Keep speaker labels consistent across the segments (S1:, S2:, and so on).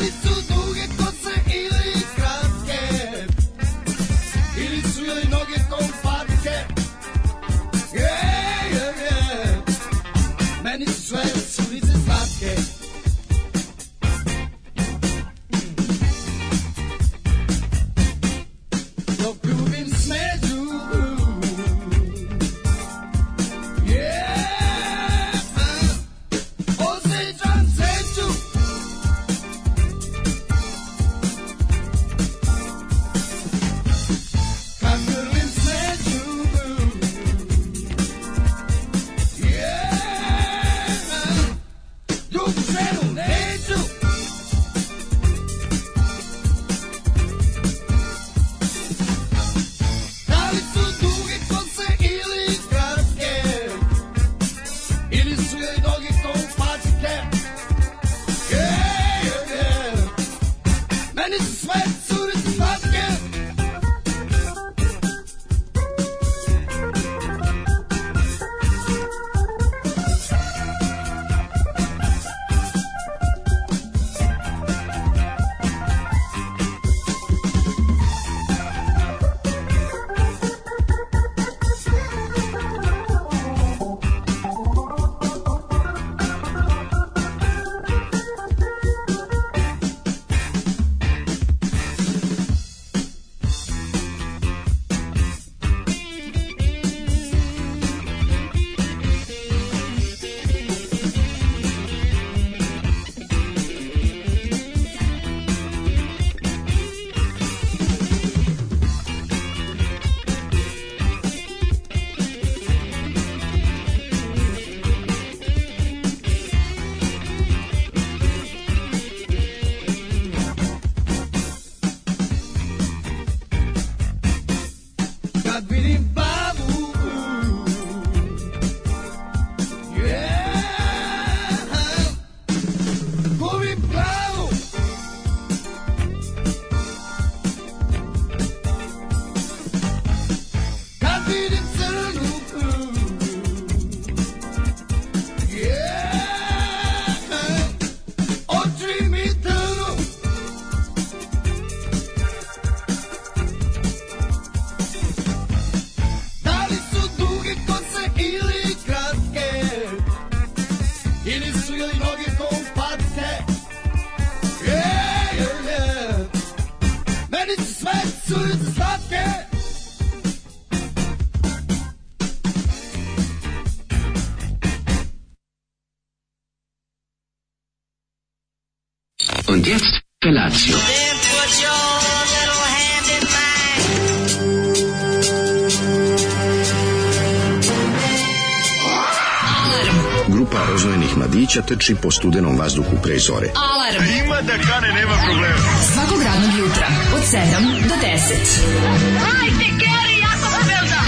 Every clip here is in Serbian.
S1: li su duge kose ili kratke Ili su joj noge kompatke Yeah, yeah, yeah Meni su sve sudice slatke Dok ljubim smeđu Yeah, ah, osjećam sreću Kad grlim smeđu Yeah, drugu ženu neću Da li su duge kose ili kratke Ili su joj noge kao patike Yeah, yeah, yeah Meni su sve curice slatke Kad vidim babu Yeah Gubim glavu Kad vidim crnu Yeah Oči mi trnu Da li su duge kose ili kratke Ili su joj noge kompatke Yeah, yeah, yeah Meni su sve curice slatke
S2: Und jetzt Felatio.
S3: Then put your little hand in mine.
S4: Grupa roznojenih mladića trči po studenom vazduhu pre zore.
S5: Alarm. Ima da kane, nema problema. Svakog radnog jutra, od 7 do 10. Hajde, Geri, jako se velda.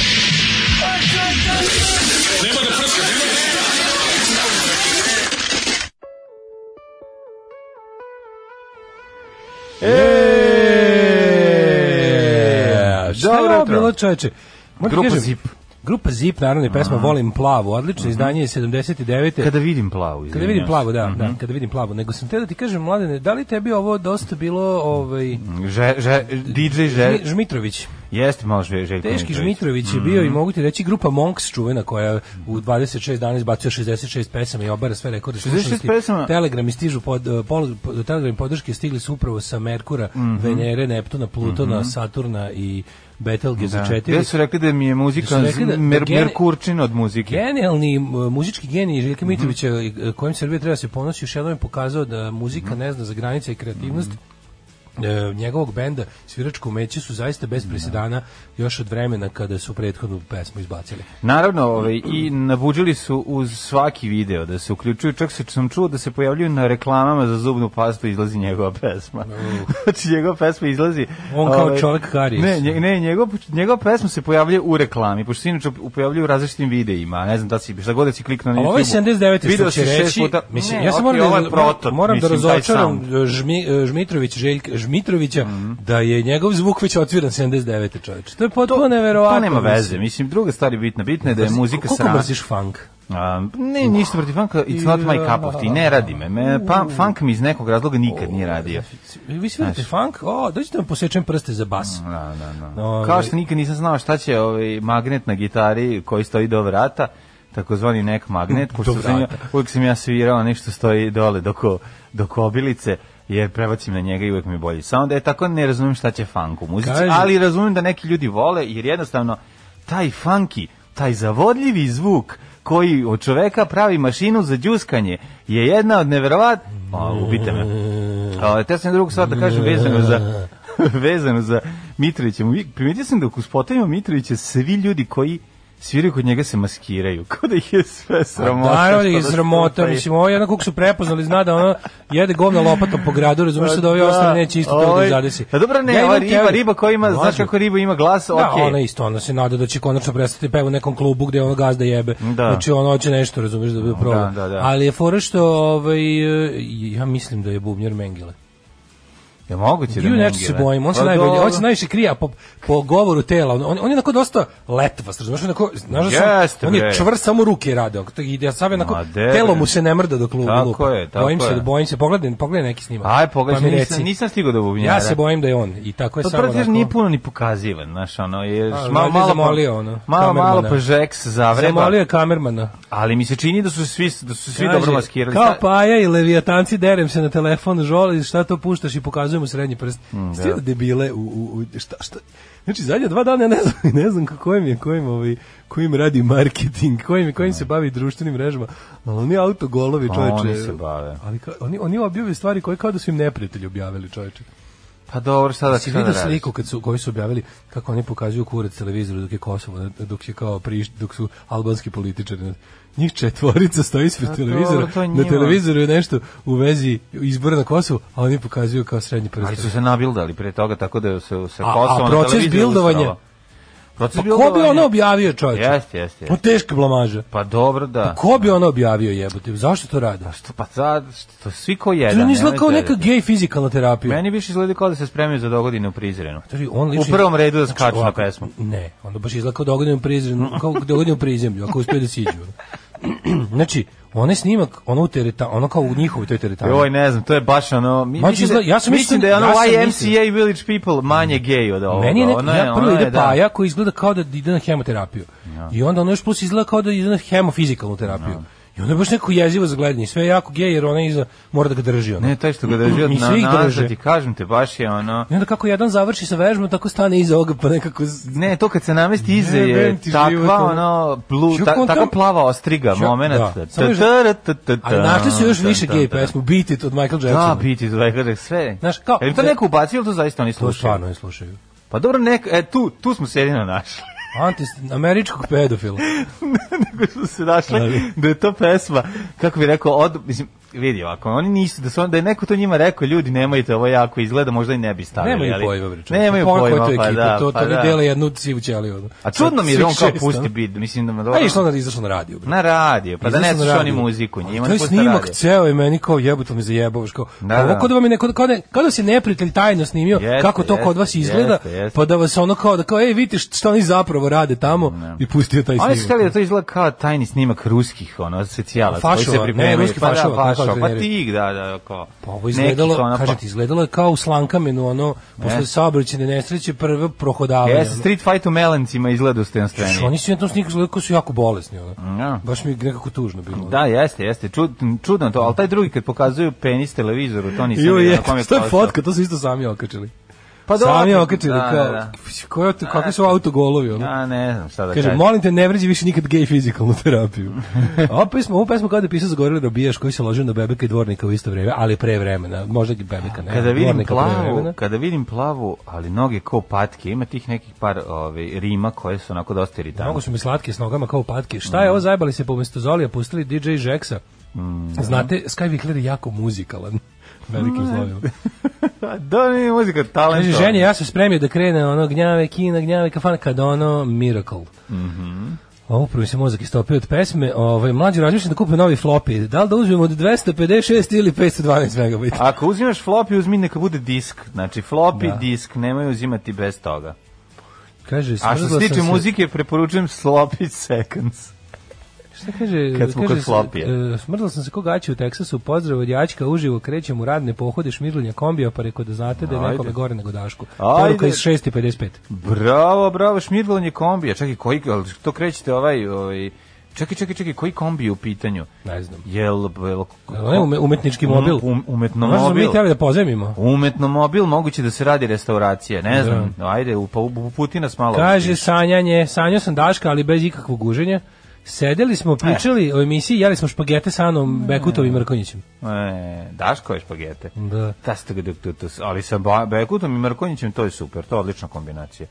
S6: E,
S7: Šta je
S6: dobro
S7: jutro?
S6: bilo čoveče. Moram ti
S7: Grupa
S6: kažem,
S7: Zip. Mhm.
S6: Grupa Zip, naravno, i pesma Volim plavu. Odlično izdanje je 79.
S7: Kada vidim plavu, Mhm.
S6: Kada vidim plavu, da, da, kada vidim plavu. Nego sam te da ti kažem, mladene, da li tebi ovo dosta bilo, ovaj,
S7: Že, že, DJ Že...
S6: Žmi- Žmitrović?
S7: Jeste malo Že, Željko Mhm.
S6: Teški
S7: Mitrović.
S6: Žmitrović je bio i mogu ti reći grupa Monks čuvena koja u 26 dana izbacuje 66 pesama i obara sve rekorde
S7: 66
S6: slušanosti.
S7: pesama?
S6: Telegrami stižu pod, pol, pod- telegrami podrške stigli su upravo sa Merkura,
S7: Mhm.
S6: Venere, Neptuna, Plutona, Saturna i Betelgeza
S7: Da.
S6: 4.
S7: Gde su rekli da mi je muzika
S6: Gde su rekli da-
S7: mer,
S6: da gene-
S7: Merkurčin od muzike.
S6: Genijalni m, muzički genij Željka
S7: Mhm.
S6: Mitrovića e, kojim Srbija treba se ponosi još jednom je pokazao da muzika
S7: Mhm.
S6: ne zna za granice i kreativnost. E, njegovog benda sviračko umeće su zaista bez
S7: Da.
S6: presedana još od vremena kada su prethodnu pesmu izbacili.
S7: Naravno, ovaj, i nabuđili su uz svaki video da se uključuju, čak se sam čuo da se pojavljuju na reklamama za zubnu pastu izlazi njegova pesma. znači njegova pesma izlazi... ovaj,
S6: On kao čovek Harris.
S7: Ne, nje- ne njegov, njegova pesma se pojavljuje u reklami, pošto se inače pojavljuje u različnim videima, ne znam da si, šta god da si kliknuo na
S6: Ali
S7: YouTube.
S6: ovo ovaj je 79. što
S7: Video
S6: će
S7: si šest
S6: reći,
S7: puta-
S6: mislim,
S7: Ne,
S6: ja sam
S7: ok,
S6: moram,
S7: ovo je
S6: da,
S7: prototip,
S6: moram da
S7: mislim, taj
S6: razočaram
S7: sound.
S6: Žmi, e, Žmitrović, Željka, Žmitrovića,
S7: Mhm.
S6: da je njegov zvuk već otviran 79. čoveče. To je potpuno neverovatno.
S7: To Pa nema
S6: mislim.
S7: veze, mislim, druga stvar je bitna, bitna je da je muzika
S6: Koliko
S7: srana.
S6: mrziš funk?
S7: A, ne, ništa protiv funka, it's not my cup of tea, ne radi me. me pa, funk mi iz nekog razloga nikad nije radio.
S6: Vi svirate funk? O, dođite vam posečem prste za bas.
S7: Da, da, da.
S6: Ovaj.
S7: Kao što nikad nisam znao šta će ovaj magnet na gitari koji stoji do vrata, takozvani nek magnet, pošto
S6: Do
S7: sam ja,
S6: vrata.
S7: uvijek sam ja svirao nešto stoji dole do, ko, do kobilice, jer prebacim na njega i uvijek mi je bolji sound. E, tako ne razumijem šta će funk u muzici,
S6: Kaže-
S7: ali razumijem da neki ljudi vole, jer jednostavno taj funky, taj zavodljivi zvuk koji od čoveka pravi mašinu za đuskanje je jedna od neverovat... A, ubite me. A, te sam drugu stvar da kažem vezano za vezano za Mitrovića. Uvijek Primetio sam da u spotovima Mitrovića svi ljudi koji sviraju kod njega se maskiraju. Kao da ih je sve sramota.
S6: Pa Naravno
S7: što
S6: je
S7: da
S6: sramota,
S7: stupaju.
S6: mislim, ovo je jednako kako su prepoznali, zna da ono jede govna lopatom po gradu, razumiješ se da ovi
S7: Da,
S6: ostali neće isto to da
S7: ovaj-
S6: ih zadesi.
S7: A dobro ne,
S6: Ja
S7: ova
S6: imam
S7: riba,
S6: teoriju.
S7: riba koja ima, znaš
S6: Može.
S7: kako riba ima glas, okej.
S6: Da, ona isto, ona se nada da će konačno prestati peva u nekom klubu gde ono gazda jebe.
S7: Da.
S6: Znači ono hoće nešto, razumiješ, da bi proba.
S7: da, da.
S6: Ali je fora što, ovaj, e, ja mislim da je bubnjar Mengele.
S7: Je moguće da
S6: Ju nešto se
S7: Mengele.
S6: bojim, on se
S7: Pa
S6: najbolje,
S7: dobro.
S6: on se najviše krija po, po govoru tela, on, on, on je onako dosta letva, znaš, onako, znaš da sam,
S7: Jeste,
S6: on je
S7: bre.
S6: čvrst, samo ruke rade, ok, to ide, a sad je onako,
S7: Ma, de,
S6: telo
S7: bre.
S6: mu se ne mrda dok lupi
S7: Tako
S6: lupa.
S7: je, tako
S6: bojim se,
S7: je.
S6: da bojim se, pogledaj, pogledaj neki snimak.
S7: Aj, pogledaj,
S6: pa mi
S7: nisam,
S6: reci.
S7: nisam stigao do bubnjara.
S6: Ja se bojim da je on, i tako je
S7: To
S6: samo
S7: prvo
S6: onako.
S7: nije puno ni pokazivan, znaš, ono, je
S6: A,
S7: malo,
S6: valjda je
S7: malo,
S6: zamolio, ono,
S7: malo, malo
S6: kamermana.
S7: pa žeks zavreba,
S6: Zamolio je kamermana.
S7: ali mi se čini da su svi, da su svi dobro
S6: Kaže,
S7: maskirali.
S6: Kao pa,
S7: Sad-
S6: paja i levijatanci, derem se na telefon, žoli, šta to puštaš i pokazujem mu srednji prst.
S7: da.
S6: Mm, Stil debile u, u, u, šta, šta? Znači, zadnja dva dana ja ne znam, ne znam kojim je, kojim, ovaj, kojim radi marketing, kojim, kojim se bavi društvenim mrežama, ali oni autogolovi,
S7: Pa
S6: čoveče.
S7: oni se bave.
S6: Ali ka, oni, oni objavljaju stvari koje kao da su im neprijatelji objavili, čoveče.
S7: Pa dobro, sada
S6: Si
S7: šta da
S6: vidio
S7: radiš?
S6: sliku kad su, koju su objavili kako oni pokazuju kurac televizoru dok je Kosovo, dok je kao priš, dok su albanski političari. Njih četvorica stoji ispred
S7: A
S6: televizora,
S7: dobro, to je
S6: na
S7: njima.
S6: televizoru je nešto u vezi izbora na Kosovu, a oni pokazuju kao srednji
S7: Ali su
S6: prst.
S7: se nabildali pre toga, tako da se sa
S6: A- a
S7: Kosova na
S6: proces
S7: televiziji
S6: bildovanja?
S7: ustralo. Proces
S6: Pa ko bi
S7: bildovanja-
S6: ono objavio, čovječe?
S7: Jeste, jeste,
S6: To je
S7: jeste.
S6: teška blamaža.
S7: Pa dobro, da.
S6: Ko bi ono objavio, jebote? Zašto to rade?
S7: Pa Što, pa sad, što, svi ko jedan.
S6: To ne izgleda
S7: nemojte
S6: kao neka
S7: reći.
S6: gej fizikalna terapija.
S7: Meni više izgleda kao da se spremio za dogodine u Prizrenu.
S6: Znači, on
S7: U
S6: lično-
S7: prvom redu da
S6: znači,
S7: skaču na
S6: ovako,
S7: pesmu.
S6: Ne, onda baš izgleda kao dogodio prizemlju, kao dogodio prizemlju, ako uspe da siđu. znači, onaj snimak, ono u tereta, ono kao u njihovoj toj teretani.
S7: Joj, ne znam, to je baš ono... Mi,
S6: Ma,
S7: mislim,
S6: izgleda-
S7: da,
S6: ja sam mislio-
S7: mislim da je ono
S6: ja sam
S7: YMCA i Village People manje gej od ovoga.
S6: Meni je
S7: Ono
S6: neki, ja prvo
S7: ono
S6: ide
S7: je, da.
S6: paja koji izgleda kao da ide na hemoterapiju. I onda ono još plus izgleda kao da ide na hemofizikalnu terapiju. I onda je baš neko jezivo za gledanje. Sve je jako gej jer ona iza mora da ga drži. Ona.
S7: Ne, taj što ga drži od
S6: I
S7: na,
S6: svi ih
S7: nazad,
S6: drže.
S7: ti kažem te, baš je ono...
S6: I onda kako jedan završi sa vežbom, tako stane iza ovoga, pa nekako... s-
S7: Ne, to kad se namesti ize
S6: Jebem
S7: je
S6: ti
S7: takva
S6: život, ono.
S7: ono blu,
S6: Čuk,
S7: ta,
S6: on
S7: takva
S6: tam-
S7: plava ostriga
S6: Čak-
S7: momenat.
S6: da. Samo još- Ali našli su još više gej pesmu, Beat It od Michael Jacksona.
S7: Da, biti iz Vegare, sve.
S6: Znaš, kao-
S7: Je li to neko ubacio ili to zaista oni
S6: To
S7: slušaju?
S6: stvarno ne slušaju.
S7: Pa dobro, nek, e, tu, tu smo se jedino našli.
S6: Antis, američkog pedofila.
S7: Da, nego smo se našli da je to pesma, kako bi rekao, od, mislim, vidi ovako, oni nisu, da, su, on- da je neko to njima rekao, ljudi, nemojte, ovo jako izgleda, možda i ne bi stavili.
S6: Nemaju
S7: da, ali-
S6: pojma, bre. čovječe.
S7: Nemaju
S6: Pa ono
S7: pojma,
S6: koja je to
S7: pa
S6: ekipa,
S7: da,
S6: to,
S7: pa
S6: to
S7: da.
S6: ne dele jednu civu ćeliju.
S7: A čudno mi je da on kao
S6: bi.
S7: pusti bit, mislim da me
S6: Pa
S7: dobro...
S6: išlo na izašlo na radio, bre.
S7: Na radio, pa da
S6: Izašlo
S7: ne
S6: na
S7: sluša
S6: radio.
S7: oni muziku,
S6: Ali
S7: njima
S6: To
S7: ne
S6: je
S7: pušta
S6: snimak
S7: radio.
S6: ceo i meni kao jebote me zajebavaš kao.
S7: Da,
S6: Da,
S7: da.
S6: ovo kao da vam je neko kao da, kao da se neprijatelj tajno snimio
S7: Jeste,
S6: kako to kod vas
S7: jeste,
S6: izgleda,
S7: jeste, jeste.
S6: pa da vas ono kao da kao ej vidite šta oni zapravo rade tamo i pustio taj
S7: Oni su hteli da
S6: snimak.
S7: to izgleda kao tajni snimak ruskih, ono, specijalac. koji se
S6: Fašova, ne,
S7: pripremaju.
S6: ruski
S7: Pa da,
S6: fašova, kako
S7: fašova,
S6: ih
S7: pa
S6: nervira.
S7: tih, da, da, kao.
S6: Pa ovo izgledalo,
S7: nekih, ono, pa-
S6: kažem ti, izgledalo je kao u slankamenu, ono, posle
S7: Ne.
S6: saobraćene nesreće, prvo prohodavanje.
S7: Jeste,
S6: ono.
S7: Street Fight u Melencima izgleda dostojanstvenije.
S6: Što Znači, oni su na tom sniku izgledali kao da su jako bolesni, ono.
S7: Ja.
S6: Baš mi je nekako tužno bilo.
S7: Da, jeste, jeste. Čud, čudno to, ali taj drugi kad pokazuju penis televizoru, to nisam
S6: Jo,
S7: vidio
S6: je,
S7: na kom je
S6: šta je
S7: prošao.
S6: fotka, to su isto sami okačili.
S7: Pa dobro,
S6: sami okačili,
S7: da,
S6: kao,
S7: da, da.
S6: Koje, kakvi su autogolovi, ono.
S7: Ja ne znam šta da
S6: Kaže,
S7: kažem.
S6: molim te, ne vređi više nikad gay fizikalnu terapiju. A Ova pesma, ovu pesmu kao da je pisao Zagorili Robijaš koji se ložio na bebeka i dvornika u isto vreme, ali pre vremena, možda i bebeka, ne,
S7: Kada vidim
S6: dvornika pre
S7: plavu,
S6: vremena.
S7: kada vidim plavu, ali noge ko patke, ima tih nekih par ovaj, rima koje su onako dosta
S6: Mnogo
S7: iritantne.
S6: Da, su mi slatke s nogama kao patke. Šta je ovo zajebali se pomesto Zolija pustili DJ Jacksa?
S7: Mm, da.
S6: Znate, Sky Wickler je jako muzikalan. Velikim slovima.
S7: Da, nije muzika, talent.
S6: Kaže, Znači, ženje, ja sam spremio da krene ono gnjave kina, gnjave kafana, kad ono Miracle. Mhm. Ovo prvi se mozak istopio od pesme. Ovaj, mlađi razmišljam da kupim novi floppy. Da li da uzmem od 256 ili 512 megabajta?
S7: Ako uzimaš floppy, uzmi neka bude disk. Znači,
S6: Da.
S7: floppy disk, nemoj uzimati bez toga.
S6: Kaže,
S7: A što
S6: smrzla
S7: se tiče
S6: sam
S7: muzike, preporučujem sloppy seconds.
S6: Šta kaže?
S7: Kad smo
S6: kaže,
S7: kod Flopija.
S6: e, smrdla sam se kogaći u Teksasu, pozdrav od Jačka, uživo krećem u radne pohode šmirljenja kombija, pa rekao da znate da je
S7: Ajde.
S6: nekome gore nego Dašku.
S7: Ajde.
S6: Poruka iz 6.55.
S7: Bravo, bravo, šmirglanje kombija. Čekaj, koji, ali to krećete ovaj, ovaj, čekaj, čekaj, čekaj, koji kombi je u pitanju?
S6: Ne znam.
S7: Jel, jel,
S6: Ono je ume- umetnički mobil.
S7: Um, um, umetno
S6: Možda smo
S7: mobil.
S6: mi teli da pozemimo.
S7: Umetno mobil, moguće da se radi restauracija, ne znam, ajde, u- pa uputi nas malo.
S6: Da. Kaže sanjanje, sanjao sam Daška, ali bez ikakvog guženja. Sedeli
S7: E.
S6: smo, pričali o emisiji, jeli smo špagete sa Anom Bekutom i Mrkonjićem.
S7: E, Daško je špagete.
S6: Da.
S7: Ta ste ga dok- dok- dok- ali sa Ba- Bekutom i Markonjićem to je super, to je odlična kombinacija.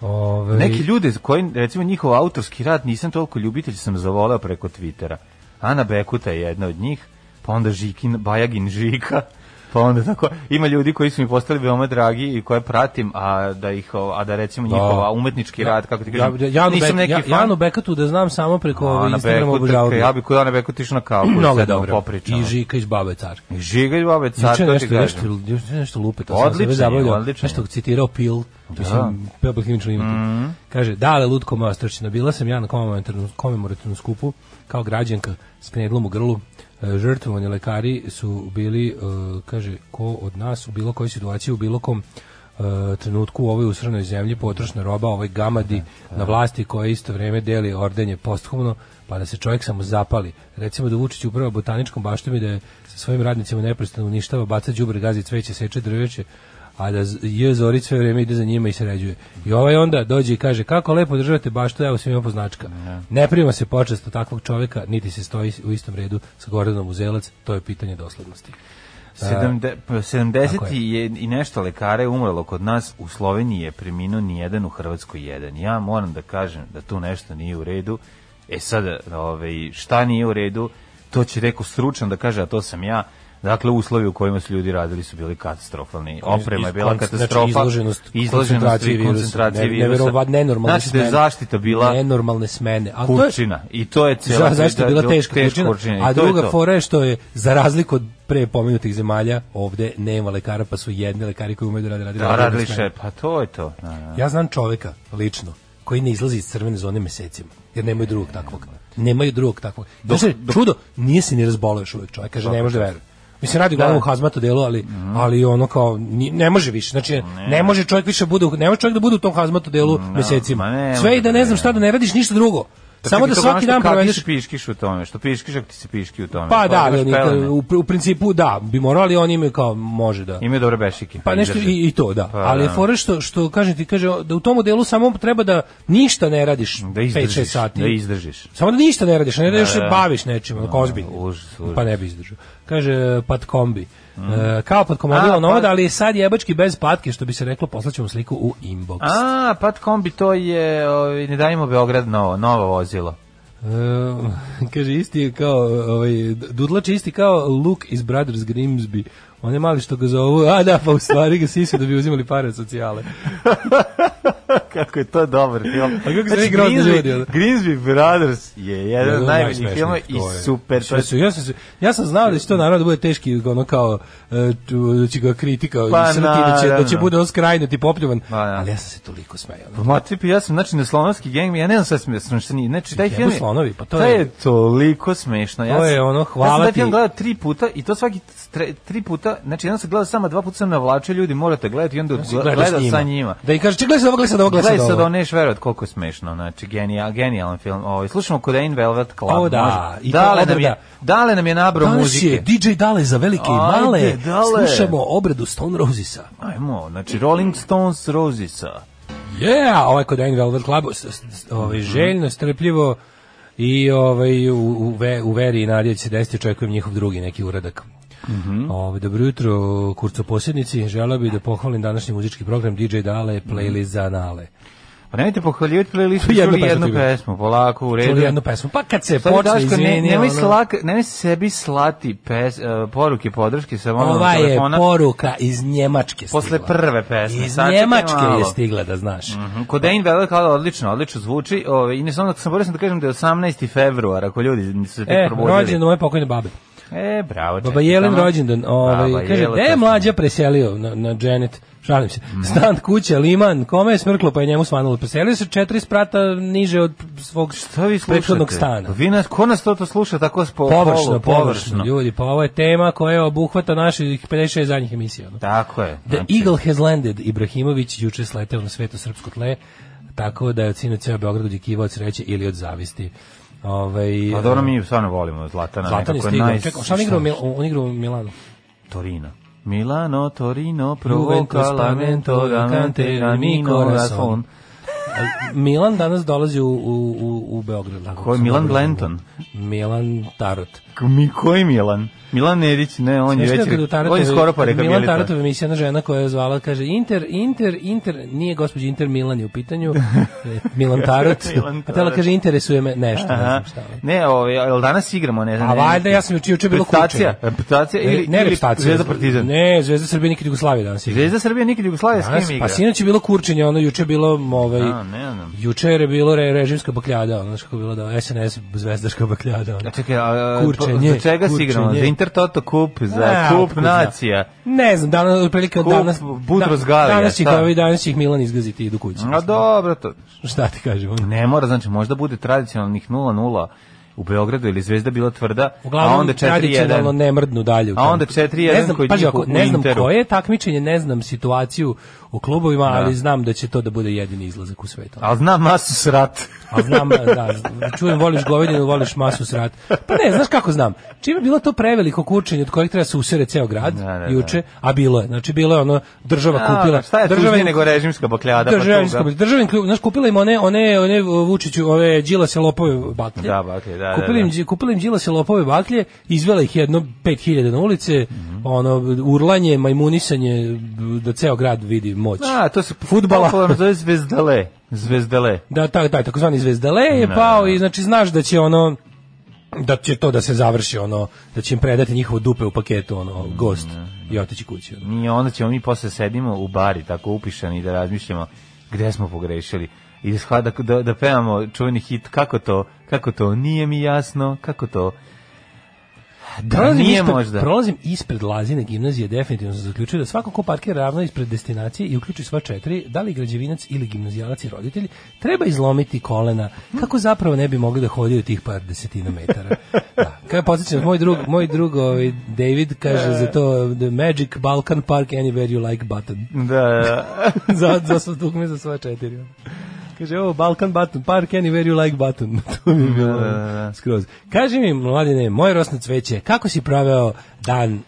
S6: Ove,
S7: Neki ljude za koji, recimo njihov autorski rad, nisam toliko ljubitelj, sam zavoleo preko Twittera. Ana Bekuta je jedna od njih, pa onda Žikin, Bajagin Žika, pa onda tako, ima ljudi koji su mi postali veoma dragi i koje pratim, a da ih, o- a da recimo njihova umetnički rad, kako ti kažem,
S6: ja, ja, Janu,
S7: nisam
S6: Bek-
S7: neki
S6: ja,
S7: fan.
S6: Janu Bekatu da znam samo preko ove
S7: Ana
S6: Instagrama
S7: Bekuta,
S6: obožavao.
S7: ja bi kod Ana Bekuta išao na kavu,
S6: Mnogo je
S7: sednemo,
S6: dobro.
S7: popričamo.
S6: I Žika iz Babe Car.
S7: I Žiga i Babe Car,
S6: Juče
S7: to ti
S6: nešto, nešto,
S7: kažem.
S6: juče nešto lupe, to
S7: Odličan je,
S6: sam se zabavljao.
S7: odličan je.
S6: Nešto citirao Pil, mislim, Pebble Himničan imat. Kaže, dale, lutko moja strčina, bila sam ja na komemorativnom, komemorativnom skupu kao građanka s knedlom u grlu. E, Žrtvovani lekari su bili, e, kaže, ko od nas u bilo kojoj situaciji, u bilo kom e, trenutku u ovoj usranoj zemlji potrošna roba ovoj gamadi na vlasti koja isto vreme deli ordenje posthumno pa da se čovjek samo zapali. Recimo da Vučić uprava botaničkom baštom i da je sa svojim radnicima neprestano uništava, baca đubre, gazi cveće, seče drveće, a da z- je Zorić sve vrijeme ide za njima i sređuje. I ovaj onda dođe i kaže kako lepo državate baštu, evo svima poznačka. Ne prima se počesto takvog čovjeka, niti se stoji u istom redu sa Gordanom Uzelac, to je pitanje doslednosti.
S7: Sedamde- pa, 70
S6: Da. Tako je.
S7: i je- i nešto lekara je umrlo kod nas, u Sloveniji je preminuo nijedan, u Hrvatskoj jedan. Ja moram da kažem da tu nešto nije u redu. E sad, ovaj, šta nije u redu, to će reko stručan da kaže, a to sam ja. Dakle, uslovi u kojima su ljudi radili su bili katastrofalni. Oprema je
S6: iz-
S7: bila
S6: kon-
S7: katastrofa.
S6: Znači, izloženost, koncentraciji
S7: i
S6: virusa.
S7: koncentracije
S6: Ne-
S7: virusa.
S6: neverovatno, nenormalne
S7: Znači da
S6: smene.
S7: je zaštita bila
S6: nenormalne smene. Ali to je-
S7: kurčina. I to je
S6: Za,
S7: cijela...
S6: zašto je
S7: da-
S6: bila
S7: da-
S6: teška kurčina,
S7: kurčina.
S6: a
S7: I to je
S6: druga
S7: to.
S6: fora je što je, za razliku od pre pomenutih zemalja, ovde nema lekara, pa su jedni lekari koji umeju da rade, rade,
S7: Da,
S6: rade,
S7: radili
S6: smene.
S7: še, pa to je to. Da, da.
S6: Ja znam čoveka, lično, koji ne izlazi iz crvene zone mesecima, jer nemaju drugog takvog. Nemaju drugog takvog.
S7: Dok-
S6: Znači,
S7: dok-
S6: čudo, nije se ni razboleo još uvek čovjek, kaže, ne može da veruje. Mislim, radi uglavnom u hazmatu delu, ali, ali ono kao, ni- ne može više, znači, Mhm. ne. može čovjek više bude, u- ne može čovjek da bude u tom hazmatu delu mesecima.
S7: ma ne
S6: Sve i
S7: može
S6: da
S7: da
S6: ne znam
S7: veruje.
S6: šta, da ne radiš ništa drugo. Samo
S7: Čekaj,
S6: da
S7: to
S6: svaki
S7: ono što
S6: dan
S7: kakiš
S6: provedeš
S7: piškiš u tome, što piškiš ako ti se piški u tome.
S6: Pa da, ali
S7: imaš
S6: oni,
S7: pelene.
S6: u, u principu da, bi morali, oni imaju kao može da.
S7: Imaju dobre bešike.
S6: Pa nešto
S7: izdrže.
S6: i, i to, da.
S7: Pa
S6: ali je
S7: da.
S6: fora što, što kaže ti, kaže da u tom delu samo treba da ništa ne radiš
S7: Da izdržiš,
S6: 5-6 sati.
S7: da izdržiš.
S6: Samo da ništa ne radiš, ne da još se
S7: da.
S6: baviš nečim, onako ozbiljno.
S7: užas, užas. Mm.
S6: Pa ne bi izdržao. Kaže, pat kombi. E, kao pod komodilo
S7: A,
S6: novod,
S7: pa-
S6: ali je sad jebački bez patke, što bi se reklo, poslaćemo sliku u inbox.
S7: A, Pat Kombi, to je, ovaj, ne dajmo Beograd novo, novo vozilo.
S6: E, kaže isti je kao ovaj Dudlač je isti kao Luke iz Brothers Grimsby. On je mali što ga zovu, a da, pa u stvari ga sisu da bi uzimali pare od socijale.
S7: kako je to dobar film. A
S6: kako se vi grozni ljudi, ono.
S7: Grimsby Brothers je jedan od najboljih filma i super. to
S6: Ja
S7: je-
S6: sam, ja, sam, se- ja sam znao da će to naravno da bude teški, ono kao, e, ču- da će ga kritika
S7: Pa,
S6: pa, srti, da će, da će
S7: naravno.
S6: bude on skrajnut i popljuvan,
S7: Pa, da.
S6: ali ja sam se toliko smejao.
S7: Pa Matripi, ja sam, znači, na slonovski gang, ja ne znam šta sam, sam šta nije. Znači, taj
S6: Jebu
S7: film je,
S6: slonovi, pa to
S7: taj
S6: je-
S7: je toliko smešno. Ja
S6: To
S7: sam-
S6: je ono,
S7: Ja
S6: hvala
S7: sam taj
S6: ti.
S7: film gledao tri puta i to svaki tre- tri puta, znači, jedan sam gledao samo dva puta sam navlačio ljudi, morate gledati i onda
S6: Gledao
S7: gledao
S6: s
S7: sa njima.
S6: Da i kaže, čekaj, gledaj sad ovo, gledaj sad ovo, gledaj
S7: Gledaj
S6: sad
S7: sad,
S6: ovo.
S7: ovo neš verovat koliko je smešno, znači genijal, genijalan film. Ovaj slušamo kod Ain Velvet Club.
S6: O, da,
S7: može.
S6: i to
S7: dale nam
S6: obrada.
S7: je, dale nam je nabro
S6: Danas
S7: muzike.
S6: je DJ Dale za velike i
S7: Ajde,
S6: male,
S7: Dale.
S6: slušamo obradu Stone Rosesa.
S7: Ajmo, znači Rolling Stones Rosisa.
S6: Yeah, ovaj kod Ain Velvet Club, s- s- s- ovaj,
S7: Mhm.
S6: željno, strpljivo i ovaj, u, u, ve, u veri i nadjeći se desiti, očekujem njihov drugi neki uradak.
S7: Mhm.
S6: Ovaj, dobro jutro, kurcoposjednici, želeo bih da pohvalim današnji muzički program DJ Dale,
S7: Mhm.
S6: playlist za Nale.
S7: Pa nemojte pohvaljivati playlistu,
S6: Jednu
S7: čuli
S6: pesmu
S7: jednu
S6: ti bi-
S7: pesmu, polako, u redu.
S6: Čuli jednu pesmu, pa kad se
S7: Sad
S6: počne,
S7: Daško, ne,
S6: izvini,
S7: nemoj,
S6: ono-
S7: slak, nemoj sebi slati pes, e, poruke podrške sa onog
S6: Ova ovaj je
S7: telefona.
S6: poruka iz Njemačke stigla.
S7: Posle prve pesme,
S6: Iz
S7: sad čekaj
S6: Njemačke
S7: malo.
S6: je stigla, da znaš.
S7: Mhm, Kod Dane Valley Club odlično, odlično zvuči. Ovaj, Ove, I ne sam, sam borio sam da kažem da je 18. da februar, ako ljudi se tek
S6: E,
S7: probudili.
S6: rođen moje pokojne babe.
S7: E, bravo.
S6: Baba
S7: čestitam
S6: Jelen
S7: vam.
S6: rođendan, ovaj,
S7: Baba
S6: kaže,
S7: Jela,
S6: gde je
S7: to sam-
S6: mlađa preselio na, na Janet? Šalim se.
S7: Mhm.
S6: Stan, kuća, liman, kome je smrklo pa je njemu svanulo. Preselio se četiri sprata niže od svog
S7: Šta vi slušate? Pa,
S6: prethodnog stana.
S7: Vi nas, ko nas to, to sluša tako spo,
S6: Površno,
S7: polu-
S6: površno, ljudi, pa ovo je tema koja obuhvata naših 56 zadnjih emisija. ono.
S7: Tako je. znači-
S6: The Eagle has landed, Ibrahimović juče sleteo na sveto srpsko tle, tako da je od sinu ceo Beograd odjekivao od sreće ili od zavisti. Ovaj,
S7: Pa dobro, mi stvarno volimo Zlatana.
S6: Zlatan je
S7: nekako
S6: stigao.
S7: naj-
S6: Čekaj, šta on igra u Mil- on igra u Milanu?
S7: Torino. Milano, Torino,
S6: Juventus,
S7: provoca, lamento,
S6: Pavento,
S7: gamante,
S6: Gamante,
S7: ramino,
S6: Corazon.
S7: razon.
S6: A Milan danas dolazi u, u, u, u Beograd. ako
S7: Ko je
S6: sam
S7: Milan
S6: dobro razumeo.
S7: Glenton?
S6: Milan Tarot.
S7: K- Mi, koji Milan? Milan Nedić, ne, on je
S6: Znaš
S7: već...
S6: kad u
S7: On je
S6: Tarantovi-
S7: skoro pa
S6: kad
S7: rekao
S6: Milan
S7: Milita.
S6: Tarotova emisija na žena koja je zvala, kaže Inter, Inter, Inter, nije gospođa Inter, Milan je u pitanju, e, Milan Tarot,
S7: Milan
S6: a tela
S7: Tarot.
S6: kaže interesuje me nešto, ne
S7: Aha.
S6: znam šta. je.
S7: Ne, ovaj, jel danas igramo, ne znam.
S6: A
S7: ne,
S6: valjda, ja sam juče- juče bilo kuće.
S7: Reputacija, reputacija ili,
S6: ne,
S7: ili
S6: repstacija.
S7: Zvezda Partizan.
S6: Ne, Zvezda Srbije nikad Jugoslavije danas igra.
S7: Zvezda Srbije nikad Jugoslavije s
S6: Danas,
S7: kim
S6: pa
S7: igra?
S6: sinoć je bilo kurčenje, ono juče je bilo ovaj,
S7: A, ne znam.
S6: Juče je bilo re, režimska bakljada, ono znaš kako je bilo da SNS zvezdaška bakljada. Ono.
S7: A Čekaj, a,
S6: Kurčenje,
S7: kurčenje, za čega si
S6: kurčenje.
S7: igramo? Za Inter Toto Kup, za
S6: A,
S7: Kup
S6: otkud zna.
S7: Nacija.
S6: Ne znam, danas, otprilike od
S7: Kup
S6: danas... da,
S7: Budros Galija,
S6: Danas ih,
S7: šta?
S6: ovi, danas će ih Milan izgaziti i idu kući.
S7: da. A dobro, to,
S6: Šta ti kažem? ono?
S7: Ne mora, znači možda bude tradicionalnih 0-0 u Beogradu ili Zvezda bila tvrda,
S6: Uglavnom,
S7: a onda
S6: tradicionalno
S7: 4-1.
S6: ne mrdnu dalje. u
S7: A onda
S6: tom.
S7: 4:1
S6: Ne znam,
S7: kod
S6: pazi
S7: njih
S6: ovako,
S7: u
S6: Ne znam
S7: Interu.
S6: koje je takmičenje, ne znam situaciju u klubovima, ali
S7: Da.
S6: znam da će to da bude jedini izlazak u svetu.
S7: Ali znam masu srat.
S6: A znam, da, čujem, voliš govedinu, voliš masu srat. Pa ne, znaš kako znam. Čime je bilo to preveliko kurčenje od kojeg treba se usere ceo grad
S7: Da, da, da.
S6: juče, a bilo je. Znači, bilo je ono, država kupila...
S7: A, šta je
S6: država
S7: tužnije
S6: im-
S7: nego režimska bakljada?
S6: Država im
S7: pa tuga?
S6: skupila- država im klu- znaš, kupila im one, one, one Vučiću, ove Đilase lopove baklje.
S7: Da, baklje, da, da,
S6: kupila im,
S7: da.
S6: Đi- kupila im Đilase lopove baklje, izvela ih jedno 5000 na ulice,
S7: Mhm.
S6: ono, urlanje, majmunisanje, da ceo grad vidi moć.
S7: A, to se
S6: Fudbala.
S7: popularno zove zvezdale. Zvezdale.
S6: da taj taj takozvani zvezdale je
S7: Ne.
S6: pao i znači znaš da će ono da će to da se završi ono da će im predati njihovo dupe u paketu ono gost
S7: Mhm.
S6: i otići kući ono.
S7: Nije, onda ćemo mi posle sedimo u bari, tako upišani, da razmišljamo gde smo pogrešili. I da, shva- da, da, da pevamo čuveni hit, kako to, kako to, nije mi jasno, kako to, da nije
S6: ispred,
S7: možda.
S6: prolazim ispred Lazine gimnazije, definitivno sam zaključio da svako ko parkira ravno ispred destinacije i uključi sva četiri, da li građevinac ili gimnazijalac i roditelj, treba izlomiti kolena, kako zapravo ne bi mogli da hodaju tih par desetina metara. Da. Kao je podsjećam, moj drug, moj drug ovaj, David kaže za to The Magic Balkan Park Anywhere You Like Button.
S7: Da, da, da.
S6: za, za sva dugme za sva četiri. Kaže, ovo Balkan button, park anywhere you like button. to mi je bilo
S7: Da, da, da.
S6: skroz. Kaži mi, mladine, moje rosno cveće, kako si proveo dan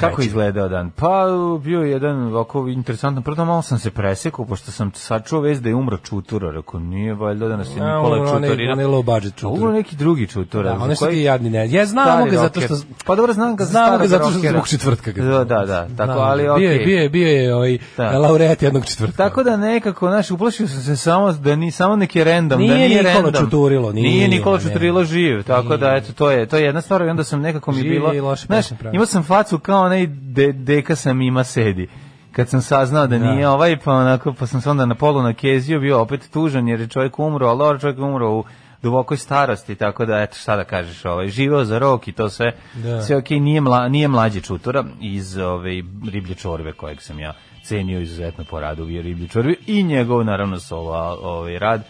S7: Kako
S6: sreće?
S7: je izgledao dan? Pa bio je jedan ovako interesantan, prvo malo sam se presekao, pošto sam sačuo vez da je umro Čutura, rekao, nije valjda da nas je
S6: A,
S7: Nikola
S6: umro E, onaj-
S7: Čutorina.
S6: onaj low budget
S7: A,
S6: Čutura.
S7: Umro neki drugi Čutura.
S6: Da,
S7: za
S6: onaj što
S7: koji-
S6: ti jadni ne- ja, znamo
S7: Stari
S6: ga zato
S7: rocker.
S6: što-
S7: Pa dobro, znam ga za
S6: Znamo
S7: starog
S6: ga zato što
S7: rockera.
S6: zbog četvrtka ga-
S7: Da, da, da, tako,
S6: Da,
S7: ali okej.
S6: Bio je, bio je, bio je ovaj,
S7: Da.
S6: laureat jednog četvrtka.
S7: Tako da nekako, znaš, uplašio sam se samo da ni samo neki random, da
S6: Nije
S7: nije
S6: Nikola
S7: random.
S6: Čuturilo, nije,
S7: nije Nikola
S6: ne.
S7: Čuturilo živ, tako da eto to je, to je jedna stvar i onda sam nekako mi
S6: Živ
S7: bilo,
S6: i loše
S7: znaš,
S6: pesme pravi.
S7: imao sam facu kao onaj de, deka sam ima sedi. Kad sam saznao da nije ovaj, pa onako, pa sam se onda na polu na keziju bio opet tužan jer je čovjek umro, ali ovaj čovjek je umro u dubokoj starosti, tako da eto šta da kažeš, ovaj živeo za rok i to sve.
S6: Da.
S7: Sve okej, nije mla, nije mlađi čutora iz ove riblje čorbe kojeg sam ja cenio izuzetno po radu u riblje čorbi i njegov naravno solo a- ovaj rad.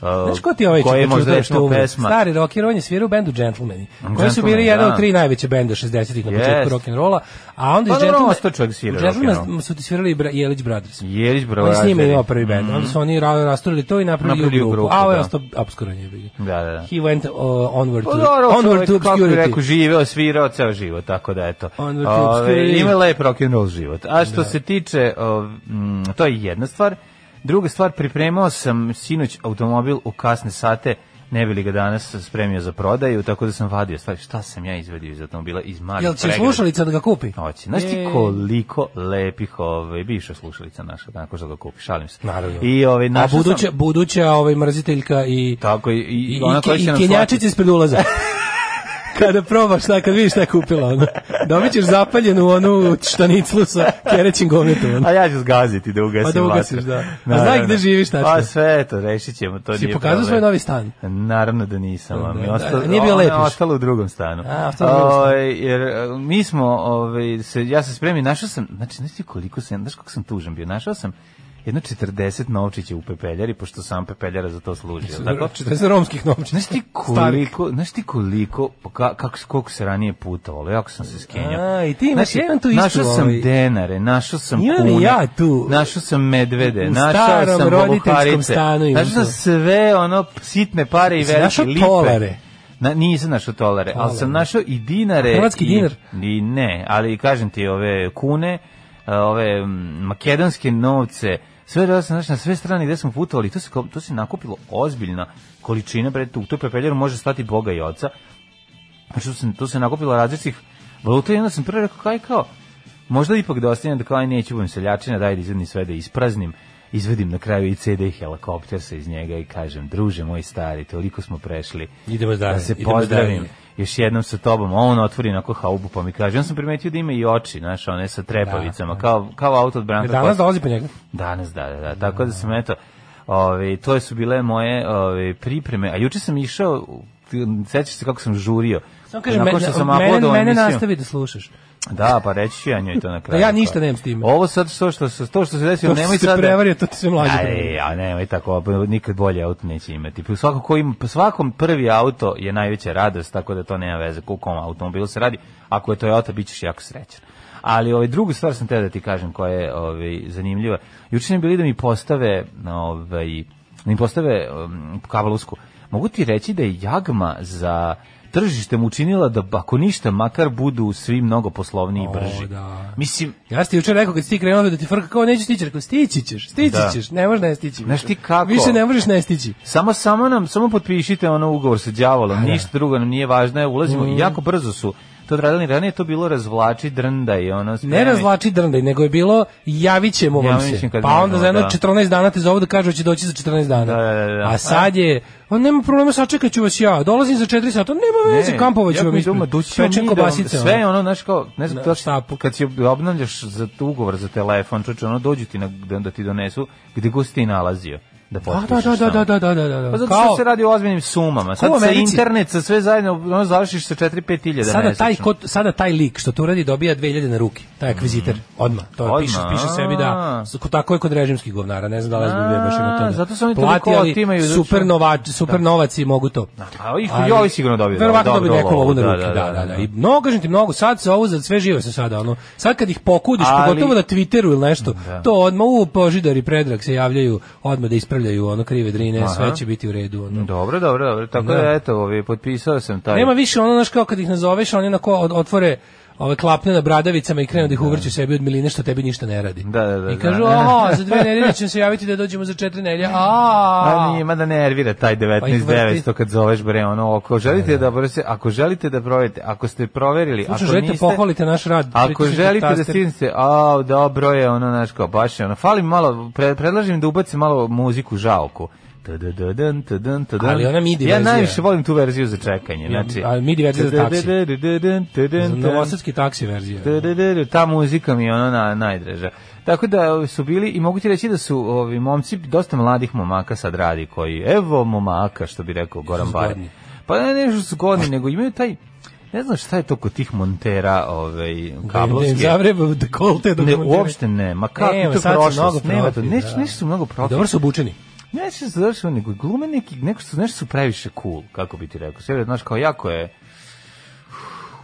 S6: Znaš ko ti je ovaj
S7: da, koji je
S6: četvrtka
S7: možda
S6: što je
S7: recimo
S6: umro?
S7: pesma.
S6: Stari rocker, on je svirao u bendu Gentlemani, koji su bili
S7: Gentlemani,
S6: jedan
S7: da.
S6: od tri najveće benda 60-ih na
S7: Jest.
S6: početku rock'n'rolla, a onda
S7: Pa
S6: iz
S7: dobro,
S6: Gentlemana-
S7: ostao čovjek svira
S6: u Gentlemana
S7: rock'n'roll.
S6: su ti svirali i Bra- Jelić Brothers.
S7: Jelić
S6: Oni s njima
S7: Brotheri.
S6: imao prvi band. Onda su oni ra- rasturili to i napravili,
S7: Napravili
S6: u grupu.
S7: grupu,
S6: A ovo je
S7: da.
S6: ostao obskuran je bilo.
S7: Da, da, da.
S6: He went uh, onward to,
S7: Pa dobro,
S6: onward to
S7: čovjek, kako bi
S6: obscurity.
S7: rekao, živeo, svirao ceo život, tako da eto.
S6: Onward to obscurity. Da.
S7: ima lep rock and roll život. A što se tiče, o, mm, to je jedna stvar. Druga stvar, pripremao sam sinoć automobil u kasne sate, ne bi li ga danas spremio za prodaju, tako da sam vadio stvari. Šta sam ja izvadio iz automobila? Iz malih
S6: Jel će
S7: pregrada.
S6: slušalica da ga kupi?
S7: Hoće. Znaš ti
S6: Ej.
S7: koliko lepih ovaj, bivša slušalica naša, nakon što ga kupi, šalim se.
S6: Naravno.
S7: I ovaj,
S6: A
S7: našao
S6: buduća,
S7: sam...
S6: buduća ovaj, mrziteljka i...
S7: Tako, i, i,
S6: I,
S7: ona
S6: i,
S7: koja
S6: i
S7: će nam slati-
S6: kenjačica ispred ulaza. kada probaš, šta, kad vidiš šta je kupila, ono, dobit ćeš zapaljenu onu štaniclu sa kerećim gometom. Ono.
S7: A ja ću zgaziti da ugasim
S6: Pa da ugasiš,
S7: vatru.
S6: da. A
S7: Naravno.
S6: znaj gde živiš tačno.
S7: Pa sve to, rešit ćemo, to
S6: Si
S7: nije
S6: pokazao
S7: problem.
S6: svoj novi stan?
S7: Naravno da nisam. Da,
S6: Da,
S7: mi
S6: da,
S7: ostalo,
S6: a nije bio
S7: ona je
S6: lepiš?
S7: ostala u drugom stanu.
S6: A, ostala u drugom stanu.
S7: Ovaj, jer eh, mi smo, ovaj, se, ja sam spremio, našao sam, znači, znaš ti koliko sam, znaš kako sam tužan bio, našao sam jedno 40 novčića u pepeljari, pošto sam pepeljara za to služi. jel Tako?
S6: 40 romskih novčića.
S7: Znaš ti
S6: Starih.
S7: koliko, znaš ti koliko, pa ka, kako, koliko se ranije putovalo, jako sam se skenjao.
S6: A, i ti imaš, ja imam tu
S7: Znači, Našao
S6: istu,
S7: sam
S6: ovaj-
S7: denare, našao sam
S6: Imam i
S7: kune,
S6: ja tu.
S7: našao sam medvede,
S6: U
S7: našao
S6: starom
S7: sam
S6: roditeljskom
S7: bobuharice,
S6: stanu imam
S7: našao sam
S6: to.
S7: sve ono sitne pare i
S6: Jesi
S7: velike
S6: našao
S7: lipe.
S6: tolare?
S7: Na, nisam našao tolare, ali sam
S6: Tolare.
S7: našao i dinare.
S6: A hrvatski
S7: i,
S6: dinar?
S7: I ne, ali kažem ti ove kune, a, ove mm, makedonske novce, sve da sam znači, na sve strane gde smo putovali, to se, kao- to se nakupilo ozbiljna količina, bre, tu, tu pepeljaru može stati Boga i oca, Znači, tu se, tu se nakupilo različitih valuta i onda sam prvo rekao, kaj kao, možda ipak da ostanem da kao, aj neću budem seljačina, daj da izvedim sve da ispraznim, izvedim na kraju i CD helikopter se iz njega i kažem, druže moj stari, toliko smo prešli,
S6: Idemo dalje,
S7: da se
S6: idemo
S7: pozdravim.
S6: dalje.
S7: Još jednom sa tobom, a on otvori onako haubu pa mi kaže, on sam primetio da ima i oči, znaš, one sa trepavicama, kao, kao auto od Branka
S6: Jer Da, danas
S7: Kosova.
S6: dolazi po njega.
S7: Danas, da, da, da. Tako da sam, eto, ove, to su bile moje ove, pripreme. A juče sam išao, ti- sećaš se kako sam žurio.
S6: Samo kažem,
S7: Nakon
S6: mene,
S7: što sam
S6: mene,
S7: uploadovao
S6: mene
S7: emisiju-
S6: nastavi da slušaš.
S7: Da, pa reći ću ja njoj to na kraju. pa.
S6: ja ništa nemam s time.
S7: Ovo sad što, što, se- to što se desilo,
S6: To
S7: nemoj
S6: što
S7: sad...
S6: se
S7: da-
S6: prevario, to ti se mlađe
S7: Aj,
S6: prevario.
S7: ja, nemoj tako, nikad bolje auto neće imati. Pa Svako ko ima, pa svakom prvi auto je najveća radost, tako da to nema veze u kom automobilu se radi. Ako je Toyota, bit ćeš jako srećan. Ali ovaj, drugu stvar sam teo da ti kažem koja je ovaj, zanimljiva. Juče sam bili da mi postave, ovaj, da mi postave um, kavalusku. Mogu ti reći da je jagma za tržištem učinila da ako ništa makar budu svi mnogo poslovniji i
S6: O,
S7: brži.
S6: da.
S7: Mislim,
S6: Ja ste juče rekao kad si ti krenuo da ti frka kao neću stići, rekao stići ćeš, stići
S7: Da.
S6: ćeš, ne možeš ne stići.
S7: Znaš
S6: više.
S7: ti kako?
S6: Više ne možeš ne stići.
S7: Samo samo nam samo potpišite ono ugovor sa đavolom,
S6: da.
S7: ništa drugo nam nije važno, je ulazimo
S6: Mm.
S7: i jako brzo su to odradili, ranije je to bilo razvlači drnda i ono
S6: Ne razvlači drndaj, nego je bilo javit ćemo vam
S7: Javit
S6: se.
S7: ćemo kad
S6: Pa onda
S7: možemo,
S6: za jedno
S7: da.
S6: 14 dana te zovu da kažu da će doći za 14 dana.
S7: Da, da, da, da.
S6: A sad je, on nema problema, sačekat ću vas ja. Dolazim za 4 sata, nema veze, kampovat ću vam ispred. Pečem kobasice, ono.
S7: da sve ono znaš kao ne znam
S6: Na
S7: to što-
S6: štapu.
S7: kad si obnavljaš za tu ugovor za telefon čoveče ono dođu ti na, da, da ti donesu gde god si ti nalazio da
S6: Da,
S7: potpišeš
S6: da, da, da,
S7: samo.
S6: da, da, da, da, da.
S7: Pa zato što se radi o ozbiljnim sumama. Sad
S6: Ko u
S7: sa
S6: Americi?
S7: internet, sa sve zajedno, ono završiš sa 4-5 hiljada
S6: sada taj
S7: mesečno.
S6: kod, sada taj lik što to uradi dobija 2000 na ruke taj akviziter odma to
S7: Mm. Odmah,
S6: odma. piše piše sebi da
S7: a.
S6: s- ko- tako je kod režimskih govnara ne znam da li
S7: A,
S6: SBB baš ima to
S7: zato su oni toliko otimaju, zato
S6: super
S7: što-
S6: novač super novaci mogu to
S7: a ih- i ovi sigurno dobiju
S6: verovatno
S7: dobro
S6: dobiju neku
S7: lovu,
S6: lovu na
S7: da,
S6: ruke da da, da, i mnogo kažem ti mnogo sad se ovo za sve živo se sada ono sad kad ih pokudiš
S7: Ali- Da.
S6: pogotovo na Twitteru ili nešto to odma u požidari predrag se javljaju odma da ispravljaju ono krive drine sve će biti u redu ono
S7: Dobro, dobro, dobro. Tako da, eto, ovaj, potpisao sam taj.
S6: Nema više ono, znaš, kao kad ih nazoveš, oni onako od- otvore ove klapne na bradavicama i krenu da ih uvrću sebi od miline što tebi ništa ne radi.
S7: Da, da, da,
S6: I kažu,
S7: da.
S6: aha, za dve nedelje ćemo se javiti da dođemo za četiri nedelje.
S7: A
S6: A,
S7: njima da nervira
S6: Pa
S7: taj
S6: ih
S7: 19
S6: vrti.
S7: 900 kad zoveš bre ono ako želite da brose ako želite da proverite ako ste proverili
S6: Slušaj,
S7: ako
S6: želite
S7: niste
S6: pohvalite naš rad.
S7: ako
S6: pritisnite
S7: želite da
S6: taster.
S7: stisnete a dobro je ono naš kao baš je ono fali malo pre, predlažem da ubaci malo muziku žaoku Tudududun, tudun, tudun.
S6: Ali ona midi
S7: ja
S6: verzija.
S7: najviše volim tu verziju za čekanje znači
S6: a midi verzija za taksi.
S7: Tudududun, tudun,
S6: Za
S7: tudun.
S6: Novosadski taksi verzija.
S7: Da, da, da, da, ta muzika mi je ono na, najdraža. Tako da su bili, i mogu ti reći da su ovi momci, dosta mladih momaka sad radi koji, evo momaka, što bi rekao Goran Bari.
S6: zgodni.
S7: Pa ne nešto su zgodni, nego imaju taj, ne znam šta je to kod tih montera ovaj,
S6: Ne,
S7: kablovske.
S6: Zavreba, da kolte, da
S7: Ne,
S6: komentira.
S7: uopšte ne, ma kako
S6: Nema,
S7: to
S6: sad su
S7: prošlost,
S6: mnogo
S7: nema to,
S6: profi,
S7: neš,
S6: da.
S7: nešto su mnogo profi.
S6: Dobro su obučeni.
S7: Ne, se završio, nego glume neki, neko su, nešto su previše cool, kako bi ti rekao. Sve, znaš, kao jako je,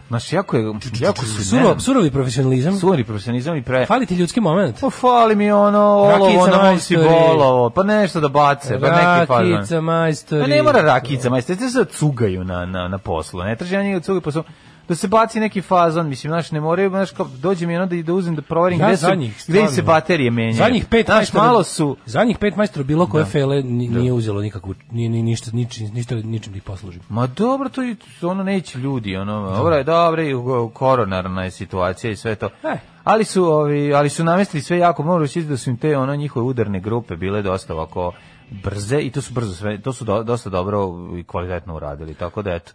S7: znaš, jako je, jako su, ne
S6: Suro,
S7: znam,
S6: surovi profesionalizam.
S7: suvani profesionalizam i pre...
S6: Fali ti ljudski moment.
S7: Pa fali mi ono, olovo,
S6: Rakica
S7: ono, si
S6: majstori.
S7: bolovo, pa nešto da bace, pa neki
S6: Rakica,
S7: fazan.
S6: majstori.
S7: Pa ne mora rakica, majstori, te se cugaju na, na, na poslu, ne traži na njega cugaju poslu. Da se baci neki fazon, mislim, znaš, ne moraju, znaš, kao, dođe mi ono da, da uzem da proverim
S6: Ja
S7: gde, su,
S6: za njih,
S7: gde im se
S6: stvarno.
S7: baterije menjaju.
S6: Zadnjih pet
S7: znaš,
S6: majstora-
S7: malo su... Da.
S6: Zadnjih pet majstora bilo koje fele ni- nije uzelo nikakvu ni ni ništa ničim ništa ničim da ih poslužim.
S7: Ma dobro, to je, ono neće ljudi, ono, dobro je, dobro je, u- koronarna je situacija i sve to.
S6: E.
S7: Ali su, ovi, ali su namestili sve jako, moram reći da su im te, ono, njihove udarne grupe bile dosta ovako brze i to su brzo sve, to su do, dosta dobro i kvalitetno uradili, tako da eto.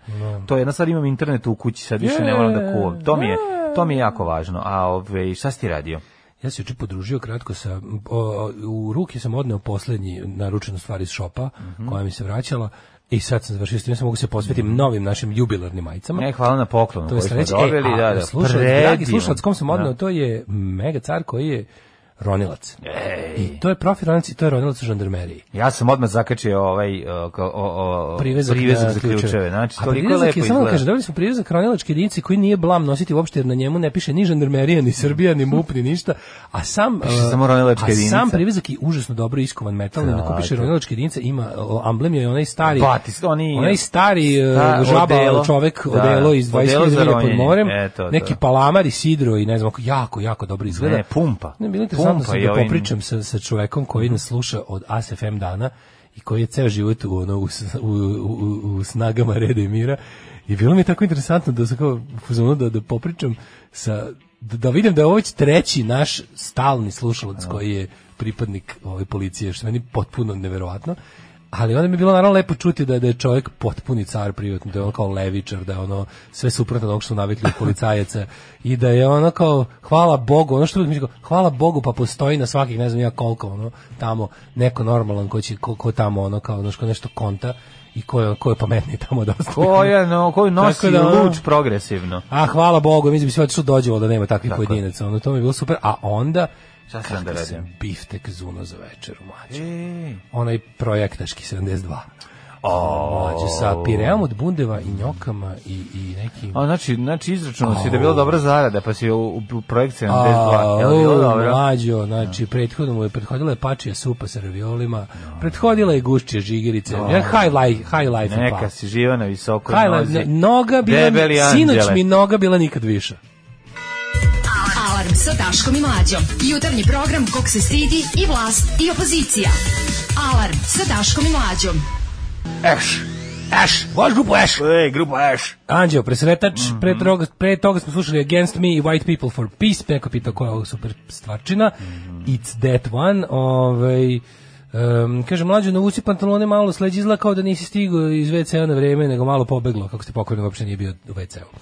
S7: To je jedna stvar, imam internet u kući, sad više ne moram da kuvam. To mi je,
S6: E.
S7: to mi je jako važno. A ove, šta si ti radio?
S6: Ja se juče podružio kratko sa o, u ruke sam odneo poslednji naručenu stvar iz šopa
S7: Mhm.
S6: koja mi se vraćala i sad sam završio s tim, ja sam mogu se posvetim novim našim jubilarnim majicama.
S7: Ne, E, hvala na poklonu
S6: To je
S7: Mhm. koji
S6: sledeće.
S7: smo dobili.
S6: E,
S7: da,
S6: a,
S7: da,
S6: slušalac, dragi
S7: predivno.
S6: slušalac, kom sam odneo,
S7: Da.
S6: to je mega car koji je ronilac. I to je profi ronilac i to je ronilac u žandarmeriji.
S7: Ja sam odmah zakačio ovaj o, o, o,
S6: Privezak, na
S7: za ključeve. Znači,
S6: A
S7: toliko
S6: privezak
S7: lepo
S6: je, samo da
S7: izgleda.
S6: kaže, dobili smo privezak ronilačke jedinice koji nije blam nositi uopšte, jer na njemu ne piše ni žandarmerija, ni Srbija, ni MUP, ni ništa. A sam, e,
S7: samo ronilačka
S6: a sam
S7: jedinica.
S6: privezak je užasno dobro iskovan metal, da,
S7: Da,
S6: ako piše
S7: to-
S6: ronilačke jedinice, ima, o, amblem je onaj stari,
S7: Batist, Pa, oni-
S6: onaj stari e,
S7: Da,
S6: žaba,
S7: odelo.
S6: čovek,
S7: Da,
S6: odelo iz
S7: odelo
S6: 20.000
S7: za
S6: milja pod
S7: ronjenje.
S6: morem,
S7: Eto, da.
S6: neki palamar i sidro i ne znam, kako, jako, jako dobro izgleda.
S7: Ne, pumpa.
S6: Ne, bilo je interesantno
S7: Pumpa
S6: sam
S7: je
S6: da
S7: ovim-
S6: popričam sa, sa čovekom koji nas sluša od ASFM dana i koji je ceo život u, ono, u, s- u, u, u snagama reda i mira. I bilo mi je tako interesantno da sam kao u fazonu da, da popričam sa, da, da vidim da je ovo već treći naš stalni slušalac koji je pripadnik ove policije, što je meni potpuno neverovatno. Ali onda mi je bilo naravno lepo čuti da, da je čovjek potpuni car privatno, da je on kao levičar, da je ono sve suprotno od onog što su navikli od policajaca i da je ono kao hvala Bogu, ono što uvijek mi je kao, hvala Bogu pa postoji na svakih ne znam ja koliko ono tamo neko normalan ko će ko, ko tamo ono kao ono što nešto konta i ko je, ko je pametniji tamo od ostalih.
S7: Ko je, no, koju nosi
S6: Tako da, ono-
S7: luč progresivno.
S6: A hvala Bogu, mislim bi se otišao dođevo da nema takvih
S7: Tako je.
S6: pojedinaca, ono to mi je bilo super, a onda
S7: Šta sam da
S6: kakav
S7: radim?
S6: sam biftek zuno za večer mlađe.
S7: E,
S6: Onaj projektaški 72. Mlađe sa pireom od bundeva i njokama i, i nekim...
S7: A, znači, znači izračunao si da je bila dobra zarada, pa si u, u, u projekciji na 72. Je li bilo
S6: Au,
S7: dobro? Da.
S6: mlađo, znači, prethodno mu je prethodila je pačija supa sa raviolima, prethodila je gušće žigerice, ja, high life, high life je
S7: Da. Neka
S6: pa.
S7: si živa na visokoj
S6: High
S7: nozi.
S6: life, noga bila,
S7: Debeli
S6: sinoć
S7: anđele.
S6: mi noga bila nikad viša.
S5: Alarm sa Daškom i Mlađom. Jutarnji program kog se stidi i vlast i opozicija. Alarm sa Daškom i Mlađom.
S7: Eš! Eš!
S6: Vaš grupu Ash!
S7: Ej, grupa Eš!
S6: Anđeo, presretač, pre, toga, pre toga smo slušali Against Me i White People for Peace, neko pitao koja je ovo super stvarčina, It's That One, ovaj, em, kaže, mlađo, navuci pantalone malo sleđi izla kao da nisi stigao iz WC-a na vreme, nego malo pobeglo, kako ste pokojni, uopšte nije bio u WC-u.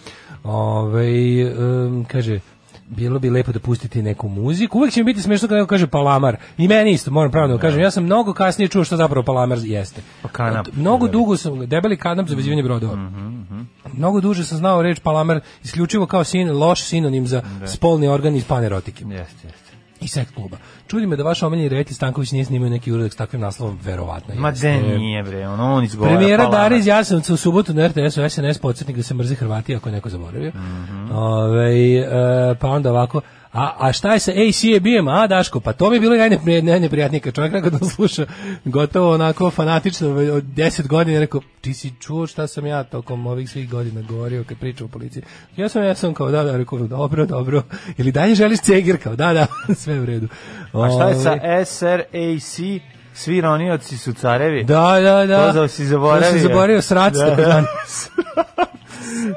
S6: Ovaj, em, kaže, bilo bi lepo da pustite neku muziku. Uvek će mi biti smešno kada neko kaže Palamar. I meni isto, moram pravno da kažem. Ja sam mnogo kasnije čuo što zapravo Palamar jeste.
S7: Pa kanap. Mhm,
S6: Mnogo dugo sam, debeli kanap za vezivanje brodova. Mnogo duže sam znao reč palamer isključivo kao sin, loš sinonim za
S7: Da.
S6: spolni organ iz panerotike
S7: Jeste, jeste.
S6: i seks kluba. Čudi me da vaš omiljeni Reti Stanković nije snimao neki uradak s takvim naslovom, verovatno
S7: Ma
S6: jeste.
S7: de nije bre, on, on izgovara. pa
S6: Premijera
S7: palama.
S6: Dara iz Jasenovca u subotu na RTS-u SNS podsjetnik da se mrze Hrvati ako je neko zaboravio.
S7: Mhm.
S6: Ovaj, e, pa onda ovako, a, a šta je sa ACAB-em, a Daško, pa to mi je bilo najnepri- najneprijatnije kad čovjek rekao da on sluša gotovo onako fanatično ovaj, od 10 godina, rekao, ti si čuo šta sam ja tokom ovih svih godina govorio kad pričam o policiji. Ja sam, ja sam kao, da, da, rekao, dobro, dobro, ili dalje želiš ceger, kao, da, da, sve u redu.
S7: A šta je
S6: Ovaj,
S7: sa SRAC? Svi ronioci su carevi.
S6: Da, da, da.
S7: To za- si zaboravio.
S6: To si zaboravio srac
S7: Da.
S6: da. tako danas.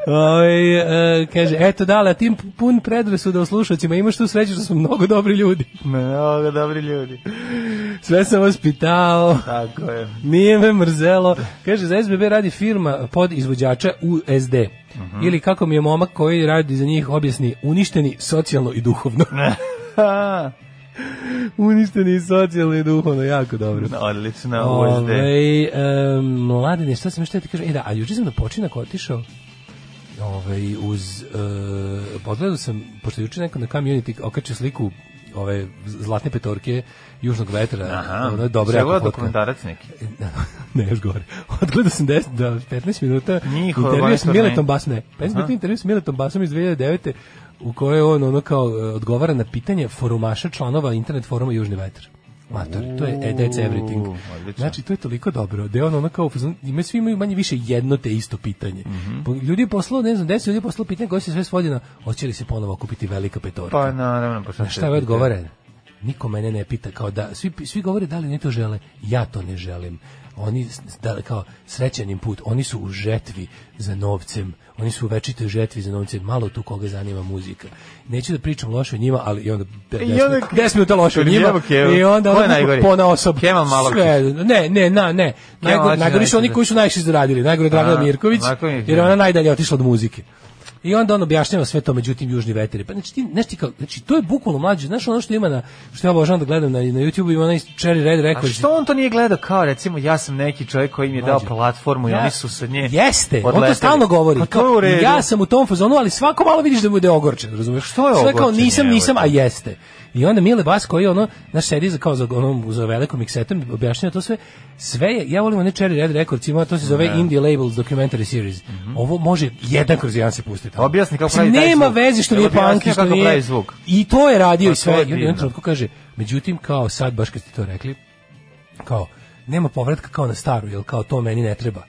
S6: Oj, e, kaže, eto dale, a tim pun predrasuda o slušacima, imaš tu sreću što su mnogo dobri ljudi.
S7: Mnogo dobri ljudi.
S6: Sve sam vas pitao,
S7: Tako je.
S6: nije me mrzelo. Kaže, za SBB radi firma pod izvođača USD. Ili kako mi je momak koji radi za njih objasni, uništeni socijalno i duhovno. uništeni socijalno i duhovno, jako dobro.
S7: Odlično, USD.
S6: Ovaj, em, mladene, šta sam još teo ti kažem? E da, a juče sam na počinak otišao ovaj, uz... Uh, pogledao sam, pošto je juče neko na community okačio sliku ove zlatne petorke južnog vetra.
S7: Aha.
S6: Ono je dobra
S7: Šta je bila
S6: jako fotka.
S7: da dokumentarac neki?
S6: ne, još gore. Odgledao sam 10 do 15 minuta
S7: Njihova
S6: intervju s
S7: vanjska
S6: Miletom
S7: organizacija.
S6: Basom. Ne, Pa 15 minuta intervju s Miletom Basom iz 2009 u kojoj on ono kao e, odgovara na pitanje forumaša članova internet foruma Južni vetar. Mator, to je e, that's everything.
S7: odlično.
S6: Znači, to je toliko dobro. Da je on ono kao, u fazonu- ima svi imaju manje više jedno te isto pitanje.
S7: Mhm.
S6: Po- Ljudi je poslao, ne znam, deset ljudi je poslao pitanje koje se sve svodi na hoće li se ponovo kupiti velika petorka.
S7: Pa naravno, pa šta
S6: Šta je odgovara? niko mene ne pita kao da svi svi govore da li oni to žele ja to ne želim oni s- da kao srećenim put oni su u žetvi za novcem oni su u večitoj žetvi za novcem malo tu koga zanima muzika neću da pričam loše o njima ali i onda da, 10
S7: onda-
S6: mi minuta loše o njima
S7: Jevo Kevo.
S6: i onda
S7: Ko je
S6: onda
S7: najgori?
S6: pona osob
S7: Kemal Malović.
S6: sve ne ne na ne najgori
S7: Malović je Pa,
S6: najgori su oni
S7: najčešće.
S6: koji su najviše zaradili najgore Dragana
S7: A,
S6: Mirković
S7: Marković,
S6: jer
S7: da.
S6: ona najdalje otišla od muzike I onda on objašnjava sve to, međutim južni veter. je- Pa znači ti, znaš ti kao, znači to je bukvalno mlađe, znaš ono što ima na što ja obožavam da gledam na na YouTubeu ima onaj Cherry Red
S7: A
S6: Records.
S7: što on to nije gledao kao recimo ja sam neki čovjek koji im je dao
S6: Mlađe.
S7: platformu i
S6: Ja-
S7: oni su sa nje
S6: Jeste, on to
S7: odleteli.
S6: stalno govori.
S7: Pa to je u
S6: Kao,
S7: redu.
S6: ja sam u tom fazonu, ali svako malo vidiš da bude ogorčen, razumeš?
S7: Što je
S6: Sve kao
S7: ogorčenje,
S6: nisam,
S7: evo
S6: nisam,
S7: to.
S6: a jeste. I onda Mile Bas koji ono, naš sedi za, kao za, onom, za velikom miksetom, objašnjava to sve. Sve je, ja volim one Cherry Red Records, ima, to se zove
S7: Da.
S6: Indie Labels Documentary Series. Ovo može jedan kroz jedan se pustiti. tamo.
S7: Mhm. Objasni kako
S6: Mislim,
S7: pravi taj
S6: Nema
S7: zvuk.
S6: veze što
S7: Evo,
S6: nije
S7: objasni
S6: punk i što
S7: kako
S6: nije...
S7: pravi zvuk.
S6: I to je radio
S7: Pa
S6: i sve.
S7: to je
S6: I onda u jednom
S7: divno.
S6: trenutku kaže, međutim, kao sad, baš kad ste to rekli, kao nema povratka kao na staru, jel kao to meni ne treba.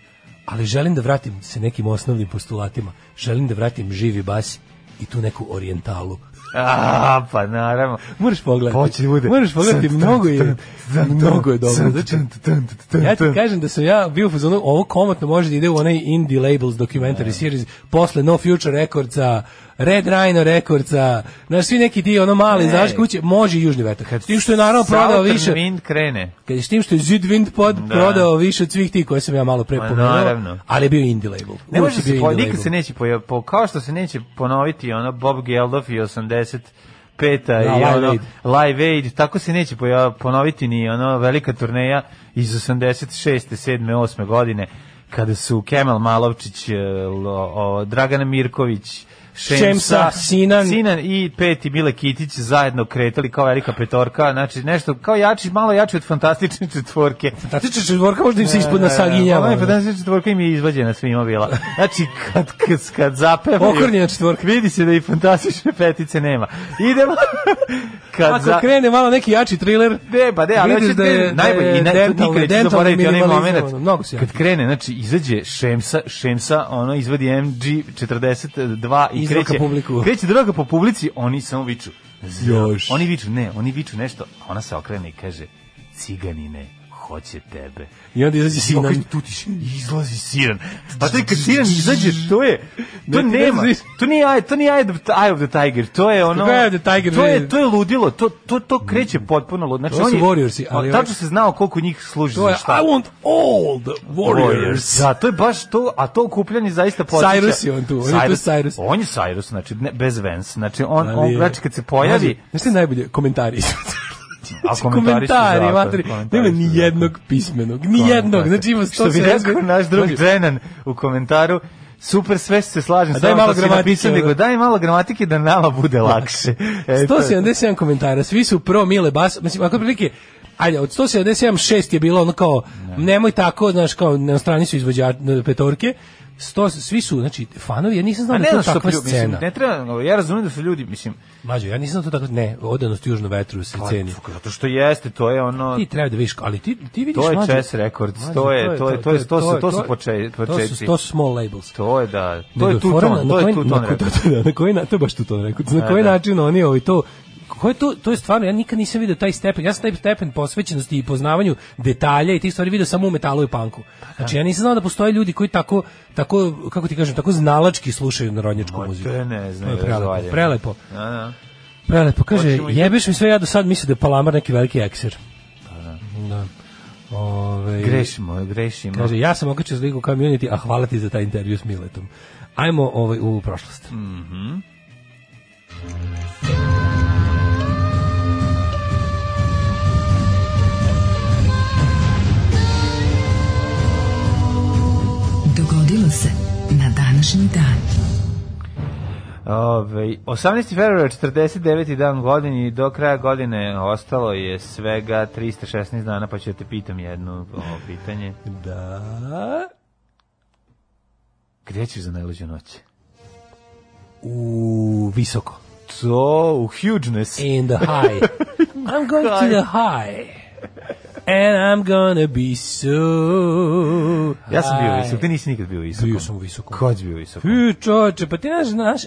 S6: Ali želim da vratim se nekim osnovnim postulatima. Želim da vratim živi bas i tu neku orijentalu.
S7: A, pa naravno.
S6: Moraš pogledati.
S7: Hoće da bude.
S6: Moraš pogledati,
S7: Sam,
S6: mnogo je,
S7: tam, tam, tam,
S6: mnogo je dobro.
S7: sam,
S6: Znači,
S7: tam, tam, tam, tam,
S6: ja ti
S7: tam.
S6: kažem da sam ja bio u fazonu, ovo komotno može da ide u onaj Indie Labels documentary series, posle No Future Recordsa, Red Rhino Recordsa, znaš, svi neki ti ono mali,
S7: Ne.
S6: znaš, kuće, može i Južni vetar. S Tim što je naravno prodao
S7: Southern
S6: više,
S7: Wind krene.
S6: Kad je s tim što je Zidwind pod
S7: Da.
S6: prodao više od svih tih koje sam ja malo pre
S7: Ma,
S6: pomenuo,
S7: naravno.
S6: ali je bio indie label.
S7: Ne
S6: Uvijek
S7: može
S6: je bio
S7: se, po,
S6: indie
S7: nikad
S6: label.
S7: se neće poja- po, kao što se neće ponoviti ono Bob Geldof i 85 peta i
S6: Live
S7: ono
S6: Aid.
S7: Live Aid, tako se neće poja- ponoviti ni ono velika turneja iz 86. 7. 8. godine kada su Kemal Malovčić, e, lo- o, Dragana Mirković, Šemsa,
S6: Šemsa, Sinan.
S7: Sinan i peti Mile Kitić zajedno kretali kao velika petorka, znači nešto kao jači, malo jači od fantastične četvorke.
S6: Fantastična četvorka možda im se
S7: E,
S6: ispod nas saginjava.
S7: Ona je
S6: ono.
S7: 50 četvorka im je izvađena svima bila. Znači, kad, kad, kad zapevaju...
S6: Okrnjena četvorka.
S7: Vidi se da i fantastične petice nema. Idemo... kad
S6: Ako krene malo neki jači thriller,
S7: Ne, pa ne, ali
S6: vidiš
S7: hoćeš da je, najbolje,
S6: je
S7: i ne,
S6: dentalni-
S7: nikad neću
S6: dentalni
S7: zaboraviti onaj
S6: minimalizam,
S7: moment
S6: ono, Mnogo si
S7: kad krene, znači izađe Šemsa, Šemsa, ono izvadi MG42 i
S6: Izroka
S7: kreće,
S6: publiku.
S7: kreće droga po publici, oni samo viču.
S6: Još.
S7: Oni viču, ne, oni viču nešto, a ona se okrene i kaže, ciganine, hoće tebe.
S6: I onda izađe Sinan.
S7: Tu ti izlazi siran. Pa taj kad siran izađe, to je, to
S6: Ne, ti
S7: nema,
S6: ne znaš.
S7: to nije, Eye- to nije Eye of the- Eye of the Tiger, to je ono,
S6: Kako je Eye of the Tiger,
S7: to je,
S6: ne?
S7: to je ludilo, to, to, to kreće potpuno ludilo. Znači,
S6: Ovo su
S7: on je-
S6: Warriorsi, ali
S7: Pa,
S6: ovaj-
S7: Tačno se znao koliko njih služi
S6: To je
S7: za šta.
S6: I want all the warriors.
S7: Da, to je baš to, a to okupljanje zaista podsjeća.
S6: Cyrus je on tu, on je tu Cyrus.
S7: On je Cyrus, znači, ne, bez Vance, znači, on,
S6: Ali
S7: on,
S6: je-
S7: znači, kad se pojavi,
S6: Znaš- Znaš ti najbolje? Komentari.
S7: a
S6: komentari,
S7: su zato,
S6: materi.
S7: komentari
S6: Nema
S7: su
S6: ni
S7: zato.
S6: jednog pismenog, ni
S7: Komentari.
S6: jednog. Znači ima Znači, 170.
S7: Što bi rekao naš drug Dženan u komentaru, super, sve se slažem,
S6: A
S7: samo
S6: daj malo
S7: što si napisao,
S6: gramatike, Znači,
S7: nego
S6: ono.
S7: daj malo gramatike da nama bude lakše. E, to je
S6: 177 komentara, svi su pro Mile Bas, mislim, ako prilike, ajde, od 177, šest je bilo ono kao, nemoj tako, znaš, kao, na strani su izvođači petorke, 100, svi su, znači, fanovi, ja nisam znao
S7: A
S6: da
S7: ne
S6: je to
S7: znam što
S6: takva
S7: plju, mislim,
S6: scena.
S7: ne treba, no, ja razumijem da su ljudi, mislim,
S6: Mađo, ja nisam znao da to tako, ne, odanost južno vetru
S7: Pa
S6: se ceni.
S7: zato što jeste, to je ono,
S6: Ti treba da vidiš, ali ti, ti vidiš
S7: to je
S6: mlađe-
S7: Chess Records,
S6: mlađe,
S7: to je, to je, to je, to su, to su poče-
S6: To su,
S7: počeci.
S6: to su small labels.
S7: To je da, to
S6: Nego
S7: je tu
S6: fora
S7: ton,
S6: na
S7: to je
S6: koji-
S7: tu
S6: na
S7: ton.
S6: koji-
S7: rekao.
S6: da, na koji na to je baš tu ton rekao. Na koji
S7: da.
S6: način oni ovaj to ko je to to je stvarno ja nikad nisam video taj stepen. Ja sam taj stepen posvećenosti i poznavanju detalja i tih stvari video samo u metalu i panku. Znači ja nisam znao da postoje ljudi koji tako tako kako ti kažem tako znalački slušaju narodnjačku
S7: Ma,
S6: muziku.
S7: to je ne znam,
S6: To je prelepo,
S7: razvaljen.
S6: prelepo.
S7: Da, da.
S6: Prelepo, kaže,
S7: Hoćemo i- Pa
S6: jebeš mi sve, ja do sad mislim da je Palamar neki veliki ekser. Da. Ovaj,
S7: Grešimo, grešimo.
S6: Kaže, ja sam okačio sliku community, a hvala ti za taj intervju s Miletom. Ajmo ovaj, u prošlost.
S7: Mm.
S5: Dogodilo se na današnji dan.
S7: Ove, 18. februara 49. dan godini i do kraja godine ostalo je svega 316 dana, pa ću da te pitam jedno ovo pitanje.
S6: Da.
S7: Gde ćeš za najluđu noć?
S6: U visoko.
S7: To, u hugeness.
S6: E, In the high. I'm going to the high. And I'm gonna be so
S7: Ja sam bio
S6: high.
S7: visok, ti nisi nikad bio visok.
S6: Bio sam visoko.
S7: Kad si bio visok?
S6: Pi, čoče, pa ti znaš, znaš,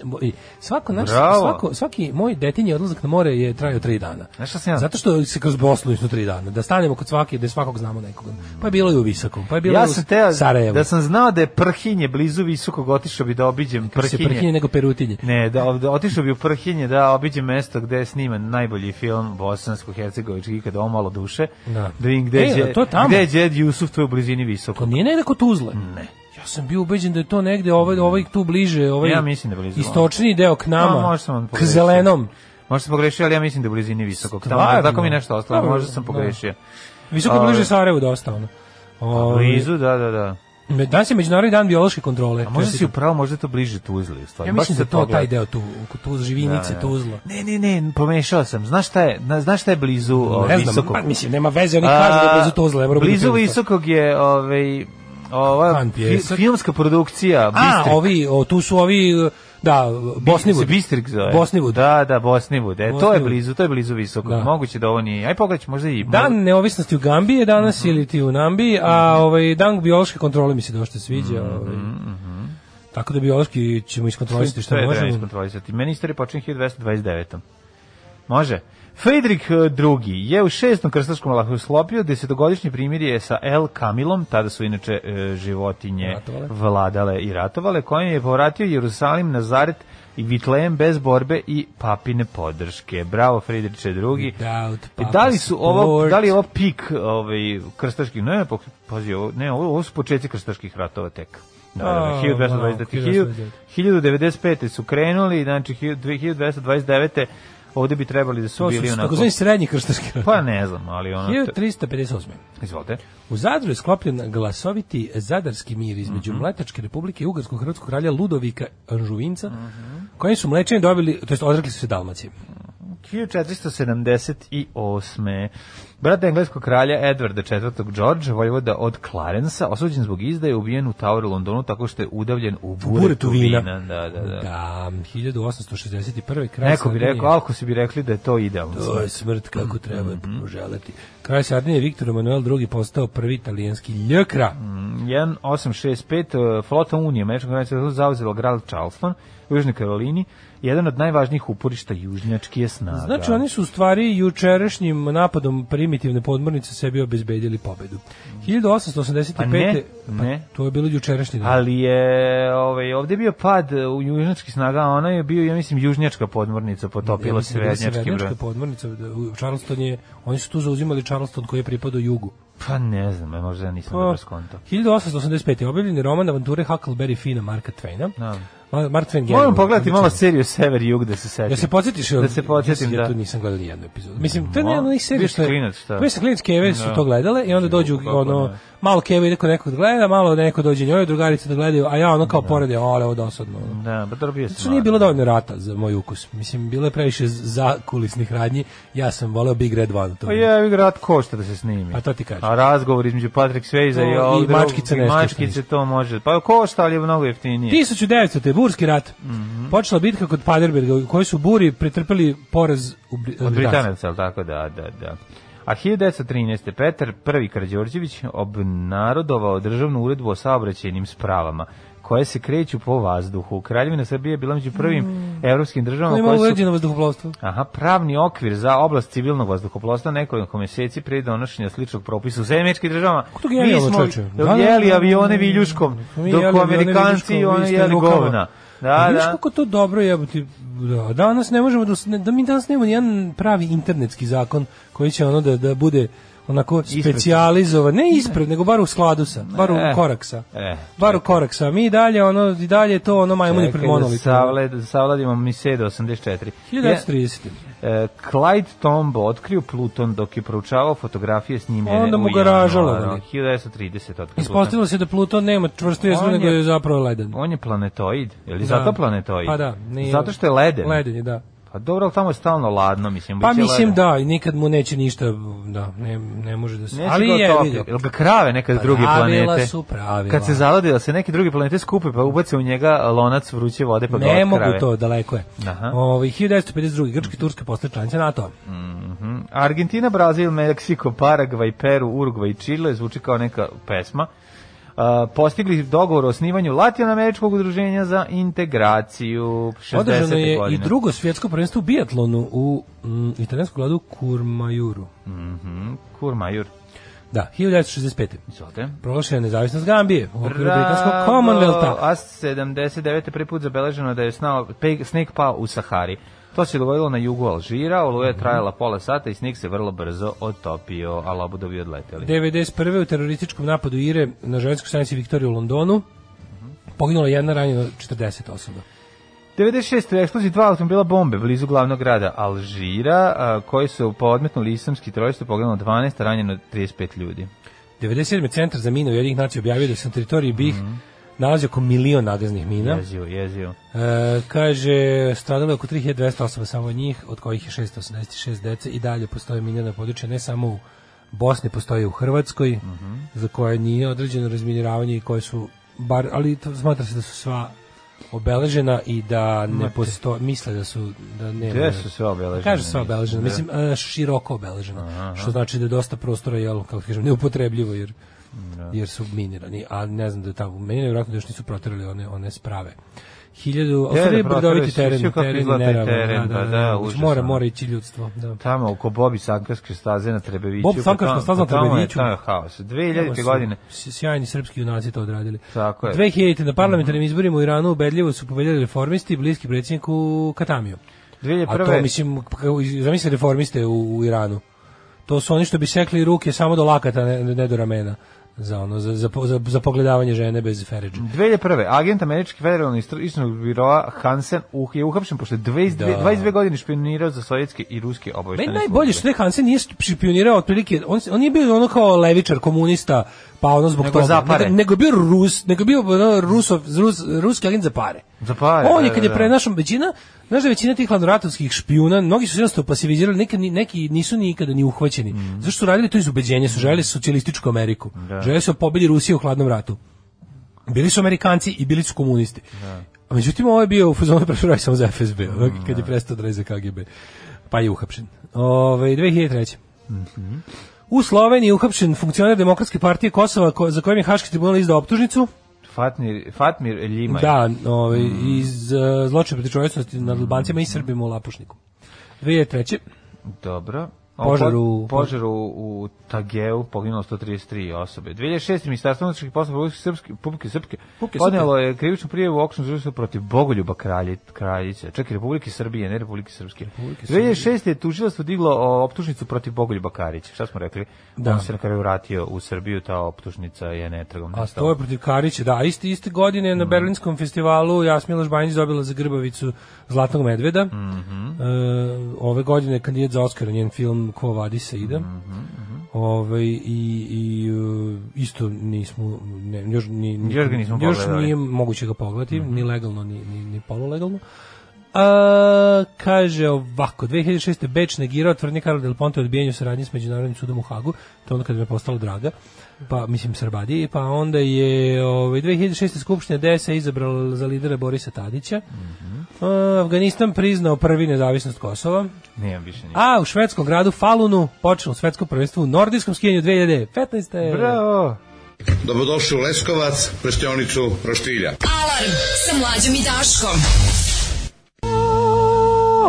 S6: svako naš,
S7: Bravo.
S6: svako, svaki moj detinji odlazak na more je trajao tri dana.
S7: Znaš šta sam ja-
S6: Zato što se kroz Bosnu išlo tri dana, da stanemo kod svake, da svakog znamo nekoga. Pa je bilo i u Visokom, pa je bilo
S7: Ja
S6: i u
S7: sam teo,
S6: Sarajevu.
S7: da sam znao da je Prhinje blizu visokog, otišao bi da obiđem
S6: se prhinje
S7: Prhinje.
S6: nego perutinje.
S7: Ne, da, ovde- otišao bi u Prhinje da obiđem mesto gde je sniman najbolji film bosansko-hercegovički ikada o malo duše.
S6: Da.
S7: Da vidim gde
S6: E,
S7: je,
S6: a to je tamo?
S7: gde je Đed Jusuf, to je u blizini visoko.
S6: To nije negde kod Tuzle.
S7: Mm.
S6: Ne. Ja sam bio ubeđen da je to negde ovaj, ovaj tu bliže, ovaj
S7: Ja mislim da je blizu.
S6: istočni deo k
S7: A,
S6: nama,
S7: možda sam vam
S6: k
S7: pogrešio.
S6: zelenom.
S7: Možda sam pogrešio, ali ja mislim da je u blizini visokog. Tamo,
S6: Stvarno?
S7: tako mi je nešto ostalo,
S6: Dobro,
S7: možda sam
S6: da.
S7: pogrešio.
S6: Visoko
S7: Ovaj.
S6: bliže Sarajevu dosta, ono. Ovaj,
S7: Blizu, da, da, da.
S6: me- Danas je Međunarodni dan biološke kontrole.
S7: A možda
S6: Čestitam.
S7: si upravo, možda je to bliže Tuzli, u stvari.
S6: da. Ja
S7: Baš
S6: mislim da
S7: sam
S6: je to
S7: pogledao.
S6: taj deo tu, oko tu živinice,
S7: Da,
S6: Tuzla.
S7: Ne, ne, ne, pomešao sam. Znaš šta je, na- znaš šta je blizu o,
S6: Ne znam,
S7: visokog?
S6: pa, mislim, nema veze, oni kažu da je blizu Tuzla. Evo,
S7: blizu visokog je ovaj, ova
S6: Han Pjesak.
S7: fi- filmska produkcija
S6: A,
S7: Bistrik.
S6: ovi, o, tu su ovi, da, Bosnivud.
S7: Se Bistrik zove.
S6: Bosnivud.
S7: Da, da, Bosnivud. E, to je
S6: Bosnivud.
S7: blizu, to je blizu visokog.
S6: Da.
S7: Moguće da ovo nije. Aj pogledaj, možda i...
S6: Dan neovisnosti u Gambiji je danas
S7: Mhm.
S6: ili ti u Nambiji, a ovaj dan biološke kontrole mi se dosta sviđa.
S7: Mhm,
S6: Ovaj. Tako da biološki ćemo iskontrolisati što
S7: To je treba
S6: možemo.
S7: iskontrolisati. Meni istorija počinje 1229. Može. Friedrich II. je u šestom krstaškom lahu slopio desetogodišnje primirje sa El Kamilom, tada su inače e, životinje
S6: Ratovale.
S7: vladale i ratovale, kojim je povratio Jerusalim, Nazaret i Vitlejem bez borbe i papine podrške. Bravo, Friedrich II.
S6: Without
S7: I da li
S6: Papa's
S7: su ovo,
S6: support.
S7: da li je ovo pik ovaj, krstaških, ne, pa- pazi, ovo, ne, ovo, ovo su početci krstaških ratova tek. Da, da,
S6: A,
S7: da,
S6: wow,
S7: 1229. 1095. su krenuli, znači 2229. ovde bi trebali da su
S6: To su
S7: bili onako...
S6: tako zvani srednji krštanski rat.
S7: Pa ne znam, ali ono...
S6: 1358.
S7: Izvolite.
S6: U Zadru je sklopljen glasoviti zadarski mir između
S7: Mhm.
S6: Mletačke republike i Ugarskog hrvatskog kralja Ludovika Anžuvinca,
S7: Mhm.
S6: koji su mlečani dobili, to jest odrekli su se Dalmacije.
S7: 1478. Brat engleskog kralja Edwarda IV. George, vojvoda od Clarensa, osuđen zbog izdaje, ubijen u Tower u Londonu tako što je udavljen u buretu vina. Da, da, da.
S6: Da, 1861. kraj
S7: Neko bi
S6: Sardinije.
S7: rekao, alko si bi rekli da je to idealno.
S6: To je smrt kako treba
S7: Mhm.
S6: poželeti. Kraj Sardinije Viktor Emanuel II postao prvi italijanski ljekra.
S7: Mhm, 1865 eh, flota Unije američkog granica zauzela grad Charleston u Južnoj Karolini, jedan od najvažnijih uporišta južnjačke snage.
S6: Znači, oni su u stvari jučerašnjim napadom primitivne podmornice sebi obezbedili pobedu. 1885.
S7: Mhm. Pa ne,
S6: pa
S7: ne.
S6: to je bilo jučerašnji dan.
S7: Ali je ovaj, ovde je bio pad eh, u južnjački snaga, a ona je bio, ja mislim, južnjačka podmornica potopila
S6: mislim da je bila
S7: srednjački broj.
S6: Severnačka podmornica, da, u Charleston je, oni su tu zauzimali Charleston koji je pripadao jugu.
S7: Pa ne znam, eh, možda ja nisam
S6: Pa,
S7: dobro skonto.
S6: 1885. je objavljen je roman avanture Huckleberry Fina Marka Twaina.
S7: Da.
S6: Ma- Mark Twain
S7: Moram
S6: genijalno,
S7: pogledati malo
S6: odličan.
S7: seriju Sever-Jug da se setim.
S6: Znači- Ja se podsjetiš,
S7: Da se podsjetim,
S6: ja,
S7: da.
S6: ja tu nisam gledao ni jednu epizodu. Mislim, to je
S7: Ma,
S6: jedna od onih serija
S7: bio si
S6: što je...
S7: klinac, šta?
S6: Bio sam klinac, Keve su
S7: Da.
S6: to gledale i onda dođu,
S7: Kako
S6: ono,
S7: ne.
S6: malo Keve ide kod nekog da gleda, malo neko dođe njoj, drugarice da gledaju, a ja ono kao pored je, ale, ovo dosadno. ono.
S7: Da, pa dobro bio sam.
S6: Što Znači, nije bilo dovoljno rata za moj ukus. Mislim, bilo je previše za kulisnih radnji. Ja sam voleo Big Red One. To
S7: Pa je, grad košta da se snimi.
S6: A to ti kažem.
S7: A razgovor između Patrick Swayze
S6: To
S7: i,
S6: i
S7: ovog drugog-
S6: mačkice
S7: i
S6: nešto što
S7: mačkice to može. Pa košta, ali je mnogo jeftinije.
S6: 1900. je Burski rat.
S7: Mhm.
S6: Počela bitka kod Paderberga u kojoj su Buri pretrpeli poraz u Bri-
S7: Od
S6: Britanaca.
S7: Britanaca, ali tako da, da, da. A 1913. Petar I. Karđorđević obnarodovao državnu uredbu o saobraćajnim spravama koje se kreću po vazduhu. Kraljevina Srbije je bila među prvim evropskim
S6: Mm. Ko
S7: državama
S6: Ima
S7: koje su
S6: uređeno vazduhoplovstvo.
S7: Aha, pravni okvir za oblast civilnog vazduhoplovstva nekoliko meseci pre donošenja sličnog propisa u zemlječkim državama.
S6: to genijalno, čoveče. Da, da,
S7: jeli
S6: da,
S7: avione
S6: da, da.
S7: viljuškom,
S6: Mi
S7: dok
S6: jeli
S7: u
S6: avione
S7: Amerikanci
S6: viljuškom, vi
S7: oni
S6: ste
S7: jeli
S6: rukama.
S7: govna.
S6: A
S7: Da,
S6: vidiš
S7: da.
S6: Pa kako to dobro jebote. Da, danas ne možemo da, s- ne- da mi danas nemamo jedan pravi internetski zakon koji će ono da da bude onako specijalizovan, ne ispred, nego bar u skladu sa, bar u
S7: Ne.
S6: korak sa.
S7: E,
S6: Bar u korak sa. Mi i dalje ono i dalje je to ono majmuni pred
S7: Čekaj da
S6: monolitom.
S7: savled- Savladimo mi se do 84.
S6: 1930.
S7: E, Clyde Tombo otkrio Pluton dok je proučavao fotografije snimljene
S6: Onda mu
S7: u
S6: garaža
S7: januaru.
S6: lagala.
S7: 1930 otkrio Pluton.
S6: Ispostavilo se da Pluton nema čvrstu jezgru,
S7: On
S6: nego
S7: je-
S6: je zapravo leden.
S7: On je planetoid, je li
S6: Da.
S7: zato planetoid?
S6: Pa da, nije-
S7: Zato što je leden.
S6: Leden je, da.
S7: Pa dobro, ali tamo je stalno ladno, mislim.
S6: Pa
S7: biće
S6: mislim
S7: leden.
S6: da, i nikad mu neće ništa, da, ne, ne može da se...
S7: Neće
S6: ali
S7: ga
S6: je,
S7: otopiti.
S6: vidio. Pa
S7: Jel ga krave nekad druge
S6: Pravila
S7: planete?
S6: su pravila.
S7: Kad se zavadi da se neke druge planete skupe, pa ubace u njega lonac vruće vode, pa ga
S6: ne
S7: otkrave.
S6: mogu to, daleko je.
S7: Aha.
S6: Ovaj 1952. Grčka i Turska postale članice NATO.
S7: Mhm. Argentina, Brazil, Meksiko, Paragvaj, Peru, Urugvaj i Čile zvuči kao neka pesma. Uh, postigli dogovor o osnivanju Latinoameričkog udruženja za integraciju 60.
S6: Održano je i
S7: godine.
S6: drugo svjetsko prvenstvo u biatlonu u mm, italijanskom gradu Kurmajuru.
S7: Kurmajur,
S6: Da, 1965.
S7: izvolite.
S6: Proglašena je nezavisnost Gambije u okviru britanskog
S7: Bravo,
S6: Commonwealtha.
S7: A 79. prvi put zabeleženo da je snao, pe, sneg pao u Sahari. To se dogodilo na jugu Alžira, oluja
S6: Mhm.
S7: je trajala pola sata i sneg se vrlo brzo otopio, a labudovi odleteli.
S6: 91. u terorističkom napadu Ire na ženskoj stanici Viktorije u Londonu poginula jedna ranjena 40 osoba.
S7: 96. u eksploziji dva automobila bombe blizu glavnog grada Alžira, a, koji su podmetnuli islamski trojstvo, poginulo 12, a ranjeno 35 ljudi.
S6: 97. centar za mine u jednih nacija objavio da se na teritoriji BiH
S7: Mhm.
S6: nalazi oko milion nagaznih mina.
S7: Jezio, jezio.
S6: E, kaže, stradalo je oko 3200 osoba samo od njih, od kojih je 686 dece i dalje postoje minjena područja, ne samo u Bosni, postoje u Hrvatskoj,
S7: Mhm.
S6: za koje nije određeno razminiravanje i koje su, bar, ali to smatra se da su sva obeležena i da ne postoje, misle da su, da nema.
S7: Gde su sve obeležene?
S6: Kaže sva
S7: Nisu,
S6: obeležena,
S7: da.
S6: mislim e, široko obeležena, što znači da je dosta prostora jel, kako ti kažem, neupotrebljivo jer
S7: Da.
S6: jer su minirani, a ne znam da je tamo meni je vjerojatno da još nisu proterali one one sprave. 1000 ostali
S7: da, proterali
S6: brdoviti
S7: su,
S6: teren,
S7: svi kako
S6: teren
S7: izgleda taj
S6: nerealan,
S7: teren,
S6: da,
S7: pa
S6: da,
S7: da,
S6: da,
S7: užasno.
S6: mora mora ići ljudstvo, da.
S7: Tamo oko Bobi Sankarske staze na Trebeviću.
S6: Bob
S7: pa
S6: Sankarska
S7: tamo-
S6: staza na
S7: pa tamo je-
S6: Trebeviću.
S7: Tamo je haos. 2000. godine.
S6: S- Sjajni srpski junaci to odradili.
S7: Tako je. Mhm.
S6: 2000. na parlamentarnim izborima u Iranu ubedljivo su pobedili reformisti bliski predsjedniku Katamiju. A to
S7: 2001.
S6: mislim, kako- zamisli reformiste u, u Iranu. To su oni što bi sekli ruke samo do lakata, ne, ne do ramena. Za, ono, za, za, po- za, za pogledavanje žene bez feređa.
S7: 2001. Agent američki federalni istražnog biroa Hansen uh, je uhapšen pošto je 22,
S6: Da.
S7: 22 godine špionirao za sovjetske i ruske
S6: Meni
S7: obavještene
S6: najbolje što je Hansen nije špionirao otprilike, on, on nije bio ono kao levičar, komunista, pa ono zbog
S7: Nego
S6: toga.
S7: za pare.
S6: Nego, nego je bio Rus, nego je bio ono, Rusov, Rus- ruski agent za pare.
S7: Za pare,
S6: On je
S7: da,
S6: kad
S7: da,
S6: je
S7: da.
S6: prenašao većina, znaš da je većina tih landoratovskih špijuna, mnogi su se jednostavno pasivizirali, neki, ni- neki nisu nikada ni uhvaćeni.
S7: Mhm.
S6: Zašto su radili to iz ubeđenja, su želeli socijalističku Ameriku.
S7: Da.
S6: Želeli su da pobedi Rusije u hladnom ratu. Bili su Amerikanci i bili su komunisti.
S7: Da.
S6: A međutim, ovo je bio u fazonu prvo radi samo za FSB,
S7: Mhm,
S6: ono, kad je prestao da radi za KGB. Pa je uhapšen. Ovaj, Ove, 2003.
S7: Mhm.
S6: U Sloveniji je uhapšen funkcioner Demokratske partije Kosova ko- za kojem je Haški tribunal izdao optužnicu.
S7: Fatmir, Fatmir Ljimaj.
S6: Da, ovaj, iz uh, zločina protiv čovječnosti nad Albancima i Srbima u Lapušniku. 2003.
S7: Dobro. O,
S6: Požar
S7: po-
S6: u-
S7: požar u, u Tageu poginulo 133 osobe. 2006. Ministarstvo unutrašnjih poslova Republike Srpske, Republike Srpske
S6: Republike
S7: podnelo je krivičnu prijavu u okružnom tužilaštvu protiv Bogoljuba kralje, kraljice, čak i Republike Srbije, ne Republike Srpske. 2006. je tužilaštvo diglo o, optužnicu protiv Bogoljuba Karića. Šta smo rekli?
S6: Da.
S7: On se na kraju vratio u Srbiju, ta optužnica je netragom
S6: A to je protiv Karića, da, iste, iste godine na Berlinskom festivalu Jasmila Žbanjić dobila za grbavicu Zlatnog medveda. E, ove godine je kandidat za Oscar njen film Ko vadi se ide. Ove, Ovaj, i, i e, isto nismo, ne, još, ni, ni-
S7: Još ga nismo
S6: još
S7: pogledali. Mhm.
S6: nije moguće ga pogledati, ni legalno, ni, ni, ni polulegalno. A, kaže ovako, 2006. Beč negirao tvrdnje Karla Del Ponte o odbijanju saradnje s Međunarodnim sudom u Hagu, to je onda kada me postalo draga, pa mislim Srbadiji, pa onda je ovaj, 2006. Skupština DS-a izabrala za lidera Borisa Tadića,
S7: Mhm.
S6: A, Afganistan priznao prvi nezavisnost Kosova,
S7: Nijem više ništa.
S6: a u švedskom gradu Falunu počelo svetsko prvenstvo u nordijskom skijanju 2015.
S7: Bravo!
S8: Dobrodošli u Leskovac, prštionicu Roštilja.
S5: Alarm sa mlađom i Daškom.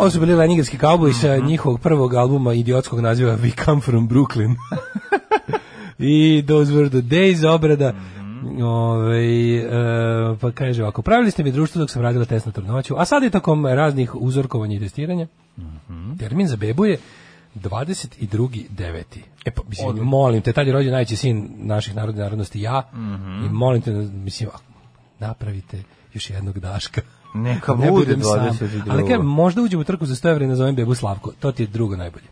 S6: Ovo su bili Leningarski kauboji sa njihovog prvog albuma idiotskog naziva We Come From Brooklyn. I Those Were The Days obrada. Ovaj, e, pa kaže ovako, pravili ste mi društvo dok sam radila test na trudnoću, a sad je tokom raznih uzorkovanja i testiranja. Termin za bebu je 22.9. E pa, mislim, molim te, tad je rođen najveći sin naših narodnih narodnosti, ja,
S7: Mhm.
S6: i molim te, mislim, ako napravite još jednog daška.
S7: Neka
S6: Ne
S7: bude
S6: budem sam.
S7: 22.
S6: Ali kaj, možda uđemo u trku za 100 evra i nazovem bebu Slavko. To ti je drugo najbolje.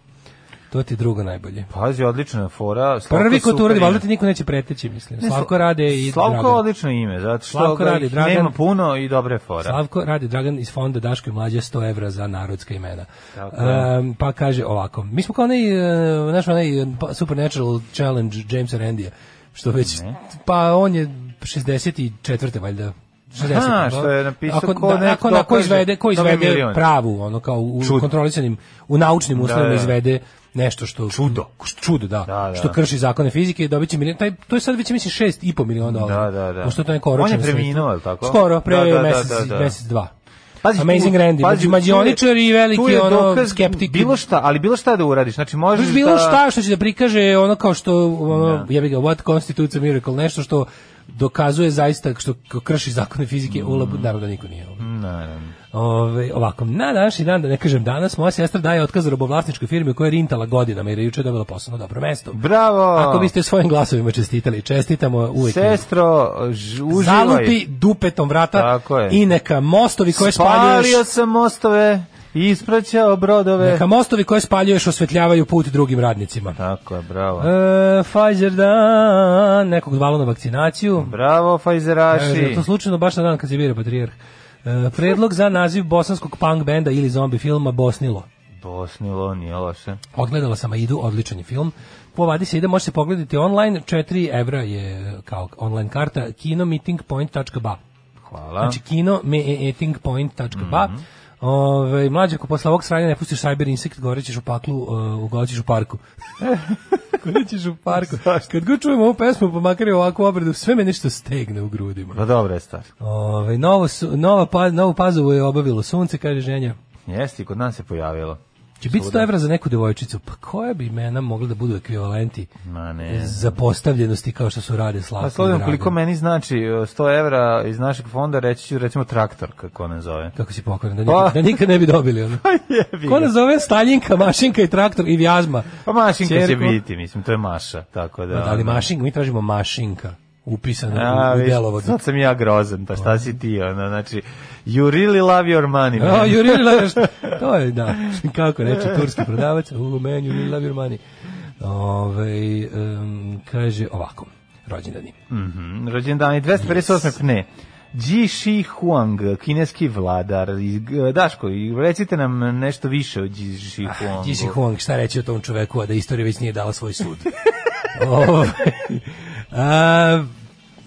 S6: To ti je drugo najbolje.
S7: Pazi, odlična je fora. Slavko
S6: Prvi ko
S7: super
S6: to uradi,
S7: ime.
S6: valjda ti niko neće preteći, mislim.
S7: Ne,
S6: Slavko
S7: Sla-
S6: rade i
S7: E, Slavko je
S6: Dragan.
S7: odlično ime, zato što
S6: Slavko
S7: ga
S6: radi,
S7: ih
S6: Dragan.
S7: nema puno i dobre fore.
S6: Slavko radi Dragan iz fonda Daško i mlađe 100 evra za narodska imena.
S7: Tako
S6: Ehm, pa kaže ovako, mi smo kao onaj, e, naš onaj e, pa- Supernatural Challenge Jamesa Randija, što već,
S7: Mhm.
S6: pa on je 64. valjda, 60.
S7: Aha,
S6: pa-
S7: što je napisao ko
S6: da,
S7: nek
S6: ako, ako
S7: dokaže,
S6: izvede, ko
S7: dobije
S6: izvede
S7: milion.
S6: pravu, ono kao u
S7: Čud.
S6: kontrolisanim, u naučnim uslovima
S7: da.
S6: izvede nešto što
S7: Čudo.
S6: š- čudo da,
S7: Da, da.
S6: što krši zakone fizike i dobiće milion taj to je sad već mislim 6,5 miliona dolara.
S7: Da, da, da.
S6: Pošto je to neko
S7: On je
S6: oročeno sve.
S7: preminuo, je li tako?
S6: Skoro pre
S7: Da, da, da,
S6: mesec
S7: da, da.
S6: mesec dva.
S7: Pazi,
S6: Amazing
S7: tu-
S6: Randy,
S7: pazi,
S6: pazi,
S7: tu je-
S6: mađioničar i
S7: tu
S6: veliki
S7: je
S6: ono
S7: dokaz
S6: skeptik.
S7: Bilo šta, ali bilo šta da uradiš. Znači možeš
S6: Možeš bilo
S7: da...
S6: šta što će da prikaže ono kao što ono jebi ga what constitutes a miracle nešto što dokazuje zaista što k- krši zakone fizike u labu naravno da niko nije ovaj.
S7: Mm. Naravno.
S6: Ove, ovako, na današnji dan, da ne kažem danas, moja sestra daje otkaz robovlasničkoj firmi koja je rintala godinama jer je juče dobila posao na dobro mesto.
S7: Da. Bravo!
S6: Ako biste svojim glasovima čestitali, čestitamo uvijek.
S7: Sestro, ž- uživaj.
S6: Zalupi dupetom vrata
S7: Tako je.
S6: i neka mostovi koje
S7: Spalio
S6: spaljuješ...
S7: sam mostove i ispraćao brodove.
S6: Neka mostovi koje spaljuješ osvetljavaju put drugim radnicima.
S7: Tako je, bravo.
S6: E, Pfizer dan, nekog zvalo na vakcinaciju.
S7: Bravo,
S6: Kaže,
S7: Fajzeraši.
S6: E, je to slučajno baš na dan kad se bira patrijarh. E, predlog za naziv bosanskog punk benda ili zombi filma Bosnilo.
S7: Bosnilo, nije loše.
S6: Odgledala sam Aidu, odličan je film. Po vadi se ide, može se pogledati online, 4 evra je kao online karta, kinomeetingpoint.ba.
S7: Hvala.
S6: Znači kino meetingpoint.ba.
S7: Mhm.
S6: Ove, mlađe, ako ovaj, posle ovog sranja ne pustiš Cyber Insect, gorećeš u paklu, uh, ugoćiš u parku. gorećeš u parku. Kad god čujem ovu pesmu, pa makar je ovakvu obradu, sve me nešto stegne u grudima.
S7: Pa dobro je stvar.
S6: Ove, novo, su- nova, pa, novu pazovu je obavilo sunce, kaže ženja.
S7: Jeste, i kod nas se pojavilo.
S6: Će biti
S7: Svuda.
S6: 100 evra za neku devojčicu, pa koja bi imena mogla da budu ekvivalenti
S7: Ma ne.
S6: zapostavljenosti kao što su rade
S7: Pa
S6: slavke
S7: slogan
S6: Dragan?
S7: koliko meni znači e, 100 evra iz našeg fonda, reći ću recimo traktor, kako ne zove.
S6: Kako si pokoran, da,
S7: Pa.
S6: nikad, da nikad ne bi dobili. Ono.
S7: Jebi
S6: Ko
S7: ga.
S6: nas zove Staljinka, Mašinka i traktor i Vjazma?
S7: Pa mašinka će
S6: Ćerko.
S7: biti, mislim, to je maša, tako da...
S6: Da, ali Mašinka, mi tražimo Mašinka, upisano
S7: A,
S6: u, u
S7: viš,
S6: delovodu.
S7: sad sam ja grozan, pa šta si ti, ono, znači, you really love your money. man.
S6: Oh, you really love your st- To je, da. Kako reče turski prodavac, u man, you really love your money. Ove, em, kaže ovako, rođendani.
S7: Mhm, Rođendani 258. pne. Ji Shi Huang, kineski vladar. I, g- Daško, i recite nam nešto više o Ji Shi Huangu.
S6: Ti si Ah, Huang, šta reći o tom čoveku, a da istorija već nije dala svoj sud. Ovaj, a,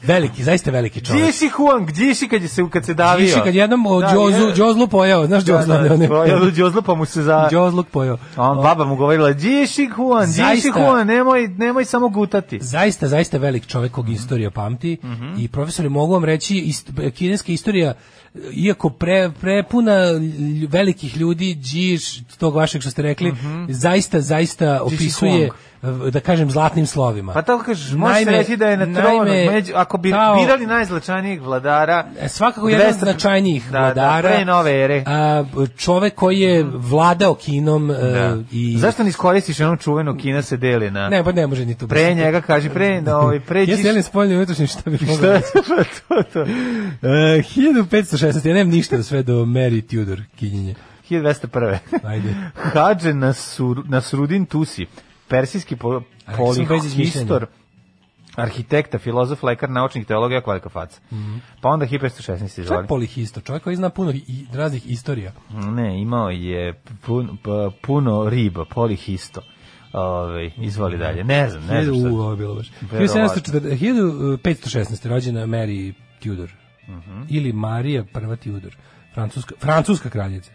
S6: veliki, zaista veliki
S7: Ji
S6: čovjek.
S7: Shi Huang, Ji Shi kad je se kad se davio.
S6: Više kad jednom o
S7: Da,
S6: Džozu,
S7: je.
S6: Džozlu pojeo, znaš
S7: Da,
S6: Džozla?
S7: da,
S6: ne,
S7: to
S6: one-
S7: je Đozlu pa mu se za
S6: Džozluk pojeo.
S7: A on baba mu govorila Ji Shi Huang, Ji Shi
S6: Zaista.
S7: Huang, nemoj nemoj samo gutati.
S6: Zaista, zaista velik čovjek kog istorija pamti
S7: Mhm.
S6: i profesori mogu vam reći ist, kineska istorija iako pre, prepuna lj- velikih ljudi, džiš, tog vašeg što ste rekli,
S7: Mhm.
S6: zaista, zaista
S7: Ji
S6: opisuje, da kažem, zlatnim slovima.
S7: Pa tako kažeš, može se
S6: Naime,
S7: reći da je na tronu,
S6: naime,
S7: među, ako bi
S6: kao-
S7: birali najzlačanijeg vladara,
S6: E, svakako jedan od
S7: 200
S6: značajnijih
S7: da,
S6: vladara.
S7: Da, pre nove ere. Mhm.
S6: A, čovek koji je vladao kinom e,
S7: Da.
S6: i...
S7: Zašto ne iskoristiš onu čuvenu Kina se deli na...
S6: Ne, pa ne može ni tu.
S7: Pre njega, kaži, pre, da, ovaj, pre
S6: Jesi
S7: Điš-
S6: jeli spoljni i unutrašnji, šta bih mogao
S7: Šta je
S6: reći?
S7: to, to?
S6: E, 1516, ja nemam ništa sve do Mary Tudor kinjenje.
S7: 1201.
S6: Ajde.
S7: Hadže Nasur, Nasrudin Tusi, persijski po,
S6: A rekao sam bez
S7: polihistor, arhitekta, filozof, lekar, naučnik, teolog, jako velika faca.
S6: Mhm.
S7: Pa onda 1516
S6: Čovjek
S7: izvoli.
S6: polihisto, čovjek koji zna puno i, raznih istorija.
S7: Ne, imao je pun, p- puno riba, polihisto. Ove, izvoli dalje. Ne znam, ne znam
S6: Hiljadu- Mm. U,
S7: šta.
S6: ovo je bilo baš.
S7: Verovatno.
S6: 1740 1516. rođena je Mary Tudor.
S7: Mhm.
S6: Ili Marija prva Tudor. Francuska, francuska kraljica.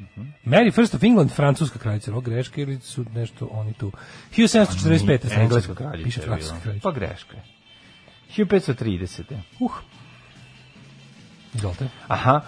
S7: Mhm.
S6: Mary First of England, francuska kraljica. Ovo greške ili su nešto oni tu. 1745. sam
S7: Pa Engleska
S6: čitao.
S7: kraljica
S6: Piše
S7: je bila.
S6: francuska kraljica.
S7: Pa greška je. 1530.
S6: Uh. Izvolite.
S7: Aha.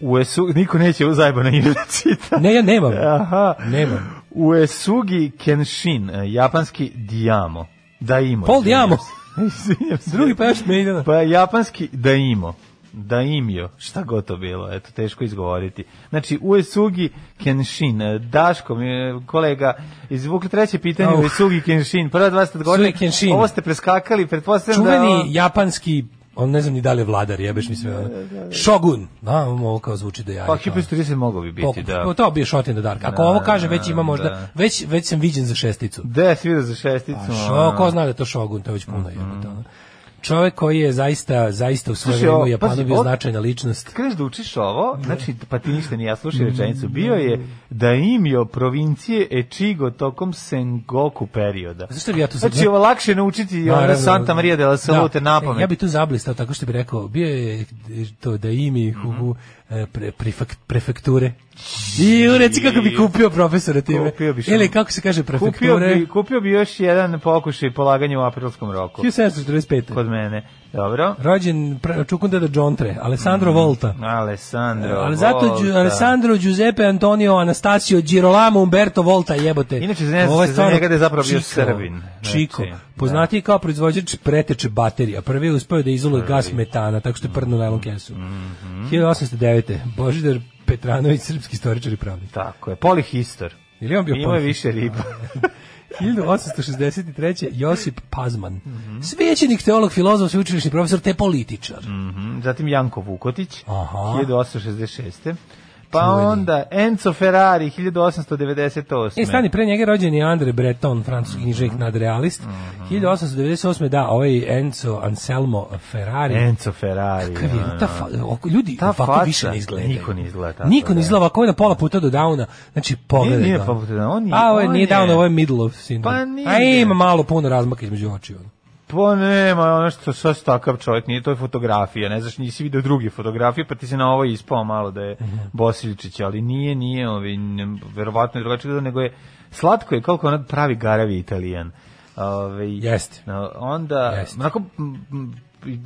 S7: U Esu, niko neće u zajebano ime da čita.
S6: Ne, ja nemam.
S7: Aha.
S6: Nemam.
S7: Uesugi Kenshin, eh, japanski Diamo. Daimo.
S6: Paul
S7: izvinjam
S6: Diamo.
S7: se. Izvinjam se.
S6: Drugi pevač Maidena.
S7: Pa japanski Daimo. Daimio, šta god to bilo, eto, teško izgovoriti. Znači, Uesugi Kenshin, eh, Daško, mi je kolega, izvukli treće pitanje,
S6: Au.
S7: Uesugi Kenshin, prva dva ste odgovorili,
S6: Uesugi Kenshin.
S7: ovo ste preskakali, pretpostavljam da...
S6: Čuveni japanski on ne znam ni da li je vladar, jebeš mi sve. ono. Shogun. Da, ovo kao zvuči da ja.
S7: Pa 1330 mogao bi biti, da.
S6: To, to bi još Otin the Dark. Ako
S7: Da,
S6: ovo kaže, već
S7: da,
S6: ima možda,
S7: da.
S6: već, već sam viđen za šesticu.
S7: Da, Mhm. si vidio za šesticu.
S6: Šo, ko zna da je to Shogun, to je već puno jebote, ono. Čovek koji je zaista, zaista u svoje
S7: Slušaj,
S6: vreme u
S7: o,
S6: Japanu
S7: pazi,
S6: bio
S7: od-
S6: značajna ličnost.
S7: Kreneš da učiš ovo, znači, pa ti ništa nije, ja
S6: Mm.
S7: slušaj rečenicu, bio je da imio provincije Echigo tokom Sengoku perioda.
S6: Zašto bi ja to sad-
S7: Znači, ovo lakše naučiti ono
S6: Naravno.
S7: Santa Maria de la Salute
S6: Da.
S7: na pamet. Mhm.
S6: Ja bih tu zablistao tako što bih rekao, bio je to da imi hu, hu, e, pre, prefekt, prefekture. I u, reci kako bi kupio profesora time.
S7: Kupio bi što?
S6: Ili kako se kaže
S7: Kupio
S6: prefekture?
S7: bi, kupio bi još jedan pokušaj polaganja u aprilskom roku.
S6: 1745.
S7: Kod mene. Dobro.
S6: Rođen pra- čukun deda Džontre,
S7: Mhm.
S6: Alessandro Volta.
S7: Alessandro.
S6: Ali zato
S7: Volta.
S6: Đu- Alessandro Giuseppe Antonio Anastasio Girolamo Umberto Volta jebote.
S7: Inače, ne zna
S6: Ovo je
S7: se za
S6: stvarno
S7: njega da je zapravo bio
S6: Čiko.
S7: Srbin.
S6: Čiko,
S7: Znači,
S6: poznati je kao proizvođač preteče baterija. Prvi je uspeo da izoluje gas metana, tako što je prdno najlon kesu.
S7: Mhm.
S6: 1809. Božidar Petranović, srpski istoričar i pravnik.
S7: Tako je. Polihistor.
S6: Ili je on bio
S7: Ima je
S6: Pontius?
S7: više riba.
S6: 1863. Josip Pazman. Svećenik, teolog, filozof, sveučilišni profesor, te političar.
S7: Mhm. Zatim Janko Vukotić.
S6: Aha.
S7: 1866. Pa
S6: Čuveni.
S7: onda Enzo Ferrari 1898.
S6: E, stani, pre njega je rođen je Andre Breton, francuski književnik
S7: Mm-hmm.
S6: nadrealist. 1898. da, ovaj Enzo Anselmo Ferrari.
S7: Enzo Ferrari.
S6: Kakav je,
S7: ono.
S6: ta fa, oko, ljudi
S7: Ta
S6: ovako
S7: faca,
S6: više ne izgleda.
S7: niko ne izgleda tako,
S6: Niko ne
S7: da.
S6: izgleda ovako, ovo je na pola puta do downa. Znači, pogledaj.
S7: Nije, nije
S6: ga.
S7: pa on je,
S6: A, ovo je,
S7: on
S6: nije
S7: je-
S6: down, ovo je middle of syndrome.
S7: Pa nije.
S6: A ima malo puno razmaka između očiju.
S7: Pa nema, ono što sa takav čovjek, nije to je fotografija, ne znaš, nisi vidio druge fotografije, pa ti se na ovo ispao malo da je
S6: Mhm.
S7: Bosiljčić, ali nije, nije, ovaj, ne, verovatno je drugačije, gledao, nego je, slatko je, koliko ona pravi garavi italijan. Ove,
S6: Jeste.
S7: no, onda,
S6: Jeste.
S7: onako, m, m,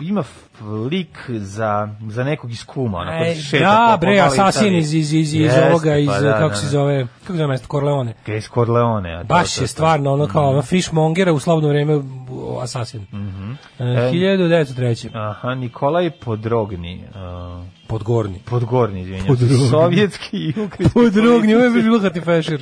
S7: ima f- lik za, za nekog iz kuma, onako,
S6: E,
S7: šeta
S6: da,
S7: po- po
S6: bre,
S7: maloj
S6: asasin
S7: Italiji.
S6: iz, iz, iz, iz
S7: Jeste,
S6: ovoga, iz,
S7: pa da,
S6: kako
S7: da,
S6: se
S7: da.
S6: zove, kako se zove mesto, Corleone.
S7: Iz Corleone. a to,
S6: Baš
S7: to,
S6: je
S7: to.
S6: stvarno ono
S7: Mhm.
S6: kao mm fishmongera u slobodno vreme u- asasin. E, 1903.
S7: Aha, Nikolaj Podrogni. Uh,
S6: Podgorni.
S7: Podgorni, izvinjam.
S6: Podrogni.
S7: Podrogni. Sovjetski i ukrajinski.
S6: Podrogni, ovo je bilo Hati Fešir.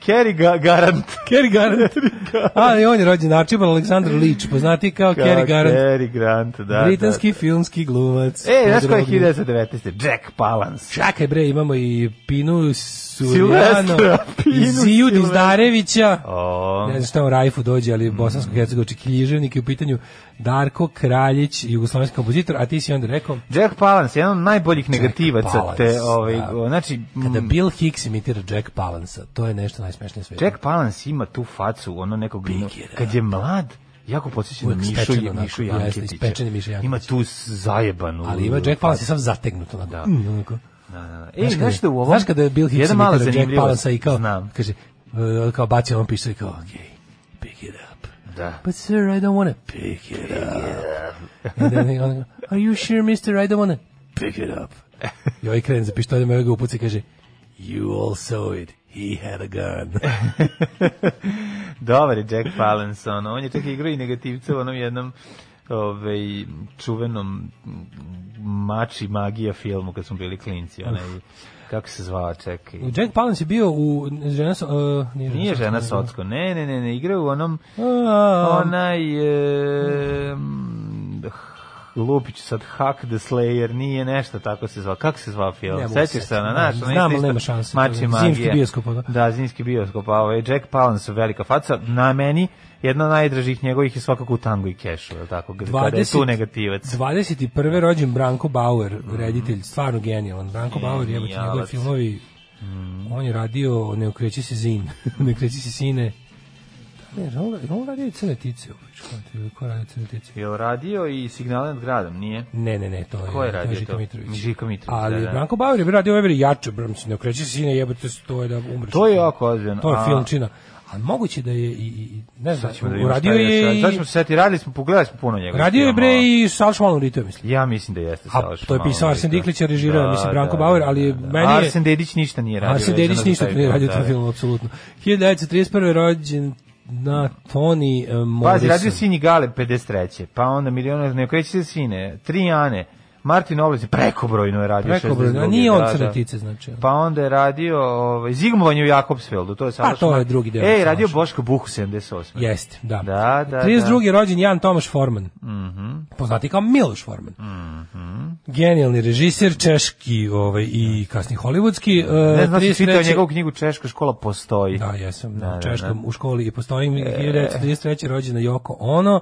S7: Kerry ga, Garant.
S6: Kerry Garant. Ali on je rođen Archibald Aleksandar Lić, poznati kao Kerry Garant.
S7: Cary Grant, da.
S6: Britanski filmski glumac.
S7: Da. E, znaš koji je
S6: Podrogni.
S7: 1919. Jack Palance.
S6: Čakaj bre, imamo i Pinu Surijano,
S7: Silvestra, Pinu
S6: i Ziju
S7: Silvestra.
S6: Dizdarevića.
S7: O,
S6: Ne znam šta u Rajfu dođe, ali bosansko hercegovički književnik je u pitanju Darko Kraljić, jugoslovenski kompozitor, a ti si onda rekao
S7: Jack Palance, jedan od najboljih negativaca.
S6: Palance,
S7: te, ovaj,
S6: da.
S7: o, znači, m,
S6: Kada Bill Hicks imitira Jack Palansa, to je nešto najsmešnije sve.
S7: Jack Palance ima tu facu, ono nekog,
S6: Big
S7: no,
S6: je, da.
S7: kad je mlad, jako podsjeća na
S6: Uvek
S7: Mišu,
S6: spečen onako,
S7: Mišu
S6: jeste,
S7: Janketića.
S6: ispečeni Miša Janketić.
S7: Ima tu s- zajebanu.
S6: ali ima Jack Palance je sam zategnut onako.
S7: Da.
S6: Mm, onako.
S7: E,
S6: kada-
S7: znaš da u ovom...
S6: znaš kada je Bill Hicks
S7: jedna mala
S6: imitira Jack
S7: zanimljivost.
S6: Palansa i kao,
S7: Znam,
S6: kaže, uh, kao baci on pištolj i kao, ok, pick it up.
S7: da.
S6: But sir, I don't wanna pick it up. And then they go, are you sure, mister, I don't wanna pick it up. I ovaj krene za pištoljem, ovaj ga upuci i kaže, you all saw it, he had a gun.
S7: Dobar je Jack Palance, ono, on je čak igrao i negativca u onom jednom ovaj, čuvenom m, mači magija filmu kad smo bili klinci, onaj, kako se zvao, čekaj.
S6: Jack Palance je bio u, žena, sa- uh, nije,
S7: Nije žena
S6: sa-
S7: Socko, ne, ne, ne, ne, igrao je u onom,
S6: A,
S7: onaj,
S6: Um,
S7: e, m, h- lupić sad, Hack the Slayer, nije nešto tako se zvao, kako se zvao film?
S6: Ne mogu se
S7: Sećaš
S6: setiti,
S7: se na
S6: ne,
S7: naš?
S6: znam, ali nema šanse, to
S7: Mači
S6: je
S7: magija.
S6: zimski bioskop, ono.
S7: Da, zimski bioskop, a ovaj Jack Palance, velika faca, na meni, jedna od najdražih njegovih je svakako u tangu i kešu, je li tako? Kada je
S6: 20
S7: tu negativac.
S6: 21. rođen Branko Bauer, reditelj, stvarno genijalan.
S7: Mm,
S6: Branko Bauer je njegove
S7: Genijalac.
S6: filmovi.
S7: Mm.
S6: On je radio Ne okreći se zin, Ne okreći se sine. Da, Ne, on, on radio i crne tice. ovaj, čekajte, ili Ko radio crne tice?
S7: Je li radio i signale nad gradom, nije?
S6: Ne, ne, ne, to je,
S7: Ko je radio
S6: Žika
S7: to?
S6: Mitrović.
S7: Žika Mitrović,
S6: Ali
S7: da, da.
S6: Branko Bauer je radio ovaj jače, bro, mislim, ne okreći se sine, jebote, to je da umreš.
S7: To je jako ozbiljno.
S6: To je
S7: a-
S6: filmčina. A moguće da je i, i- i ne znam,
S7: Sad ćemo da vidimo
S6: uradio
S7: šta je
S6: je
S7: još. Sad
S6: i,
S7: ćemo se setiti, radili smo, pogledali smo puno njega.
S6: radio je bre i Sal Šmalom Rito, mislim.
S7: Ja mislim da jeste
S6: A
S7: Saloš
S6: to je
S7: malo Da,
S6: pisao Arsen
S7: Rito.
S6: Diklić, je režirao, mislim, Branko Bauer, ali meni je...
S7: da. Arsen Dedić ništa nije radio.
S6: Arsen
S7: vezano
S6: Dedić
S7: za
S6: ništa
S7: taj
S6: nije radio u
S7: film,
S6: tom
S7: da.
S6: filmu, apsolutno. 1931. rođen na Toni e,
S7: Pazi,
S6: Morrison.
S7: radio Sinji Gale 53. Pa onda milionar, ne okreći se sine, Trijane, Martin Oblic, prekobrojno je radio.
S6: Prekobrojno, a
S7: 62.,
S6: nije
S7: da,
S6: on
S7: da.
S6: crnetice, znači.
S7: Pa onda je radio ovaj, Zigmovanje u Jakobsfeldu, to je Saloš.
S6: Pa to je
S7: Mal-
S6: drugi deo
S7: Ej,
S6: Saloša.
S7: radio Boško Buhu 78.
S6: Jeste, da.
S7: Da, Mhm. da,
S6: 32. rođen Jan Tomaš Forman. Poznati kao Miloš Forman.
S7: Mhm.
S6: Genijalni režiser, češki ovaj, i kasni hollywoodski. e,
S7: Ne znam, da si čitao
S6: 33.
S7: njegovu knjigu Češka škola postoji.
S6: Da, jesam,
S7: Da,
S6: na
S7: da, E.
S6: češkom u školi i postoji 1933. rođena Joko Ono,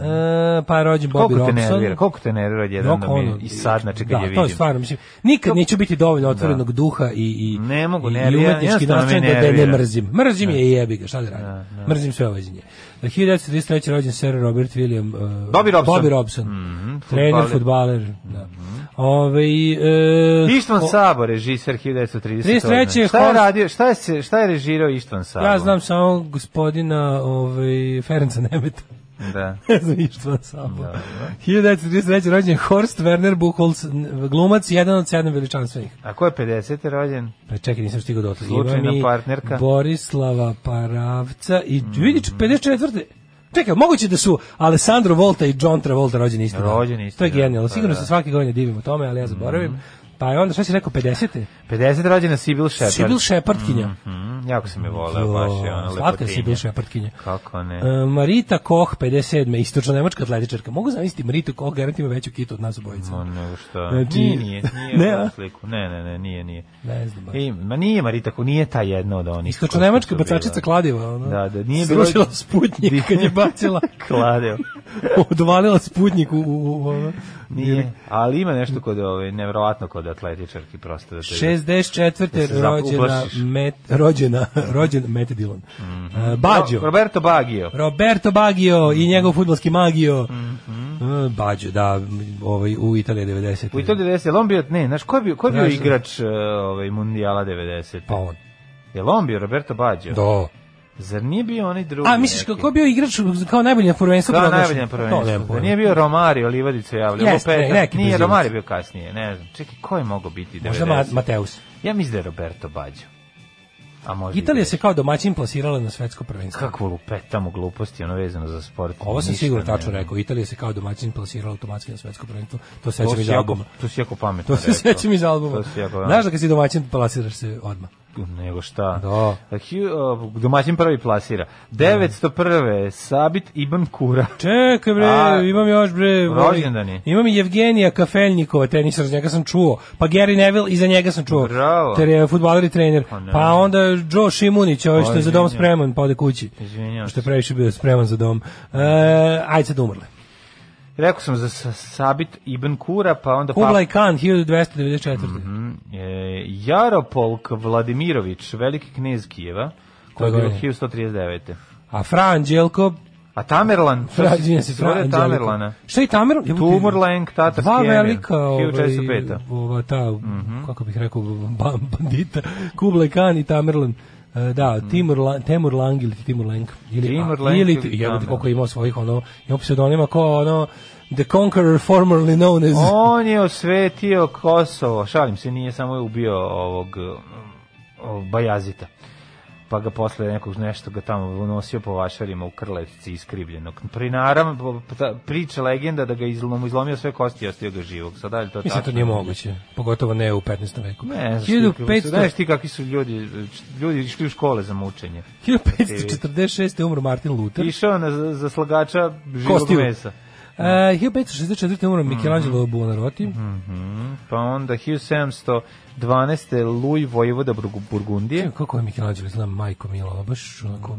S6: e, pa je rođen Bobby
S7: Mhm. Koliko te nervira,
S6: Robson.
S7: koliko te nervira jedan
S6: Joko
S7: da mi
S6: Ono.
S7: i sad znači kad
S6: da,
S7: je vidim.
S6: to je stvarno, mislim, nikad neću biti dovoljno otvorenog duha i, i,
S7: Ne mogu,
S6: i, i
S7: nervira,
S6: umetnički
S7: jednostavno me
S6: nastojan da, da je ne
S7: nervira.
S6: mrzim. Mrzim je i jebi ga, šta da radim. Mrzim sve ovo iz nje. 1933. rođen Sir Robert William... e,
S7: Bobby Robson.
S6: Bobby Robson.
S7: Mhm,
S6: Trener,
S7: fudbaler.
S6: futbaler. Da. Ove, e,
S7: Ištvan
S6: o-
S7: Sabo, režiser 1938.
S6: 33.
S7: Šta je
S6: Horst-
S7: radio, šta je, se- šta je režirao Ištvan Sabo?
S6: Ja znam samo gospodina ovaj, Ferenca Nemeta.
S7: Da.
S6: Ne znam ništa samo. 1933. rođen je Horst Werner Buchholz, n- glumac, jedan od sedam veličanstvenih.
S7: A ko je 50. rođen?
S6: Pa čekaj, nisam stigao do toga.
S7: Slučajna
S6: Imam i
S7: partnerka. Mm.
S6: Borislava Paravca i vidi, 54. Čekaj, moguće da su Alessandro Volta i John Travolta rođeni isti dan.
S7: Rođeni isti
S6: To je
S7: dan,
S6: genijalno.
S7: pa
S6: Sigurno
S7: da. Mm.
S6: se svake godine divimo tome, ali ja zaboravim. Pa je onda, šta si rekao, 50.
S7: 50. rođena Sibyl Shepard.
S6: Sibyl Shepardkinja.
S7: Mm, jako sam je voleo, baš je ona lepotinja.
S6: Slatka je Sibyl Shepardkinja.
S7: Kako ne?
S6: E, Marita Koch, 57. Istočno-nemačka atletičarka. Mogu zamisliti Maritu Koch, garant ima veću kitu od nas obojica.
S7: Ma nego šta.
S6: Znači-
S7: Nije, nije, nije
S6: Ne,
S7: ne,
S6: a?
S7: sliku. Ne, ne, ne, nije, nije.
S6: Ne znam baš.
S7: I, ma nije Marita, ko nije ta jedna od onih.
S6: Istočno nemačka
S7: koja su bila.
S6: bacačica kladiva, ona.
S7: Da, da, nije bilo-
S6: bilo. Slušala Sputnjik kad je bacila.
S7: Kladeo.
S6: Odvalila Sputnjik u, u, u ono.
S7: Nije. Ali ima nešto kod ove, nevjerovatno kod atletičarki prosto da te...
S6: 64.
S7: se zap-
S6: rođena,
S7: uplašiš.
S6: met, rođena, rođen Mete Dillon. E, Bađo.
S7: Ro- Roberto Baggio.
S6: Roberto Baggio i njegov futbolski magio. E, Bađo, da, ovaj, u Italiji 90.
S7: U Italiji 90, jel on bio, ne, znaš, ko je bio, ko je bio
S6: Znaš-
S7: igrač uh, ovaj, mundijala 90?
S6: Pa on.
S7: Jel on bio Roberto Baggio?
S6: Do.
S7: Zar nije bio onaj drugi?
S6: A, misliš,
S7: neki?
S6: kako je bio igrač kao najbolji na prvenstvu?
S7: Kao
S6: proglašen?
S7: najbolje na
S6: To nemam
S7: prvenstvu. Da
S6: pojma.
S7: nije bio Romario, Livadić se javljao.
S6: Jeste,
S7: Lopeta.
S6: neki
S7: Nije,
S6: Brazilac.
S7: Romario bio kasnije, ne znam. Čekaj, ko je mogao biti 90?
S6: Možda Ma, Mateus.
S7: Ja mislim da je Roberto Baggio. A možda i
S6: Italija
S7: grešim.
S6: se kao domaćin plasirala na svetsko prvenstvo.
S7: Kakvo lupetamo gluposti, ono vezano za sport.
S6: Ovo sam
S7: Ništa
S6: sigurno
S7: ne-
S6: tačno rekao. Italija se kao domaćin plasirala automatski na svetsko prvenstvo. To
S7: To
S6: sećam
S7: si
S6: iz
S7: jako, pa-
S6: albuma.
S7: to si jako pametno
S6: To se
S7: rekao.
S6: sećam iz albuma.
S7: To si jako
S6: Znaš da kad si domaćin, plasiraš se odmah.
S7: Nego šta?
S6: Da.
S7: Hugh, uh, domaćin prvi plasira. 901. Sabit Ibn Kura.
S6: Čekaj bre,
S7: A,
S6: imam još bre. ovaj,
S7: rođendan je.
S6: Imam i Evgenija Kafeljnikova, tenisar, za njega sam čuo. Pa Gary Neville, i za njega sam čuo.
S7: Bravo.
S6: Ter je futbaler i trener.
S7: Pa ne.
S6: Pa onda Joe Šimunić, ovaj što je za dom
S7: Izvinjam.
S6: spreman, pa ode kući.
S7: Izvinjam
S6: Što je
S7: se.
S6: previše bio spreman za dom. E, ajde sad umrle.
S7: Rekao sam za Sa- Sabit Ibn Kura, pa onda... pa-
S6: Kublai Khan, 1294.
S7: E, Jaropolk Vladimirović, veliki knez Kijeva, koji je
S6: Koje
S7: bio
S6: godine?
S7: 1139.
S6: A Fra Anđelko,
S7: A Tamerlan, što si-
S6: Rađenje se
S7: što je
S6: Fra Anđelko.
S7: Tamerlana?
S6: Šta je Tamerlan? Jebote,
S7: Tumorlenk, tatarski
S6: Dva
S7: emir,
S6: velika, ovaj,
S7: 1405.
S6: ova ta,
S7: Mhm.
S6: kako bih rekao, ban- bandita, Kublai Khan i Tamerlan. E, Da, Timur, La, Temur Lang ili Timur Lenk. Ili,
S7: Mhm. Timur
S6: a,
S7: Lenk
S6: ili,
S7: ili
S6: jebote,
S7: Tamerlan.
S6: koliko je imao svojih, ono, imao pseudonima kao, ono, The Conqueror formerly known as...
S7: On je osvetio Kosovo, šalim se, nije samo je ubio ovog um, Bajazita pa ga posle nekog nešto ga tamo unosio po vašarima u krletici iskrivljenog. Pri naravno, priča legenda da ga izlom, izlomio sve kosti i ostio ga živog. Sad, da li to
S6: Mislim, to
S7: tačno?
S6: nije moguće. Pogotovo ne u 15. veku.
S7: Ne, znaš, ti, kako su-
S6: 1500
S7: znaš ti kakvi su ljudi, ljudi išli u škole za mučenje.
S6: 1546. je umro Martin Luther.
S7: Išao na za- zaslagača živog
S6: Kostiju.
S7: mesa.
S6: Uh, 1564. je umro Michelangelo Buonarroti.
S7: Mhm. Pa onda 1712. Luj Vojvoda Burgu- Burgundije.
S6: Čekaj, E, kako je Michelangelo izgleda, majko Milo, ono baš onako,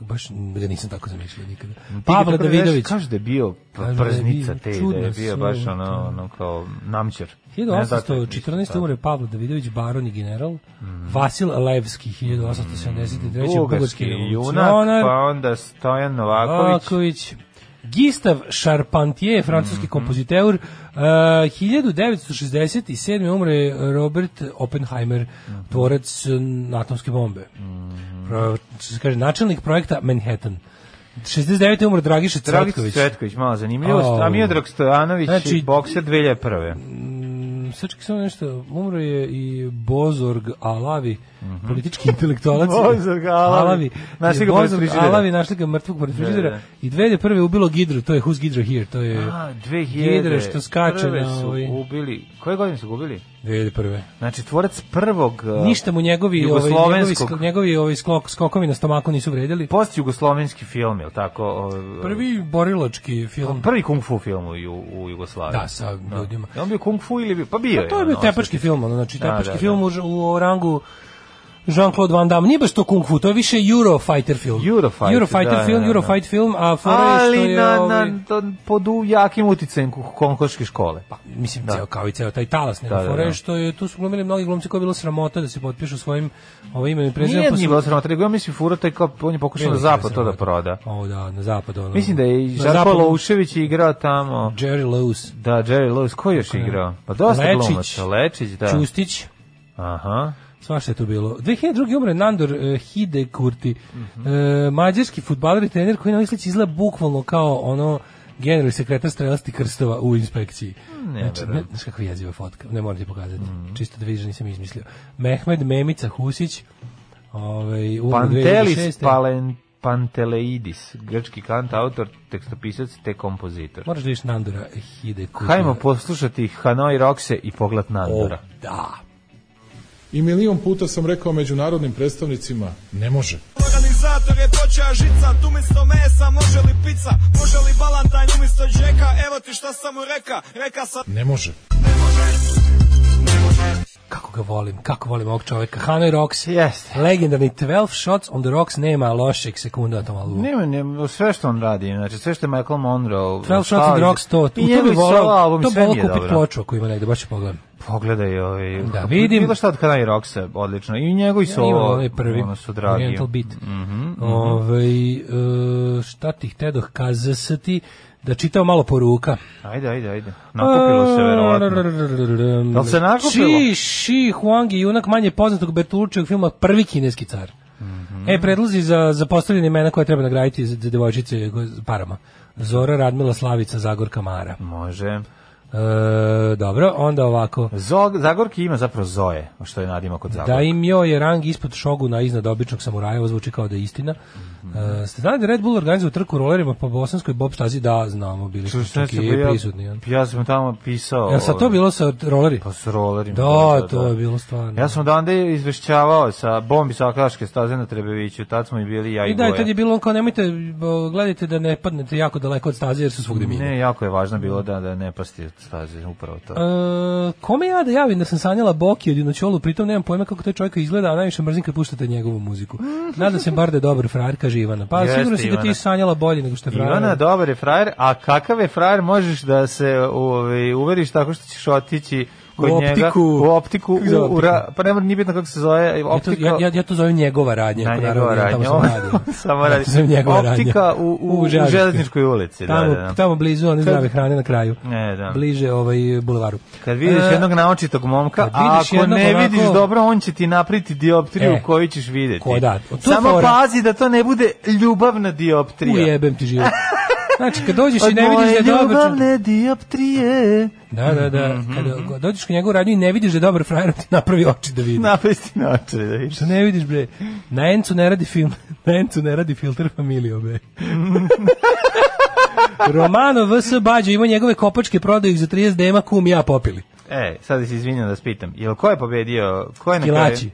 S6: baš ga nisam tako zamišljao nikada. Pavle
S7: Kako da
S6: Davidović,
S7: kažeš, Kaže da je bio p-
S6: Kažu da je
S7: prznica
S6: bio
S7: te, da
S6: čudno
S7: je bio
S6: sve
S7: baš
S6: ovo,
S7: ono,
S6: to.
S7: ono kao namćer. Ne znam da zašto je Mhm. isto
S6: 1814.
S7: tako.
S6: umre Pavle Davidović, baron i general, Vasil Levski, 1873.
S7: Bugarski
S6: bugarski
S7: junak, pa
S6: revolucionar,
S7: onda Stojan Novaković.
S6: Vaković, Gistav Charpentier,
S7: Mhm.
S6: francuski kompoziteur, uh, 1967. umre Robert Oppenheimer,
S7: Mhm.
S6: tvorac um, atomske bombe. Pro, što se kaže, načelnik projekta Manhattan. 69. umre Dragiša
S7: Dragić
S6: Cvetković.
S7: Cvetković, malo zanimljivost.
S6: Au.
S7: A Miodrag Stojanović,
S6: Znači-
S7: bokser 2001.
S6: Mm, Sad čekaj samo nešto, umro je i Bozorg Alavi, politički intelektualac.
S7: Mhm. Bozorg Alavi. Našli
S6: Našli
S7: ga
S6: ga
S7: pored
S6: Bozorg
S7: frižidera.
S6: Alavi, našli ga mrtvog pored frižidera.
S7: da.
S6: I dve je prve ubilo Gidru, to je Who's Gidra Here, to je
S7: A, 2000.
S6: Gidra što skače
S7: Prve
S6: na
S7: su
S6: ovaj...
S7: ubili. Koje godine su gubili?
S6: 2001.
S7: Znači, tvorac prvog... uh,
S6: Ništa mu njegovi, ovaj, njegovi,
S7: Jugoslovenskog. Pa,
S6: skl- njegovi ovaj sklok, skokovi na stomaku nisu vredili.
S7: Post-jugoslovenski film, je li tako? O,
S6: Prvi borilački film.
S7: Prvi kung fu film u, Ju- u Jugoslaviji.
S6: Da, sa ljudima.
S7: Je on bio kung fu ili bio? Pa bio
S6: Pa to je bio
S7: ono,
S6: tepački film, ono, znači
S7: Da,
S6: tepački
S7: da,
S6: film u, u rangu Jean-Claude Van Damme. Nije baš to kung fu, to je više Eurofighter film.
S7: Eurofighter,
S6: Eurofighter
S7: da,
S6: film,
S7: da, da.
S6: Eurofight film, a fora je što
S7: Ali
S6: je...
S7: na,
S6: ovaj-
S7: na, to- pod u- jakim uticajem ko- konkoške škole. Pa,
S6: mislim
S7: Da.
S6: da. ceo kao i ceo taj talas nema
S7: Da,
S6: da,
S7: da,
S6: fore
S7: da.
S6: što je tu su glumili mnogi glumci koji je bilo sramota da se potpišu svojim ovaj imenom i prezimenom
S7: nije
S6: pa su-
S7: nije bilo sramota, nego ja mislim fura taj kao, on je pokušao na
S6: Bilo je
S7: zapad to da
S6: sramota.
S7: proda.
S6: O da, na zapad ono.
S7: Mislim da je i
S6: Na
S7: Žarko
S6: zapadu
S7: Loušević igrao tamo.
S6: Jerry Lewis,
S7: Da, Jerry Lewis, ko je još igrao? Pa dosta
S6: Lečić.
S7: glumaca. Lečić, da.
S6: Čustić,
S7: Aha.
S6: svašta je to bilo. 2002. umre Nandor uh, Hide Kurti,
S7: Mhm.
S6: mađarski futbaler i trener koji na ovoj slici izgleda bukvalno kao ono generalni sekretar strelasti krstova u inspekciji. Ne, znači, ne, znaš kakva jeziva fotka, ne morate pokazati.
S7: Mhm.
S6: Čisto da vidiš, da nisam izmislio. Mehmed Memica Husić, ovaj, umro
S7: Pantelis Pa-
S6: 2006..
S7: Palen, Panteleidis, grčki kant, autor, tekstopisac te kompozitor.
S6: Moraš da vidiš Nandora Hide Kurti.
S7: Hajmo poslušati Hanoi Roxe i pogled Nandora.
S6: Da.
S9: I milion puta sam rekao međunarodnim predstavnicima, ne može.
S1: Organizator je počeo žica, tu umjesto mesa može li pizza, može li balantanj umjesto džeka, evo ti šta sam mu reka, reka sam...
S9: Ne može.
S6: Kako ga volim, kako volim ovog čoveka. Hanoi Rocks,
S7: Jeste.
S6: legendarni 12 Shots on the Rocks, nema lošeg sekunda na tom albumu.
S7: Nema, nema, sve što on radi, znači sve što je Michael Monroe.
S6: Twelve Shots
S7: stavio-
S6: on the Rocks, to, to, to
S7: I
S6: bi
S7: njegovi solo
S6: volao,
S7: albumi,
S6: to bi
S7: sve mi
S6: volao
S7: je
S6: kupiti
S7: dobro.
S6: ploču ako ima negde, baš ću pogledam.
S7: Pogledaj ovaj.
S6: Da, vidim.
S7: Bilo šta od Hanoi Roxa, odlično. I njegovi
S6: Ja imam
S7: solo,
S6: onaj prvi,
S7: ono su dragi.
S6: Oriental Beat. Ovaj, e, šta ti htedoh kazati, da čitao malo poruka.
S7: Ajde, ajde, ajde. Nakupilo se, verovatno. Jel se nakupilo?
S6: Chi Shi Huang je junak manje poznatog Bertolučijog filma Prvi kineski car. E, predlozi za, za postavljene imena koje treba nagraditi za, za devojčice go- s parama. Zora Radmila Slavica Zagorka Mara.
S7: Može.
S6: E, dobro, onda ovako.
S7: Zog, Zagorki ima zapravo Zoe, što je nadima kod Zagorka.
S6: Da im jo je rang ispod šoguna iznad običnog samuraja, ovo zvuči kao da je istina.
S7: Mhm.
S6: E, ste znali da Red Bull organizuje trku rolerima po bosanskoj bob stazi? Da, znamo, bili
S7: Što
S6: smo
S7: se
S6: čak
S7: neće,
S6: i
S7: pa
S6: prisutni. Ja.
S7: Ja sam tamo pisao.
S6: Jel sad to
S7: ovaj,
S6: bilo sa rolerima?
S7: Pa s rolerima.
S6: Da, to je bilo stvarno.
S7: Ja sam odande izvešćavao sa bombi sa Akaške staze na Trebeviću, tad smo i bili ja i,
S6: I da, i
S7: Boja.
S6: tad je bilo on kao nemojte, bo, gledajte da ne padnete jako daleko od staze jer su svugde mine.
S7: Ne, jako je važno bilo da, da ne pasti od staze, upravo to.
S6: E, kome ja da javim da sam sanjala Boki od Junoćolu, pritom nemam pojma kako taj čovjek izgleda, a najviše mrzim kad puštate njegovu muziku. Nadam se bar da je dobar frajer, kaže Ivana. Pa
S7: Jeste,
S6: sigurno si da
S7: Ivana.
S6: ti sanjala bolje nego što je frajer.
S7: Ivana, dobar je frajer, a kakav je frajer možeš da se ovaj, uveriš tako što ćeš otići kod
S6: U
S7: njega
S6: optiku.
S7: u optiku,
S6: Kako se zove
S7: u, u ra- pa ne mora, nije bitno kako se zove,
S6: Ja E to,
S7: optika,
S6: ja, ja, ja to zovem njegova radnja.
S7: Na
S6: ako
S7: njegova
S6: naravno, ja
S7: radnja.
S6: Tamo sam radio.
S7: Samo
S6: Ja
S7: radi.
S6: to zovem njegova radnja.
S7: Optika u- u- u
S6: Železničkoj.
S7: Železničkoj ulici, da,
S6: Tamo,
S7: da, da.
S6: tamo blizu one zdrave hrane na kraju.
S7: Ne, da.
S6: Bliže ovaj bulevaru.
S7: Kad vidiš
S6: E,
S7: jednog naočitog momka,
S6: kad
S7: a
S6: vidiš
S7: ako
S6: jednog
S7: ne
S6: onako-
S7: vidiš dobro, on će ti napriti dioptriju
S6: E,
S7: koju ćeš videti.
S6: ko da, to je
S7: Samo
S6: fora.
S7: pazi da to ne bude ljubavna dioptrija.
S6: Ujebem ti život. Znači, kad dođeš i
S7: Od
S6: ne
S7: moje
S6: vidiš da je dobar... čovjek-
S7: ljubavne dioptrije.
S6: Da, da, da.
S7: Mhm,
S6: Kada dođeš u njegovu radnju i ne vidiš da je dobar frajer, ti napravi oči da vidi.
S7: Napesti na oče, da vidiš.
S6: Što ne vidiš, bre? Na Encu ne radi film. Na Encu ne radi filter familio, bre. Romano VS Bađo ima njegove kopačke, prodaju ih za 30 dema, kum i ja popili.
S7: E, sad se izvinjam da vas pitam. Jel ko je pobedio? Ko je na
S6: Skilaći.
S7: kraju?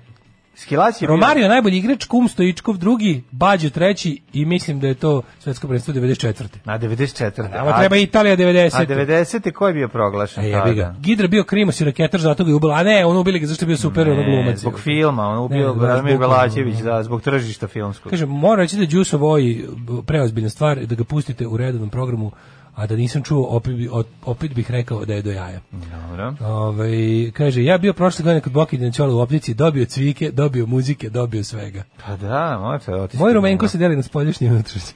S7: Skilaći je bio-
S6: Romario najbolji igrač, kum Stojičkov drugi, Bađo treći i mislim da je to svetsko prvenstvo 94.
S7: Na 94.
S6: Nama treba Italija
S7: A da.
S6: 90.
S7: 90. ko je bio proglašen?
S6: E, jebi ga.
S7: tada?
S6: Gidra bio krimos i raketar, zato ga je ubila. A ne, on ubili ga zašto je bio super, ono
S7: Ne,
S6: glumac.
S7: zbog filma, on
S6: Ne,
S7: ubio
S6: zbog-
S7: Radmir
S6: zbog-
S7: Belačević, da, zbog tržišta filmskog.
S6: Kažem, moram reći da je Đusov ovaj b- preozbiljna stvar, da ga pustite u redovnom programu, a da nisam čuo, opet, bi, op- opet bih rekao da je do jaja.
S7: Dobro.
S6: Ovaj, kaže, ja bio prošle godine kod Boki Dinčola u optici, dobio cvike, dobio muzike, dobio svega.
S7: Pa da, možete otići.
S6: Moj rumenko se deli na spolješnje i unutrašnje.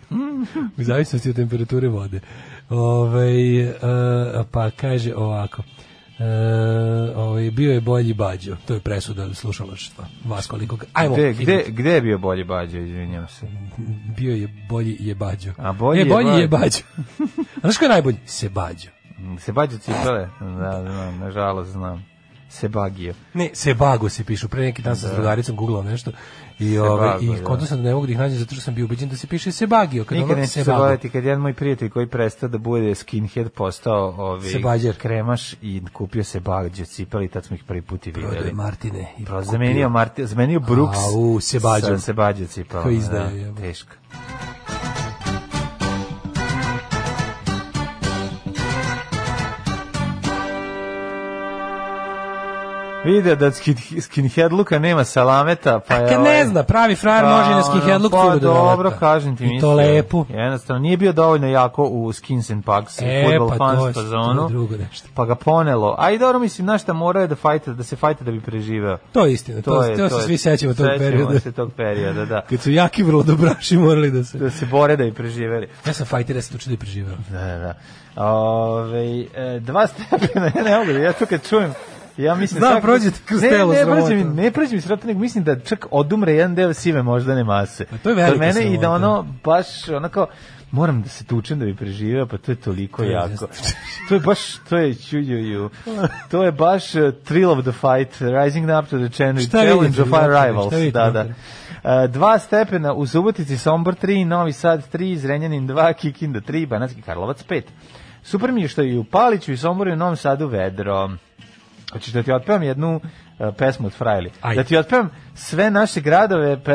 S6: u zavisnosti od temperature vode. Ovaj, e, pa kaže ovako. E, ovaj, bio je bolji bađo. To je presuda slušalaštva. Vas koliko... ga- Ajmo.
S7: Gde, gde,
S6: idemo.
S7: gde je bio bolji bađo, izvinjam se.
S6: bio je bolji jebađo.
S7: A bolji
S6: je bolji
S7: jebađo.
S6: jebađo. A znaš ko je najbolji? Sebađo.
S7: Mm, Sebađo cipele? Da, znam, nažalost znam. Sebagio.
S6: Ne, Sebago se pišu. Pre neki dan sam s drugaricom googlao nešto i,
S7: Da. Sebago,
S6: ove,
S7: da.
S6: i konto sam da ne mogu da ih nađem zato što sam bio ubeđen da se piše Sebagio. Kad
S7: Nikad
S6: ono
S7: neću se
S6: Sebago.
S7: baviti kad jedan moj prijatelj koji prestao da bude skinhead postao ovaj
S6: Sebađer.
S7: kremaš i kupio se bagđe cipeli, tad smo ih prvi put i
S6: Prodao je
S7: videli.
S6: Martine. i
S7: Pro,
S6: kupio.
S7: Pa zamenio, Marti, zamenio Brooks
S6: Au, Sebađom.
S7: sa Sebađe cipelama.
S6: Ko izdaje,
S7: da,
S6: jebote.
S7: teško. Vide da od skin, skinhead luka nema salameta, pa je...
S6: Kad
S7: ovaj-
S6: ne zna, pravi frajer može i na
S7: Pa,
S6: skinhead look
S7: ono,
S6: filu da naleta.
S7: dobro, kažem ti,
S6: I to
S7: mislim,
S6: lepo.
S7: Jednostavno, nije bio dovoljno jako u Skins and Pugs,
S6: E,
S7: e, football
S6: pa
S7: pa
S6: to
S7: fans
S6: je- to je
S7: fazonu,
S6: drugo nešto.
S7: pa ga ponelo. A i dobro, mislim, znaš šta, morao je da, fajta, da se fajta da bi preživeo.
S6: To je istina, to, to, je, Pa, to, se
S7: je-
S6: svi sećamo tog perioda.
S7: Sećamo se tog perioda, da.
S6: Kad su jaki brodobraši morali da se...
S7: Da se bore da bi preživeli.
S6: Ja sam fajter, ja sam tuče da je preživao.
S7: Da, da, da. Ove, e, dva stepena, ja ne mogu, da- ja to kad čujem, ja mislim...
S6: Znam,
S7: svaki-
S6: prođe ti kroz
S7: ne,
S6: telo
S7: Ne,
S6: sramota.
S7: prođe mi, ne prođe mi sramota, nego mislim da čak odumre jedan deo sive moždane mase.
S6: Pa to je velika
S7: Kod mene I da
S6: sramota.
S7: ono, baš, ono kao, moram da se tučem da bi preživeo, pa to je toliko
S6: je da
S7: jako. to je baš, to je čujuju. To je baš uh, thrill of the fight, rising up to the challenge,
S6: Šta vidite,
S7: challenge of our
S6: doktor,
S7: rivals.
S6: šta vidite,
S7: Da, da.
S6: doktor?
S7: E, dva stepena u Subotici, Sombor 3, Novi Sad 3, Zrenjanin 2, Kikinda 3, Banatski Karlovac 5. Super mi je što je i u Paliću i Somboru i u Novom Sadu vedro. Hoćeš da ti otpevam jednu e, pesmu od Frajli.
S6: Ajde.
S7: Da ti otpevam sve naše gradove pe,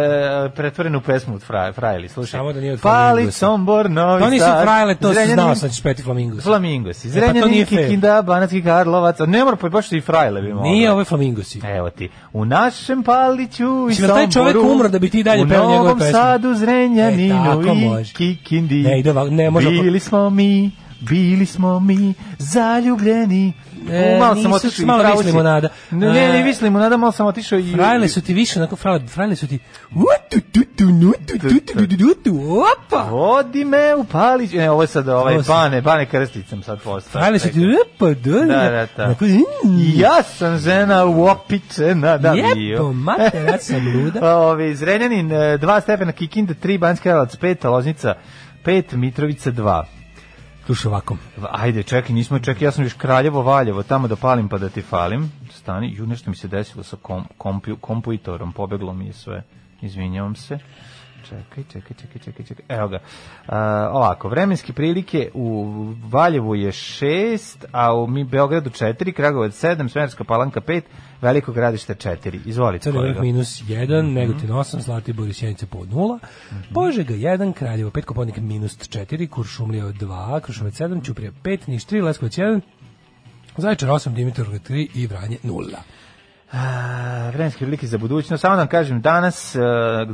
S7: pretvorenu pesmu od Fra- Frajli. Slušaj.
S6: Samo da nije od
S7: Palić,
S6: Flamingosa.
S7: Sombor, Novi
S6: To nisi
S7: Sad.
S6: frajle, to si
S7: Zrenjanin,
S6: znao, sad ćeš peti flamingos.
S7: Flamingosi.
S6: E, pa to
S7: Zrenjanin,
S6: nije fair.
S7: Kikinda, Banatski Karlovac. A ne mora, pa baš i Frajle bi mogla.
S6: Nije ove flamingosi.
S7: Evo ti, u našem Paliću i
S6: Mislim, jel taj
S7: Somboru.
S6: čovek umro da bi ti dalje peo njegove
S7: U Novom
S6: pesme?
S7: Sadu,
S6: E, tako
S7: Zrenjaninu i
S6: može.
S7: Kikindi.
S6: Ne ide ovako, ne može ovako.
S7: Bili smo mi, bili smo mi, zaljubljeni.
S6: E,
S7: U, malo sam
S6: nisu,
S7: otišao i
S6: malo
S7: pravo
S6: vis
S7: si.
S6: limonada.
S7: Ne, ne, ne,
S6: E,
S7: vis limonada, malo sam otišao i...
S6: Frajle su ti više onako frajle, frajle su ti u, tu, tu, tu, nu, tu, tu, tu, tu, tu, tu, tu, opa.
S7: Vodi me u Palić. Ne, ovo je sad ovaj,
S6: Ovo si-
S7: Bane, Bane Krstic sam sad postao.
S6: Frajle su ti opa, da,
S7: Da, da, da.
S6: Onako, mm,
S7: Ja sam žena uopičena da bio.
S6: Jepo, mater, ja sam luda.
S7: Ove, Da. Zrenjanin 2 stepena, Kikinda 3, Banjska Kralovac 5, Loznica 5, Mitrovica 2.
S6: Slušaj ovako.
S7: Ajde, čekaj, nismo čekaj, ja sam još Kraljevo, Valjevo, tamo da palim pa da ti falim. Stani, ju, nešto mi se desilo sa kom, kompu, kompuitorom, pobeglo mi je sve. Izvinjavam se. Čekaj, čekaj, čekaj, čekaj, čekaj. Evo ga. A, ovako, vremenske prilike u Valjevu je 6, a u mi Beogradu 4, Kragovac 7, Smerska palanka 5, Veliko gradište 4. Izvolite,
S6: Crni vrh
S7: kolega. Mhm.
S6: minus 1, Negotin 8, Zlatibor i Sjenica po 0, Požega 1, Kraljevo 5, Koponik minus 4, Kuršumlija 2, Krušovac 7, Ćuprija 5, Niš 3, Leskovac 1, Zaječar 8, Dimitrov 3 i Vranje 0.
S7: A, Vremenske prilike za budućnost. Samo da vam kažem, danas e,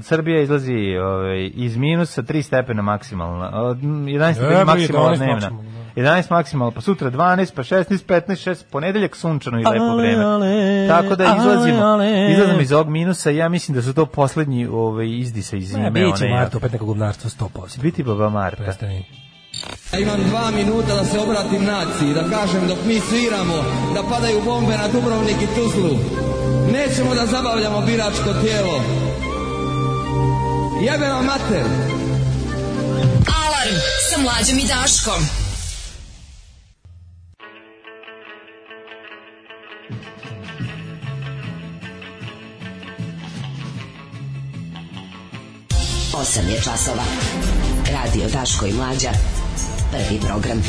S7: Srbija izlazi ovaj, iz minusa 3 stepena maksimalna. Od, mm, 11 stepena
S6: Evo,
S7: maksimalna
S6: 11
S7: dnevna.
S6: maksimalno, da.
S7: 11 maksimalna, pa sutra 12, pa 16, 15, 6, ponedeljak sunčano i lepo
S6: Ale,
S7: vreme.
S6: ale,
S7: Tako da izlazimo,
S6: ale.
S7: izlazimo iz ovog minusa. Ja mislim da su to poslednji ovaj, izdisa iz zime.
S6: Ne, biće
S7: one, Da. ja.
S6: Marta opet neko gubnarstvo 100%.
S7: Biti baba Marta.
S6: Prestani.
S1: Ja imam dva minuta da se obratim naciji, da kažem dok mi sviramo, da padaju bombe na Dubrovnik i Tuzlu. Nećemo da zabavljamo biračko tijelo. Jebe vam mater!
S5: Alarm sa mlađom i Daškom.
S10: Osam je časova. Radio Daško i Mlađa. Prvi program.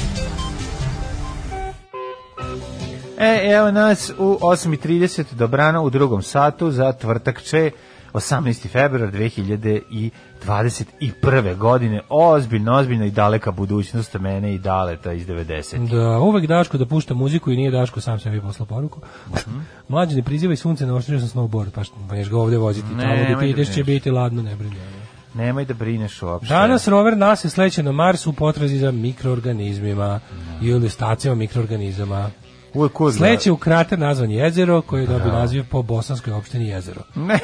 S7: E, evo nas u 8.30 dobrano u drugom satu za tvrtak će 18. februar 2021. godine. Ozbiljno, ozbiljno i daleka budućnost mene i daleta iz 90.
S6: Da, uvek Daško da pušta muziku i nije Daško sam sebi poslao poruku.
S7: Mhm.
S6: Mlađe ne prizivaj sunce, na oštrio sam snowboard, pa što, pa ješ ga ovde voziti.
S7: Ne,
S6: Tamo gde
S7: nemoj
S6: ti
S7: da
S6: ideš će
S7: brineš.
S6: biti ladno, ne brini. ono.
S7: Nemoj da brineš uopšte.
S6: Danas rover NASA sleće na Mars u potrazi za mikroorganizmima i ilustracijama mikroorganizama.
S7: uvek uvek.
S6: Sleće u krater nazvan jezero, koje je dobio naziv po bosanskoj opštini jezero.
S7: Ne.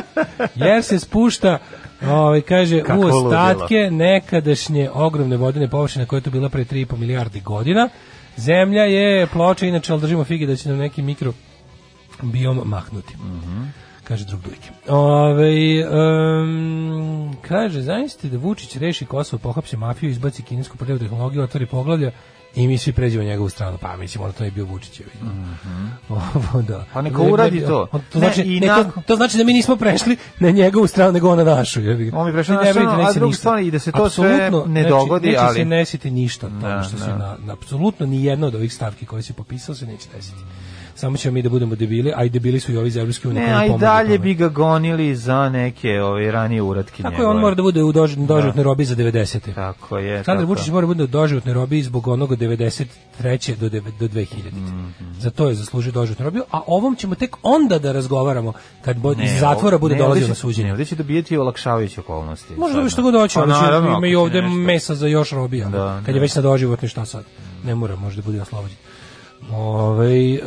S6: Jer se spušta, ovaj, kaže,
S7: Kako
S6: u
S7: ludilo.
S6: ostatke nekadašnje ogromne vodene površine koje je tu bila pre 3,5 milijardi godina. Zemlja je ploča, inače, ali držimo fige da će nam neki mikro biom mahnuti. Kaže drug dujke. Ove, um, kaže, zamislite da Vučić reši Kosovo, pohapsi mafiju, izbaci kinesku prljavu tehnologiju, otvori poglavlja i mi svi pređemo u njegovu stranu. Pa mislim, ono to je bio Vučićevi. Ovo, da.
S7: Mhm. Pa neka uradi to.
S6: to,
S7: Ne,
S6: znači,
S7: i
S6: ne, to,
S7: nakon-
S6: to znači da mi nismo prešli na njegovu stranu, nego on na našu. jebi ga.
S7: On bi prešao
S6: Ne,
S7: na
S6: ne
S7: stranu,
S6: brinite,
S7: a
S6: neće
S7: druga
S6: ništa.
S7: strana i da se to sve
S6: Apsolutno,
S7: ne
S6: znači,
S7: dogodi,
S6: neće
S7: ali-
S6: se nesiti ništa od toga
S7: Da,
S6: što se
S7: da.
S6: na, na, apsolutno ni jedna od ovih stavki koje si popisao se neće desiti. samo ćemo mi da budemo debili, a i debili su i ovi iz Evropske unije.
S7: Ne,
S6: koji nam
S7: a i
S6: pomažu u
S7: dalje
S6: tome.
S7: bi ga gonili za neke ove ranije uratke
S6: Tako je, on mora da bude u dož, doživotnoj robi za 90.
S7: Tako je,
S6: Aleksandar
S7: Da, tako.
S6: Vučić mora da bude u doživotnoj robi zbog onog od 93. do, deve- do 2000.
S7: Mhm.
S6: Za to je zaslužio doživotnu robiju, a ovom ćemo tek onda da razgovaramo kad bo, iz zatvora bude
S7: ne,
S6: dolazio
S7: ovdje će-
S6: na
S7: Ne,
S6: suđenje.
S7: ovdje će dobijeti olakšavajuće okolnosti.
S6: Može
S7: Sad,
S6: da bi
S7: ne.
S6: što god hoće,
S7: Pa
S6: ali će-
S7: naravno,
S6: ima i
S7: ako će
S6: ovde
S7: nešto.
S6: mesa za još robija.
S7: Da,
S6: kad
S7: da.
S6: je već na doživotni šta sad? Ne mora, možda bude oslobođen. Ovaj e,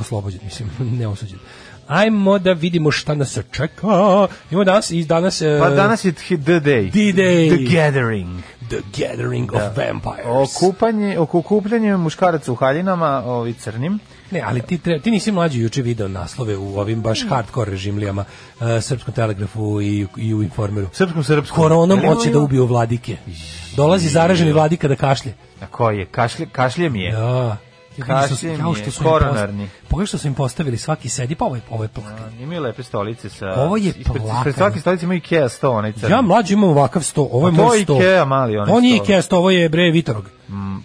S6: oslobođen, mislim, ne osuđen. Ajmo da vidimo šta nas čeka. Imamo danas i danas... e,
S7: Pa danas je th- the day.
S6: D-Day.
S7: The gathering.
S6: The Gathering
S7: Da.
S6: of Vampires.
S7: Okupanje, oko okupljanje muškaraca u haljinama, ovi crnim.
S6: Ne, ali ti, tre, ti nisi mlađi juče video naslove u ovim baš
S7: Mm.
S6: hardcore režimlijama, uh, Srpskom telegrafu i, i u Informeru.
S7: Srpskom, srpskom.
S6: Koronom
S7: Je li ovo
S6: hoće
S7: ima?
S6: da ubiju vladike. Dolazi zaraženi vladika da kašlje.
S7: Na koji je? Kašlje, kašlje mi je.
S6: Da.
S7: Kašlje mi je, koronarni.
S6: Pogledaj što su im postavili, svaki sedi, pa ovo je, ovo je plakan.
S7: Imaju lepe stolice sa...
S6: Ovo je
S7: ispred,
S6: plakanje.
S7: ispred svake stolice ima Ikea sto, onaj crni.
S6: Ja mlađi imam ovakav sto, ovo je
S7: A Da. Pa to
S6: moj
S7: je
S6: sto.
S7: Ikea mali, onaj
S6: On je
S7: sto.
S6: Ikea sto, ovo je bre Vitorog.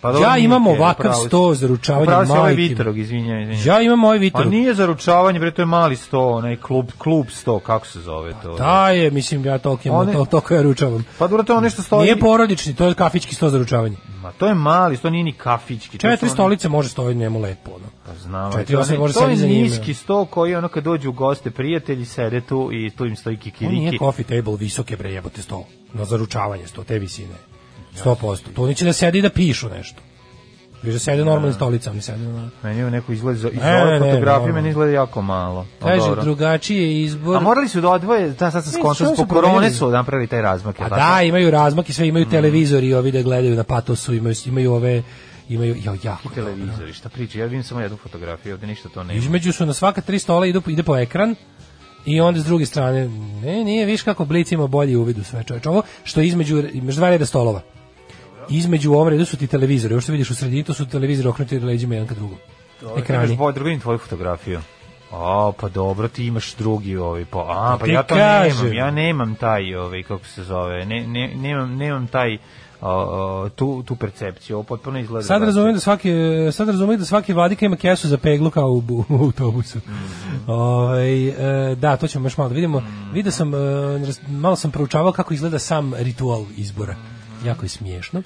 S7: Pa dobro,
S6: ja
S7: nije
S6: imam
S7: Ikea,
S6: ovakav
S7: upravo si.
S6: sto za ručavanje
S7: Upravo si, ovo je
S6: majke mi.
S7: ovaj Vitorog, izvinjam, izvinjam.
S6: Ja imam ovaj
S7: Pa
S6: Vitorog.
S7: nije zaručavanje, bre, to je mali sto, onaj klub, klub sto, kako se zove to?
S6: Da je, mislim, ja toliko imam,
S7: On je-
S6: to, toliko ja ručavam.
S7: Pa dobro, to je ono nešto stoji.
S6: Nije porodični, to je kafićki sto za ručavanje.
S7: Ma, to je mali, to nije ni kafićki. to su
S6: Četiri
S7: ono-
S6: stolice može stoji njemu lepo. Ono.
S7: Pa Znam, ali
S6: Četiri
S7: to
S6: osobe
S7: je-
S6: može
S7: to
S6: sedi za
S7: je
S6: njime.
S7: niski sto koji ono kad dođu u goste prijatelji sede tu i tu im stoji
S6: On nije
S7: kikiriki.
S6: coffee table, visoke bre jebote sto. Na zaručavanje sto, te visine. 100%. To oni će da sede i da pišu nešto. Vi da sede normalnim stolicama, ne sede na...
S7: Meni je neko izgleda, za- iz
S6: Ne, ne,
S7: ove
S6: ne,
S7: fotografije
S6: normalno.
S7: meni izgleda jako malo. Pa
S6: Kaže,
S7: dobro.
S6: drugačiji je izbor.
S7: A morali su da odvoje, da sad sam
S6: Ne,
S7: skontao,
S6: što su
S7: zbog korone
S6: promenili?
S7: su napravili taj razmak.
S6: Pa
S7: jel
S6: da,
S7: tako? Mm.
S6: imaju razmak i sve, imaju televizori i ovi da gledaju na patosu, imaju, imaju ove... Imaju, jo, jako je dobro.
S7: televizori, šta priča, ja vidim samo jednu fotografiju, ovde ništa to nema.
S6: Između su na svaka tri stola idu, ide po ekran i onda s druge strane, ne, nije, viš kako Blic ima bolji uvid u sve čoveče. Ovo što je između, između dva reda stolova. Između u ovom redu su ti televizori. Ovo što vidiš u sredini, to su televizori okrenuti leđima jedan ka drugom. Ekrani.
S7: Imaš drugim tvoju fotografiju. A, pa dobro, ti imaš drugi ovi, pa, a, pa
S6: ti
S7: ja to
S6: kažem.
S7: nemam, ja nemam taj, ovaj, kako se zove, ne, ne, nemam, nemam taj, a, a, tu, tu percepciju, ovo potpuno izgleda.
S6: Sad razumem da svaki e, sad razumem da svaki vladika ima kesu za peglu kao u, bu- u autobusu. Ovaj, e, da, to ćemo još malo da vidimo. Video sam e, raz- malo sam proučavao kako izgleda sam ritual izbora. Jako je smiješno.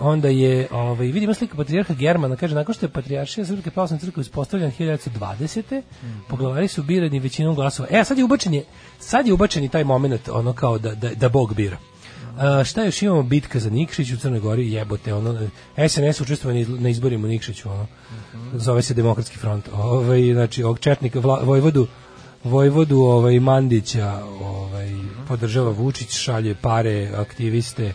S6: Onda je, ovaj, vidimo slika patrijarha Germana, kaže, nakon što je patrijaršija Srpske pravoslavne crkve uspostavljen 1920. poglavari su birani većinom glasova. E, a sad je ubačen je, sad je ubačen i taj moment, ono kao da, da, da Bog bira. A, šta još imamo bitka za Nikšić u Crnoj Gori jebote ono e, SNS učestvuje na izl- na izborima u Nikšiću ono zove se Demokratski front ovaj znači ovog četnika vla, Vojvodu Vojvodu ovaj Mandića ovaj podržava Vučić šalje pare aktiviste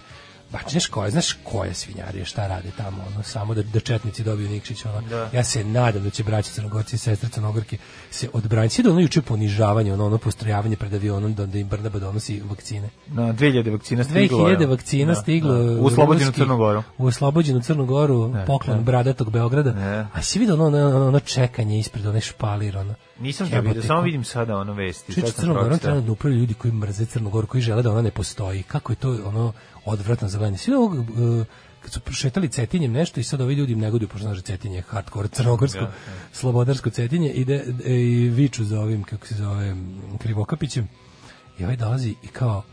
S6: Ba, znaš koje, znaš koje svinjarije šta rade tamo, ono, samo da, da četnici dobiju Nikšić, ono. Ja se nadam da će braći Crnogorci i sestre Crnogorke se odbraniti. Svi da ono juče ponižavanje, ono, ono postrojavanje pred avionom, da, da im Brnaba donosi vakcine.
S7: Na 2000 vakcina stiglo.
S6: 2000
S7: evo.
S6: vakcina
S7: Da,
S6: stiglo
S7: da.
S6: u
S7: U Slobodinu
S6: ruski-
S7: Crnu Goru.
S6: U oslobođenu Crnu Goru, poklon bradatog Beograda.
S7: Ne.
S6: A si vidio ono, ono, ono, ono čekanje ispred onaj špalir, ono.
S7: Nisam
S6: Jebote,
S7: to vidio, samo
S6: ko-
S7: vidim sada ono vesti.
S6: Čuj,
S7: sad sam
S6: Crnu Goru
S7: pročitao.
S6: trenutno upravljaju ljudi koji mrze Crnu Goru, koji žele da ona ne postoji. Kako je to ono odvratno za gledanje. Svi ovog, e, kad su prošetali cetinjem nešto i sad ovi ljudi im negoduju, pošto znaš da cetinje je hardcore crnogorsko, slobodarsko cetinje, ide e, i viču za ovim, kako se zove, m, Krivokapićem. I ovaj dolazi i kao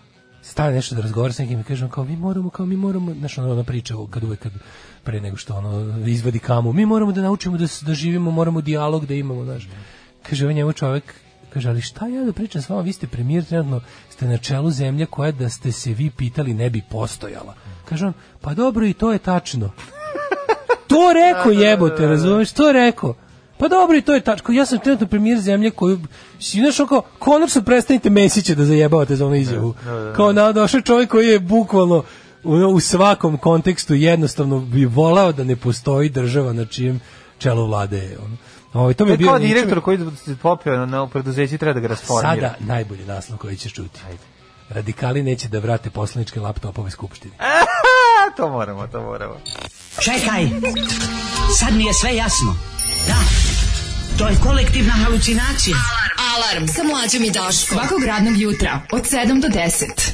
S6: stane nešto da razgovara sa nekim i kaže on kao mi moramo, kao mi moramo, znaš ono, ona priča o- kad uvek kad pre nego što ono izvadi kamu, mi moramo da naučimo da, s- da živimo, moramo dijalog da imamo, znaš. Kaže ovaj njemu čovek, Kaže, ali šta ja da pričam s vama, vi ste premijer, trenutno ste na čelu zemlje koja da ste se vi pitali ne bi postojala. Kaže on, pa dobro i to je tačno.
S7: Da,
S6: to rekao jebote, razumeš, to rekao. Pa dobro i to je tačno, ja sam trenutno premijer zemlje koju, si znaš ono kao, konačno prestanite Mesića da zajebavate za onu izjavu.
S7: Da,
S6: Kao na, došao je čovjek koji je bukvalno ono, u svakom kontekstu jednostavno bi volao da ne postoji država na čijem čelu vlade je. ono. Ovo, to mi
S7: To
S6: je
S7: je
S6: bio
S7: kao
S6: ničim-
S7: direktor koji se popeo na, na preduzeći treba da ga rasformira.
S6: Sada najbolji naslov koji ćeš čuti. Radikali neće da vrate poslaničke laptopove skupštini.
S7: E! A, to moramo, to moramo.
S10: Čekaj, sad mi je sve jasno. Da, to je kolektivna halucinacija.
S5: Alarm sa mlađom i Daškom. Svakog radnog jutra od 7 do 10.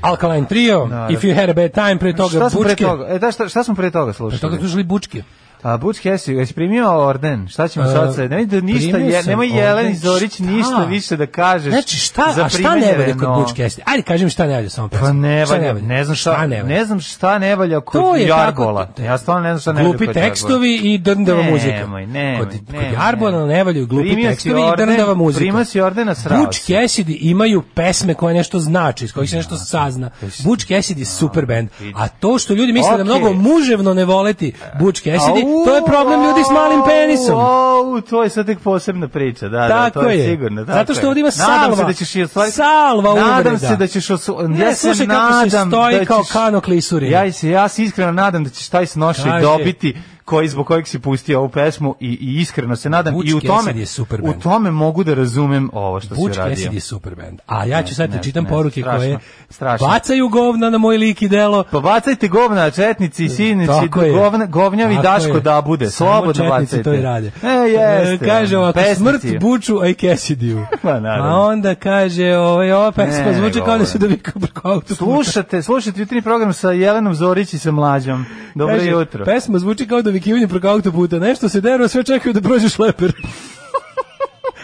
S6: Alkaline Trio, If You Had a Bad Time, pre toga
S7: šta smo
S6: Bučke.
S7: pre toga? E, da, šta, šta smo pre toga slušali?
S6: Pre toga slušali Bučke.
S7: A Butch Cassidy, jesi primio orden? Šta ćemo
S6: E,
S7: sad sa... Nemoj da ništa,
S6: primio
S7: je,
S6: sam
S7: nemoj
S6: orden.
S7: Jeleni Zorić
S6: Šta?
S7: ništa više da kažeš.
S6: Znači, šta,
S7: za
S6: a šta
S7: primanje
S6: ne valja kod
S7: Renault.
S6: Butch Cassidy? Ajde, kaži mi šta ne valja samo pesma.
S7: Pa ne
S6: Šta
S7: valja, ne znam šta,
S6: ne valja?
S7: ne znam šta ne valja kod
S6: To je tako-
S7: Jargola. Ja stvarno ne znam šta ne valja kod
S6: Glupi
S7: Jargola.
S6: tekstovi i drndava
S7: Nemoj,
S6: muzika.
S7: nemoj,
S6: kod, kod
S7: nemoj,
S6: Jarbola
S7: nemoj.
S6: ne valju glupi
S7: Primio si
S6: tekstovi i
S7: orden,
S6: drndava muzika.
S7: primio si orden, a srao
S6: Butch
S7: si.
S6: Cassidy imaju pesme koje nešto znači, iz kojih se nešto sazna. Butch Cassidy je
S7: Znači,
S6: super band. A to što ljudi misle da
S7: Okej.
S6: mnogo muževno ne voleti Butch Cassidy,
S7: Au,
S6: to je problem ljudi s malim penisom.
S7: Au, au, to je sad tek posebna priča, da, da,
S6: Tako
S7: to je,
S6: je.
S7: sigurno. Tako
S6: Zato što
S7: je.
S6: ovdje ima
S7: Nadam se
S6: salva.
S7: da ćeš i ostvariti.
S6: Salva
S7: Nadam
S6: uvreda.
S7: se da ćeš osvo...
S6: Ne,
S7: ja se
S6: slušaj kako se
S7: nadam
S6: stoji
S7: da ćeš...
S6: kao kano klisurina.
S7: Ja se, ja se iskreno nadam da ćeš taj snošaj
S6: Kaže-
S7: dobiti koji zbog kojeg si pustio ovu pesmu i, i iskreno se nadam
S6: Butch
S7: i u tome
S6: Cassidy je super
S7: u
S6: band.
S7: tome mogu da razumem ovo što
S6: Butch
S7: si radio.
S6: Cassidy je super band. A ja ću sad
S7: ne,
S6: da čitam
S7: ne,
S6: poruke
S7: strašno,
S6: koje
S7: strašno.
S6: bacaju govna na moj lik i delo.
S7: Pa bacajte govna, četnici, sinici,
S6: E, Tako je.
S7: govna, govnjavi
S6: Tako
S7: Daško
S6: je.
S7: da bude,
S6: Samo
S7: slobodno
S6: četnici
S7: bacajte.
S6: to i rade.
S7: E, jeste.
S6: E, kaže ovako,
S7: pesnici.
S6: smrt Buču, a i Cassidy-u.
S7: Pa, naravno.
S6: A onda kaže, ovaj, ova pesma
S7: Ne,
S6: zvuči kao
S7: govore.
S6: da se dovikao preko autoputa.
S7: Slušate, slušate jutrni program sa Jelenom Zorić i sa Mlađom. Dobro
S6: Kaže,
S7: jutro.
S6: Pesma zvuči kao da vikivanje preko autoputa. Nešto se deru, a sve čekaju da prođe šleper.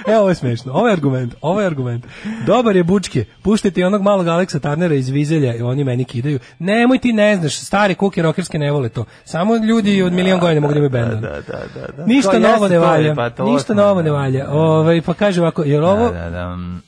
S6: Evo, ovo je smešno. Ovo je argument, ovo je argument. Dobar je Bučke. Puštajte i onog malog Aleksa Tarnera iz Vizelja i oni meni kidaju. Nemoj ti ne znaš, stare kuke rokerske ne vole to. Samo ljudi od milion godina mogu da imaju benda.
S7: Da, da, da, da.
S6: Ništa
S7: To
S6: novo
S7: jeste,
S6: ne
S7: to je,
S6: valja.
S7: pa to
S6: Ništa
S7: osnovno,
S6: novo ne
S7: da.
S6: valja. Ovaj pa kaže ovako, jel ovo
S7: Da, da, da. mm.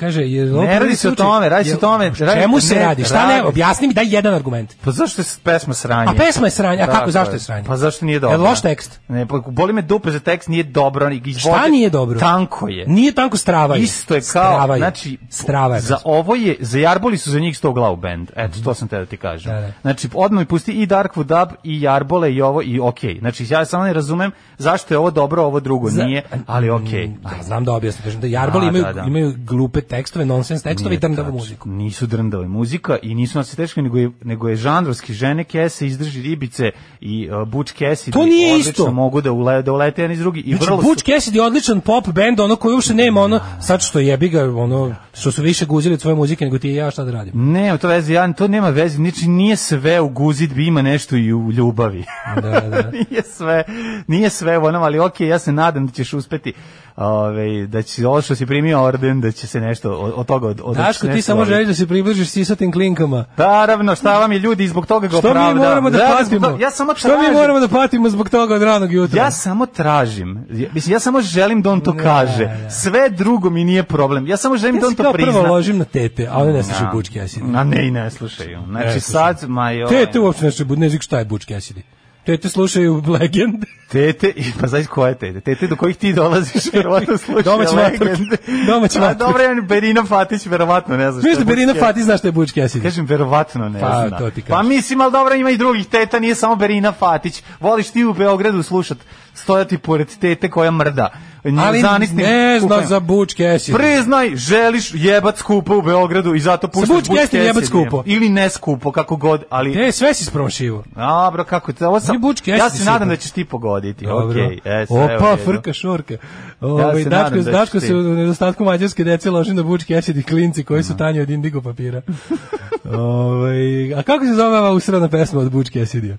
S6: kaže jel ovo
S7: Ne radi
S6: prvi
S7: se o
S6: slučaj?
S7: tome, radi se
S6: Jel-
S7: o tome, radi-
S6: Čemu se
S7: ne,
S6: radi? Šta ne?
S7: radi-
S6: Objasni mi daj jedan argument.
S7: Pa zašto je s- pesma sranje?
S6: A pesma je sranje, a kako,
S7: Tako
S6: zašto je sranje?
S7: Pa zašto nije
S6: Je
S7: dobro?
S6: loš tekst?
S7: Ne, pa boli me dupe za tekst, nije dobro. i- i
S6: Šta
S7: vode-
S6: nije dobro?
S7: Tanko je.
S6: Nije tanko strava.
S7: Isto je kao,
S6: Pa strava
S7: znači,
S6: strava je.
S7: za ovo je, za Jarboli su za njih sto glavu bend. Eto, to sam te da ti kažem.
S6: Da, da.
S7: Znači, odmah mi pusti i Darkwood Dub, i Jarbole, i ovo, i okej. Znači, ja samo ne razumem zašto je ovo dobro, ovo drugo
S6: Za-
S7: nije, ali okej.
S6: Da, znam da objasnim, kažem da Jarbol
S7: A,
S6: imaju,
S7: da, da.
S6: imaju glupe tekstove, nonsens tekstove i
S7: Nije
S6: drndavu
S7: tačno.
S6: muziku.
S7: Nisu drndava muzika i nisu nas teško, nego je, nego je žanrovski žene kese, izdrži ribice i uh, buč kesi.
S6: To nije
S7: odlično
S6: isto.
S7: mogu da, ule, da ulete jedan iz drugi. I
S6: Znači,
S7: vrlo
S6: Butch
S7: su...
S6: Cassidy je odličan pop band, ono koji uopšte nema ono, sad što jebi ga, ono, što su više guzili od svoje muzike nego ti i ja šta da radim.
S7: Ne, to veze, ja, to nema veze, znači nije sve u guzidbi, ima nešto i u ljubavi.
S6: Da, da.
S7: nije sve, nije sve u onom, ali ok, ja se nadam da ćeš uspeti, ovaj, da će ovo što si primio orden, da će se nešto od, od toga od, od
S6: Daško, ti
S7: nešto
S6: samo
S7: ovaj-
S6: želiš da se približiš sisatim klinkama.
S7: Naravno, šta vam je ljudi i zbog toga ga
S6: Što mi
S7: opravdavam.
S6: moramo da
S7: Zato što-
S6: patimo?
S7: Ja samo
S6: Što mi
S7: tražim-
S6: moramo da patimo zbog toga od ranog jutra?
S7: Ja samo tražim. Ja- Mislim, ja samo želim da on to
S6: Ne,
S7: kaže.
S6: ne.
S7: Sve drugo mi nije problem. Ja samo želim
S6: Ja
S7: da
S6: se
S7: on to
S6: kao prvo
S7: prizna.
S6: ložim na tete, a one ne slušaju
S7: Da.
S6: Butch Cassidy.
S7: A ne, i ne slušaju. Znači,
S6: Ne slušaju.
S7: sad, ma joj.
S6: Tete uopšte ne slušaju, ne znam šta je Butch Cassidy. Tete slušaju Legend.
S7: Tete, i- pa znaš koje tete? Tete do kojih ti dolaziš, verovatno slušaju.
S6: Domaće
S7: legende.
S6: vatrke. Domaće
S7: A,
S6: vatrke.
S7: Dobro, ja Berina Fatić, verovatno, ne znam.
S6: Znaš
S7: šta
S6: da
S7: je
S6: Berina
S7: Butch Cassidy.
S6: Fati zna šta je Butch Cassidy?
S7: Kažem, verovatno ne
S6: Pa,
S7: zna.
S6: to ti
S7: pa
S6: kažem.
S7: mislim, ali dobro, ima i drugih teta, nije samo Berina Fatić. Voliš ti u Beogradu slušat, stojati pored tete koja mrda. Nju
S6: Ali
S7: zanisnim
S6: ne zna
S7: kukanjem.
S6: za Butch Cassidy.
S7: Priznaj, želiš jebat skupo u Beogradu i zato puštaš
S6: Buč jeste
S7: Cassidy.
S6: jebat skupo.
S7: Ili ne skupo, kako god, ali...
S6: E, sve si spromašivo.
S7: Dobro, kako te... Ovo sam,
S6: Ni Buč Cassidy
S7: ja se
S6: sigurno.
S7: nadam da ćeš ti pogoditi.
S6: Dobro.
S7: Okej, e, sve u
S6: Opa,
S7: redu.
S6: frka šorka. Ovaj
S7: se
S6: Daško,
S7: nadam da ćeš
S6: Daško
S7: ti.
S6: se u nedostatku mađarske dece loži na Butch Cassidy klinci koji
S7: Da.
S6: su tanji od indigo papira. Ovaj, a kako se zove ova usrana pesma od Butch Cassidy?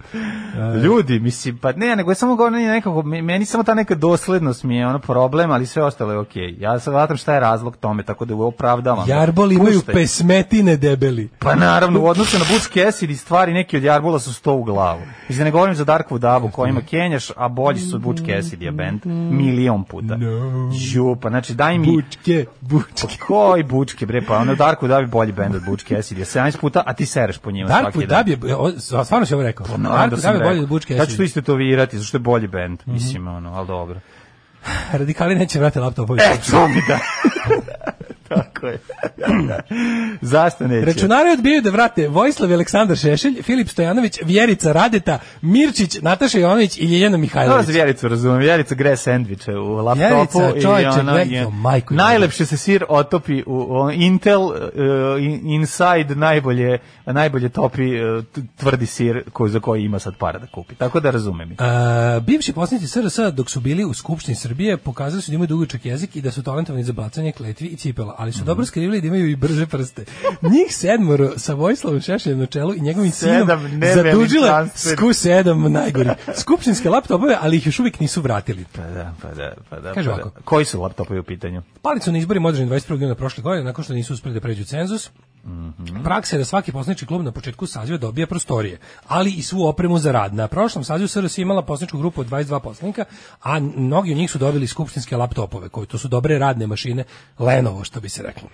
S7: Ljudi, mislim, pa ne, nego je samo govorim nekako, me- meni samo ta neka doslednost mi je ono problem, ali sve ostalo je okej. Ja se vatam šta je razlog tome, tako da ga opravdavam.
S6: Jarbol imaju
S7: Puštaj.
S6: pesmetine debeli.
S7: Pa naravno, u odnosu na Butch Cassidy stvari neki od Jarbola su sto u glavu. I da ne govorim za Darkwood Dabu koji ima Kenjaš, a bolji su od Butch Cassidy band. Milion puta.
S6: No.
S7: Ju, pa znači daj mi...
S6: Bučke, bučke.
S7: Pa koji bučke, bre, pa ono Darko Dab je bolji bend od Butch Cassidy, 17 puta, a ti sereš po njima
S6: Darko
S7: svaki dan.
S6: Dab je, o, stvarno si ovo rekao.
S7: Pa naravno
S6: Darko
S7: sam
S6: Dab je da bolje
S7: rekao.
S6: od Mhm. Butch
S7: Ja ću to
S6: Cassidy.
S7: isto to virati, zašto je bolji bend, mislim, ono, ali dobro.
S6: Pa Radikali neće vrati laptopovi.
S7: E, to mi da. Tako je. Zašto neće?
S6: Računari odbijaju da vrate Vojislav i Aleksandar Šešelj, Filip Stojanović, Vjerica Radeta, Mirčić, Nataša Jovanović i Ljeljana
S7: Dobro
S6: Mihajlović.
S7: za Vjericu razumem, Vjerica gre sendviče u laptopu
S6: Vjerica,
S7: i
S6: čovječe,
S7: ona
S6: gledaj,
S7: je-
S6: o, majko Božja.
S7: najlepše se sir otopi u, u Intel uh, in- Inside najbolje najbolje topi uh, t- tvrdi sir koji za koji ima sad para da kupi. Tako da razumem. ih.
S6: E, bivši poslanici SRS dok
S7: Mhm.
S6: su bili u Skupštini Srbije pokazali su da imaju dugačak jezik i da su talentovani za bacanje kletvi i cipela, ali su dobro dobro skrivili da imaju i brže prste. Njih sedmoro sa Vojislavom Šešeljem na čelu i njegovim sinom
S7: Sedam nerealnih
S6: zadužile
S7: transfer.
S6: sku sedam najgori. Skupštinske laptopove, ali ih još uvijek nisu vratili.
S7: Pa da, pa da, pa da.
S6: Kaže
S7: pa da.
S6: ovako.
S7: Koji su laptopovi u pitanju?
S6: Pali su na izborima održani 21. juna prošle godine nakon što nisu uspeli da pređu cenzus. Praksa je da svaki poslanički klub na početku saziva dobija prostorije, ali i svu opremu za rad. Na prošlom sazivu SRS je imala poslaničku grupu od 22 poslanika, a mnogi od njih su dobili skupštinske laptopove, koji to su dobre radne mašine, Lenovo, što bi se reklo.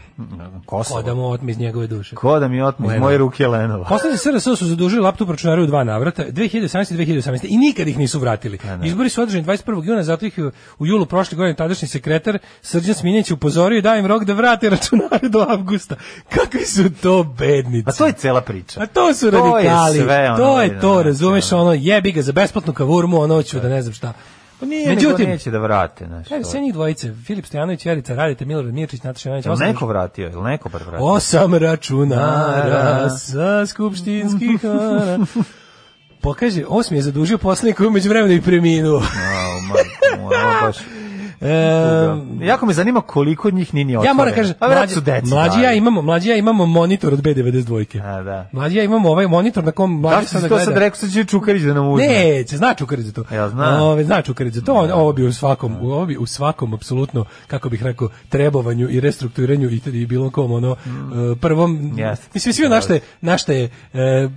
S7: Kosovo.
S6: Kodamo otme iz njegove duše.
S7: Ko da mi otme iz
S6: da Lenovo.
S7: moje ruke Lenovo.
S6: Poslanici SRS su zadužili laptop računaru u dva navrata, 2017 i 2018 i nikad ih nisu vratili. Izbori su održani 21. juna, zato ih je u julu prošle godine tadašnji sekretar Srđan Sminjeć upozorio i dao im rok da vrate računare do avgusta. Kakvi su to bednici?
S7: A Pa to je cela priča.
S6: A to su
S7: To je
S6: radikali.
S7: sve ono,
S6: to je to,
S7: da,
S6: razumeš,
S7: da.
S6: ono jebi ga za besplatnu kavurmu, ono hoću da ne znam šta.
S7: Pa nije, Međutim,
S6: Međutim,
S7: neće da vrate. Znaš,
S6: Kaže,
S7: to.
S6: sve njih dvojice, Filip Stojanović, Jerica, Radite, Milorad Mirčić, Nataša Jovanović,
S7: Jel
S6: osam-
S7: neko vratio? Jel neko bar vratio?
S6: Osam računara sa skupštinskih ara. Pokaže, osmi je zadužio poslanika koji umeđu vremenu i preminuo.
S7: Au, majko moja, ovo baš tuga.
S6: Ehm,
S7: Jako me zanima koliko od njih nije ni otvoreno.
S6: ja moram kažem,
S7: A Pa
S6: mlađi,
S7: vjerojatno su deca,
S6: mlađi ja
S7: da.
S6: imamo, mlađi ja imamo monitor od B92.
S7: A, da.
S6: Mlađi ja imamo ovaj monitor na kom
S7: Da li
S6: mlađi
S7: si
S6: sada
S7: to sad
S6: gleda.
S7: rekao, sad će Čukarić da nam uzme?
S6: Neće, zna Čukarić za to.
S7: Jel zna?
S6: Ove, zna Čukarić za to, on, ovo bi u svakom, u, ovo bi u svakom apsolutno, kako bih rekao, trebovanju i restrukturiranju i, i bilo kom, ono, e, prvom,
S7: Mm. Jeste.
S6: mislim, svi našte je, na šta je e,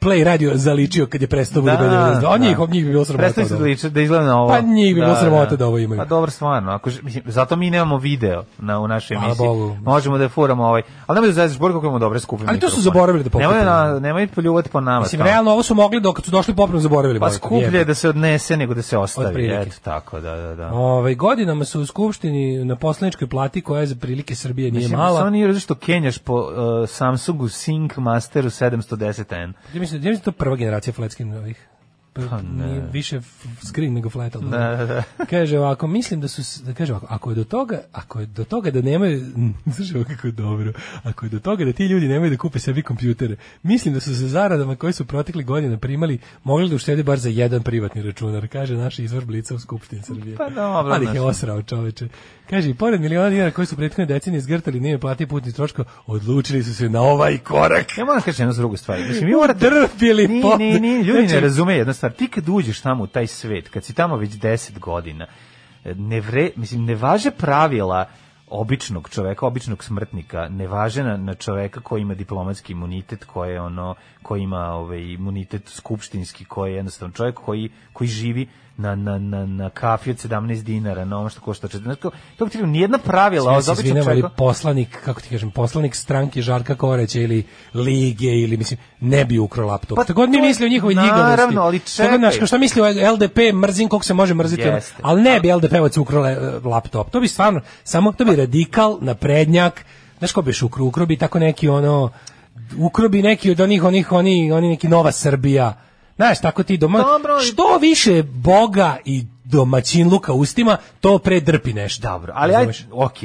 S6: Play radio zaličio kad je prestao da,
S7: Da,
S6: da, On
S7: da.
S6: njih, njih bi bilo sramota.
S7: Prestani se
S6: od
S7: da
S6: ovoga.
S7: liče, da izgleda na ovo.
S6: Pa njih bi bilo sramota da ovo imaju.
S7: Pa dobro, stvarno. Ako, ž- mislim, zato mi nemamo video na, u našoj
S6: Hvala
S7: emisiji.
S6: Bogu.
S7: Možemo da je furamo ovaj. Ali nemoj da zajedeš bor kako imamo dobre skupine.
S6: Ali to su zaboravili da pokupimo.
S7: Nemoj, na, nemoj poljuvati po nama.
S6: Mislim,
S7: tamo.
S6: realno ovo su mogli dok su došli popravno zaboravili.
S7: Pa
S6: Bojan,
S7: skuplje je
S6: jebe.
S7: da se odnese nego da se ostavi.
S6: Otprilike.
S7: Eto, tako, da, da, da.
S6: Ovaj, godinama su u skupštini na poslaničkoj plati koja je za prilike Srbije nije
S7: Mislim,
S6: mala.
S7: Samo nije različno što Kenjaš po uh, Samsungu Sync Masteru 710N.
S6: Ja mislim, ja mislim da je to prva generacija flat screen ovih. Pa, nije više f- screen nego flat, ali dobro.
S7: Da, da.
S6: Kaže ovako, mislim da su s- da kaže ovako, ako je do toga, ako je do toga da nemaju, slušaj ovo kako je dobro. Ako je do toga da ti ljudi nemaju da kupe sebi kompjutere, mislim da su se zaradama koje su protekle godine primali mogli da uštede bar za jedan privatni računar, kaže naš izvor Blica u Skupštini Srbije.
S7: Pa dobro,
S6: Ali ih je
S7: znaš.
S6: osrao čoveče. Kaže, i pored miliona dinara koji su prethodne decenije zgrtali, nije platili putni troško, odlučili su se na ovaj korak.
S7: Ja moram kaži jednu drugu stvar. Mislim, vi morate...
S6: Drpili
S7: Ni,
S6: pod-
S7: ni, ni, ljudi ne
S6: Znači-
S7: razume jednu stvar. Ti kad uđeš tamo u taj svet, kad si tamo već 10 godina, ne, vre, mislim, ne važe pravila običnog čoveka, običnog smrtnika, ne važe na, na čoveka koji ima diplomatski imunitet, koji je ono, koji ima ovaj imunitet skupštinski, koji je jednostavno čovjek koji, koji živi na, na, na, na kafi od 17 dinara, na ono što košta 14. Znači, to- to bi ti nijedna pravila
S6: Ja
S7: od
S6: se
S7: običnog
S6: izvinjam, ali
S7: čoveka...
S6: poslanik, kako ti kažem, poslanik stranke Žarka Koreća ili Lige ili mislim ne bi ukro laptop.
S7: Pa
S6: Pa god mi
S7: to je-
S6: misli o njihovoj
S7: naravno,
S6: njihovosti.
S7: ali čekaj.
S6: Znaš, kao šta misli o LDP, mrzim koliko se može mrziti. ono,
S7: Jeste.
S6: Ali ne bi LDP-ovac ukro le- laptop. To bi stvarno, samo to bi radikal, naprednjak, znaš ko bi ukro, ukro bi tako neki ono, ukro bi neki od onih, onih, oni, oni neki Nova Srbija. Znaš, tako ti doma,
S7: Dobro, ali-
S6: što više Boga i domaćin luka ustima, to predrpi nešto.
S7: Dobro, ali ajde,
S6: Razumeš?
S7: ok,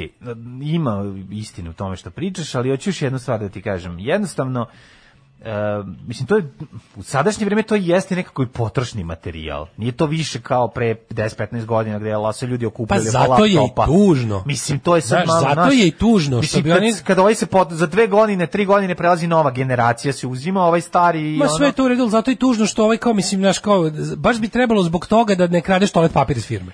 S7: ima istine u tome što pričaš, ali hoću još jednu stvar da ti kažem. Jednostavno, e, mislim, to je, u sadašnje vrijeme to jeste nekako i potrošni materijal. Nije to više kao pre 10-15 godina gdje la se ljudi okupili
S6: Pa zato je i tužno.
S7: Mislim, to je sad
S6: Znaš,
S7: malo,
S6: zato je i tužno što
S7: Mislim,
S6: bi
S7: kad,
S6: oni-
S7: kad ovaj se pot, za dve godine, tri godine prelazi nova generacija, se uzima ovaj stari i
S6: Ma
S7: ono...
S6: sve je to u redu, ali zato je i tužno što ovaj kao, mislim, naš kao, baš bi trebalo zbog toga da ne kradeš toalet papir iz firme.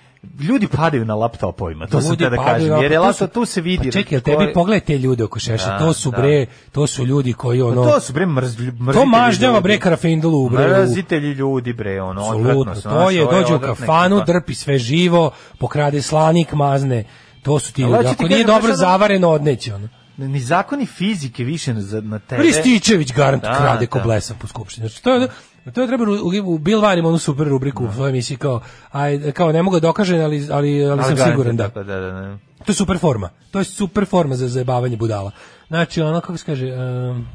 S7: Ljudi padaju na laptopovima, to sam
S6: Ljudi
S7: te da
S6: padaju,
S7: kažem.
S6: a,
S7: Jer
S6: pa
S7: je
S6: to
S7: laptop,
S6: su-
S7: tu se vidi. znači,
S6: Pa čekaj, jel
S7: ko
S6: tebi
S7: je-
S6: pogledaj te ljude oko šeša,
S7: Da,
S6: to su
S7: da.
S6: bre, to su ljudi koji ono...
S7: Pa to su bre mrzlj, mrzitelji
S6: to mažnjava
S7: ljudi.
S6: bre karafindulu, bre. u-
S7: Mrazitelji ljudi bre, ono,
S6: Apsolutno,
S7: odvratno. ovaj
S6: to je, dođe u kafanu, drpi sve živo, pokrade slanik, mazne. To su ti
S7: Ali
S6: ljudi.
S7: hoću ti
S6: Ako nije
S7: kažem,
S6: dobro
S7: znaš, ono- E,
S6: zavareno, odneće ono.
S7: Ni zakoni fizike više na, za- na tebe.
S6: Ristićević garant
S7: e. Da,
S6: krade ko
S7: da.
S6: blesav po skupštini. Znači, to je to je treba u, u Bill Varimo onu super rubriku
S7: Da.
S6: u svojoj emisiji kao aj kao ne mogu da dokažem ali ali ali sam
S7: garant je
S6: siguran da.
S7: tako, da, da, da.
S6: To je super forma. To je super forma za zajebavanje budala. Znači ono kako se kaže um,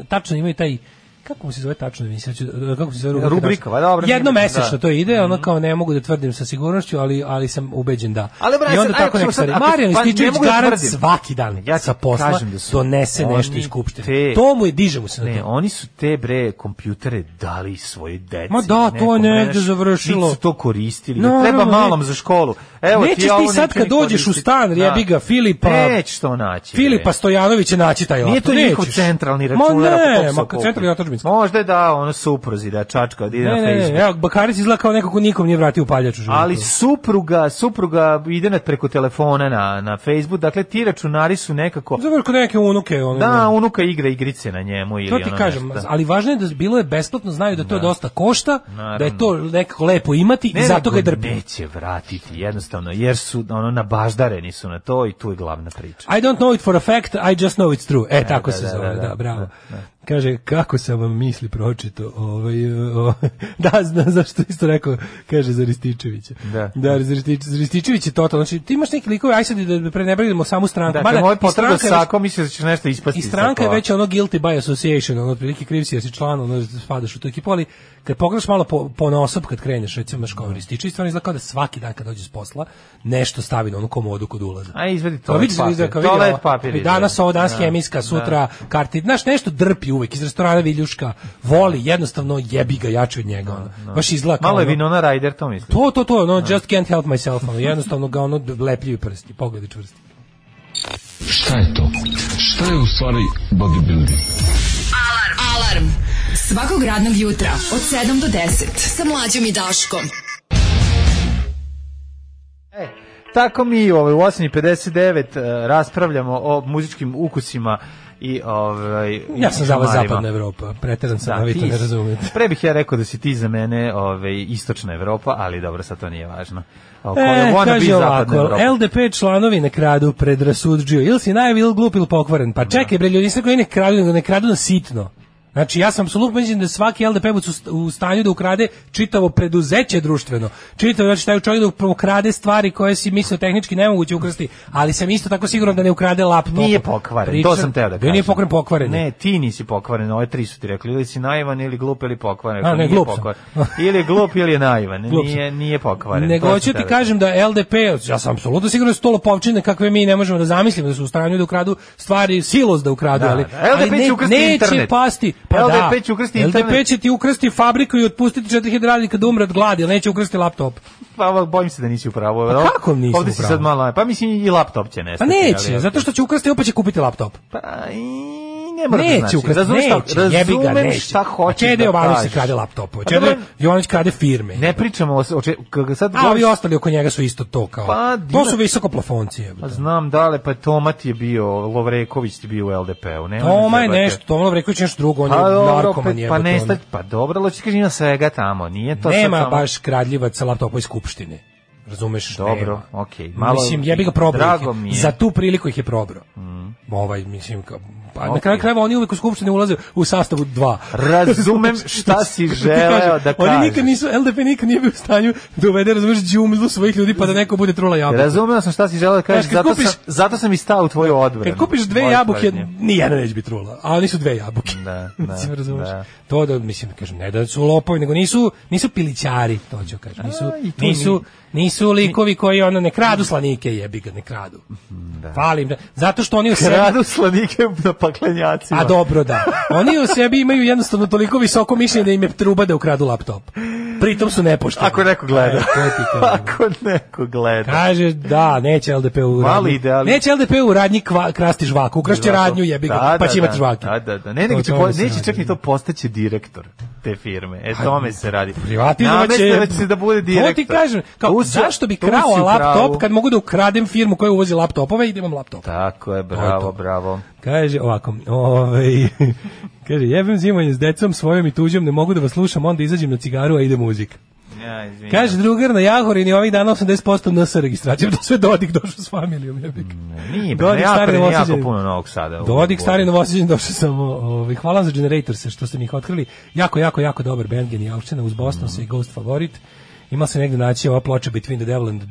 S6: e, tačno imaju taj kako mu se zove tačno emisija, Hoću da- kako mu se zove rubrika?
S7: Rubrika,
S6: tačno?
S7: pa dobro, nije
S6: Jedno
S7: bitno,
S6: mesečno
S7: da.
S6: to ide, ono kao ne mogu da tvrdim sa sigurnošću, ali ali sam ubeđen da.
S7: Ali, brate,
S6: I onda
S7: sad,
S6: tako
S7: ajde,
S6: neka
S7: sad,
S6: stvari.
S7: ako-
S6: Marijan
S7: pa ne
S6: Rističević
S7: mogu da
S6: garant
S7: tvrdim.
S6: svaki dan
S7: Ja ti
S6: sa posla
S7: kažem da su
S6: donese nešto
S7: oni
S6: iz skupštine.
S7: te-
S6: To mu je diže mu se na
S7: Ne,
S6: to.
S7: oni su te bre kompjutere dali svoje deci.
S6: Ma da, to je
S7: Nekom,
S6: negde
S7: znaš,
S6: završilo.
S7: niti su to koristili. Da
S6: Naravno,
S7: treba
S6: ne.
S7: malom za školu. Evo
S6: Nećeš
S7: ti,
S6: ti
S7: ovo
S6: sad
S7: neće
S6: kad
S7: ni
S6: dođeš u
S7: koristiti. Da.
S6: stan, jebi ga, Filipa-
S7: Nećeš to naći. bre.
S6: Filipa Stojanović će naći taj laptop.
S7: Nije to njihov
S6: nećeš.
S7: centralni računar.
S6: Ma
S7: ako to
S6: ne,
S7: psa
S6: ma
S7: kupi.
S6: centralni otadžbinski.
S7: Možda je da, ono supruzi da čačka, da ide na
S6: Ne, ne,
S7: Facebook.
S6: ne, evo, Bakaric izgleda kao neko ko nikom nije vratio paljač u životu.
S7: Ali supruga, supruga ide na preko telefona na, na Facebook, dakle ti računari su nekako...
S6: Završ kod neke unuke. Ono,
S7: Pa- Da, unuka igra igrice na njemu ili
S6: To ti
S7: ono
S6: kažem,
S7: nešto.
S6: ali važno je da bilo je besplatno, znaju da to dosta košta, da je to nekako lepo imati i zato
S7: nego
S6: ga je drpi.
S7: Neće vratiti, jednostavno, jer su ono nabaždareni su na to i tu je glavna priča.
S6: I don't know it for a fact, I just know it's true. E, tako
S7: da,
S6: se
S7: da,
S6: zove, da,
S7: da, da,
S6: bravo.
S7: da,
S6: Kaže, kako sam vam misli pročito, ovaj, eh, o- da, znam zašto isto rekao, kaže za Rističevića.
S7: Da.
S6: da za Ristič- za Rističević je totalno, znači, ti imaš neki likove, aj sad da pre ne brinemo samu stranku.
S7: Da,
S6: Mada,
S7: kad moj
S6: i stranka
S7: potreba
S6: je već-
S7: sako, misliš da će nešto ispasti.
S6: I
S7: sa
S6: stranka je
S7: toga.
S6: već ono guilty by association, ono otprilike kriv si jer si član, ono spadaš u tu ekipu, ali kad pogledaš malo po, po osob kad kreneš, recimo naš kao rističe, i stvarno izgleda kao da svaki dan kad dođe s posla, nešto stavi na onu komodu kod ulaza.
S7: A izvedi
S6: To
S7: toalet
S6: vidiš da izgleda kao
S7: papir. Toalet
S6: vidi ovo,
S7: papir.
S6: i danas
S7: izvedi.
S6: ovo, danas
S7: Da.
S6: hemijska, sutra karti, znaš nešto drpi uvek iz restorana Viljuška, voli, jednostavno jebi ga jače od njega, ono. baš izgleda kao
S7: Da, Malo je Da.
S6: ono-
S7: Vinona Ryder, to mislim.
S6: To, to, to, ono, just can't help myself, ono, jednostavno ga ono lepljivi prsti, pogledi čvrsti.
S2: Šta je to? Šta je u stvari bodybuilding?
S5: Alarm. Alarm. Svakog radnog jutra od 7 do 10 sa mlađom i Daškom.
S7: E, tako mi ovaj, u 8.59 e, raspravljamo o muzičkim ukusima i ovaj i
S6: Ja sam za vas
S7: šumarima.
S6: zapadna Evropa, preteran sam, da, vi to
S7: ti
S6: ne
S7: si.
S6: razumete.
S7: Pre bih ja rekao da si ti za mene ovaj, istočna Evropa, ali dobro, sad to nije važno. O,
S6: E,
S7: wanna be
S6: kaže
S7: zapadna
S6: ovako,
S7: Evropa.
S6: LDP članovi ne kradu predrasudžio, ili si najvi, ili glup, ili pokvaren.
S7: Da.
S6: Pa čekaj, bre, ljudi, nisam koji ne kradu, nego ne kradu na sitno. Znači, ja sam apsolutno mislim da je svaki ldp -ovac u st- u stanju da ukrade čitavo preduzeće društveno. Čitavo, znači, taj čovjek da ukrade stvari koje si mislio tehnički nemoguće ukrasti, ali sam isto tako siguran da ne ukrade laptop.
S7: Nije pokvaren, to sam teo da kažem.
S6: Nije pokvaren, pokvaren. je.
S7: Ne, ti nisi pokvaren, ove tri su ti rekli. Ili si naivan, ili glup, ili pokvaren.
S6: A,
S7: Ako
S6: ne,
S7: nije
S6: glup sam.
S7: pokvaren. ili je glup, ili je naivan.
S6: Glup sam.
S7: nije, nije pokvaren.
S6: Nego
S7: to sam
S6: hoću
S7: teo
S6: ti
S7: da
S6: kažem da LDP, ja sam apsolutno siguran da su to lopovčine kakve mi ne možemo da zamislimo da su u stranju da ukradu stvari, silos da ukradu,
S7: Da,
S6: ali,
S7: da. LDP
S6: ali
S7: će ukrasti
S6: neće
S7: internet.
S6: pasti. Pa
S7: LDP
S6: da.
S7: će ukrasti
S6: LDP
S7: internet.
S6: će ti ukrasti fabriku i otpustiti 4000 radnika da umre od gladi, ali neće ukrasti laptop.
S7: Pa ovo, bojim se da nisi u pravu.
S6: Pa kako nisam
S7: Ovde
S6: u
S7: si
S6: pravu?
S7: sad malo... Pa mislim i laptop će
S6: Pa
S7: nestati.
S6: neće,
S7: ali-
S6: zato što će ukrasti i opet će kupiti laptop.
S7: Pa i ne mora
S6: neće
S7: da znači.
S6: ukrasti,
S7: Razumem šta-
S6: neće, jebi ga,
S7: razumem
S6: neće.
S7: šta hoćeš
S6: Čede
S7: da
S6: Jovanović se
S7: kažeš.
S6: krade laptopove,
S7: Pa
S6: Čede
S7: dobro,
S6: Jovanović krade firme.
S7: Ne pričamo o... o če, k- sad
S6: A ovi
S7: dođeš-
S6: ostali oko njega su isto to kao.
S7: Pa,
S6: to
S7: Dino-
S6: su visoko plafonci. jebote.
S7: Pa znam, dale, pa Toma ti je bio, Lovreković ti je bio u LDP-u. nema
S6: Toma
S7: ne
S6: je
S7: zajebate.
S6: nešto, Toma Lovreković je nešto drugo, on je
S7: Pa dobro,
S6: narkoman
S7: opet,
S6: jebote,
S7: pa
S6: ono.
S7: nesta, pa dobro, loći kaži ima svega tamo, nije to
S6: nema
S7: sad samo-
S6: baš kradljivac sa laptopa iz skupštine. Razumeš?
S7: Dobro,
S6: nema.
S7: okej, malo-
S6: mislim, ja bih ga probao.
S7: Drago
S6: ih je.
S7: mi je. Mm.
S6: Za tu priliku ih je probao. Ovaj, mislim, kao, pa na
S7: Okej.
S6: kraju krajeva oni uvek u skupštine ulaze u sastavu dva.
S7: Razumem šta si
S6: Ti
S7: želeo
S6: kažem,
S7: da
S6: Oni
S7: kažeš.
S6: nikad nisu, LDP nikad nije bio u stanju da uvede, razumeš, džumlu svojih ljudi pa da neko bude trula jabuka.
S7: Razumeo sam šta si želeo da kažeš,
S6: Znaš, kad
S7: zato,
S6: kupiš-
S7: sam, zato sam i stao u tvoju odbranu.
S6: Kad kupiš dve
S7: Moje
S6: jabuke,
S7: tvrdnje.
S6: ni jedna neće biti trula, a oni su dve jabuke.
S7: Da,
S6: mislim,
S7: da,
S6: razumeš?
S7: da.
S6: To da mislim kažem ne da su lopovi, nego nisu nisu pilićari, to ću kažem. Nisu
S7: A, i tu
S6: nisu nisu likovi koji ono ne kradu slanike, jebi ga, ne kradu. Da. Falim da zato što oni u sebi
S7: Kradu slanike na paklenjacima.
S6: A dobro da. Oni u sebi imaju jednostavno toliko visoko mišljenje da im je truba da ukradu laptop. Pritom su nepošteni.
S7: Ako neko gleda.
S6: E, to ti kažem.
S7: Ako neko gleda.
S6: Kaže da, neće LDP u
S7: Mali
S6: radnji.
S7: ideali.
S6: Neće LDP u radnji kva, krasti žvaku, ukrašće radnju, jebi ga,
S7: Da,
S6: pa
S7: da,
S6: će imati
S7: da,
S6: žvake.
S7: Da, da, da. Ne, nego
S6: O
S7: će,
S6: tome
S7: po,
S6: se
S7: neće
S6: radi.
S7: čak ni to postaće direktor te firme. E, tome se radi.
S6: Privatizovat će.
S7: Namestila će se da bude
S6: To
S7: direktor.
S6: ti kažem, kao,
S7: Tu si-
S6: zašto bi
S7: tu si u
S6: krao
S7: pravu.
S6: laptop kad mogu da ukradem firmu koja uvozi laptopove i da imam laptop.
S7: Tako je,
S6: To je to.
S7: bravo, bravo.
S6: Kaže ovako, ovaj, kaže, jebem zimovanje s decom svojom i tuđom, ne mogu da vas slušam, onda izađem na cigaru, a ide muzika.
S7: Ja, izvinjam.
S6: Kaže drugar na Jahorini ovih dana 80% NS registracija, da sve Dodik došao s familijom, jebik.
S7: Nije,
S6: Dodik,
S7: Dodik, ja
S6: stari
S7: stari jako
S6: Novosađanin.
S7: puno novog sada. u
S6: Dodik
S7: Bogu.
S6: stari novosađen došao sam, ovaj, hvala vam za Generatorse što ste mi ih otkrili. Jako, jako, jako dobar band, genijalština, uz Boston se i Ghost favorit. Ima se negde naći ova ploča Between the Devil and uh,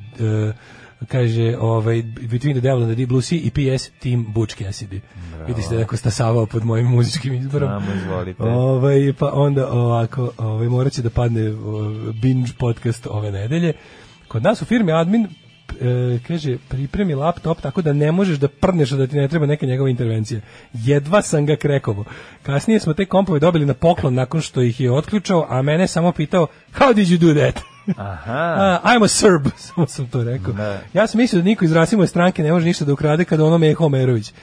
S6: kaže, ovaj, Between the Devil and the Deep Blue Sea i PS Team Butch Cassidy. Vidi se da je neko stasavao pod mojim muzičkim izborom.
S7: Samo izvolite.
S6: Ovaj, pa onda ovako, ovaj, morat će da padne o, binge podcast ove nedelje. Kod nas u firmi admin e, kaže, pripremi laptop tako da ne možeš da prneš a da ti ne treba neke njegove intervencije. Jedva sam ga krekovo. Kasnije smo te kompove dobili na poklon nakon što ih je otključao, a mene je samo pitao, how did you do that?
S7: Aha.
S6: A, I'm a Serb, samo sam to rekao.
S7: Da.
S6: Ja sam mislio da niko iz Rasimove stranke ne može ništa da ukrade kada ono Meho Omerović.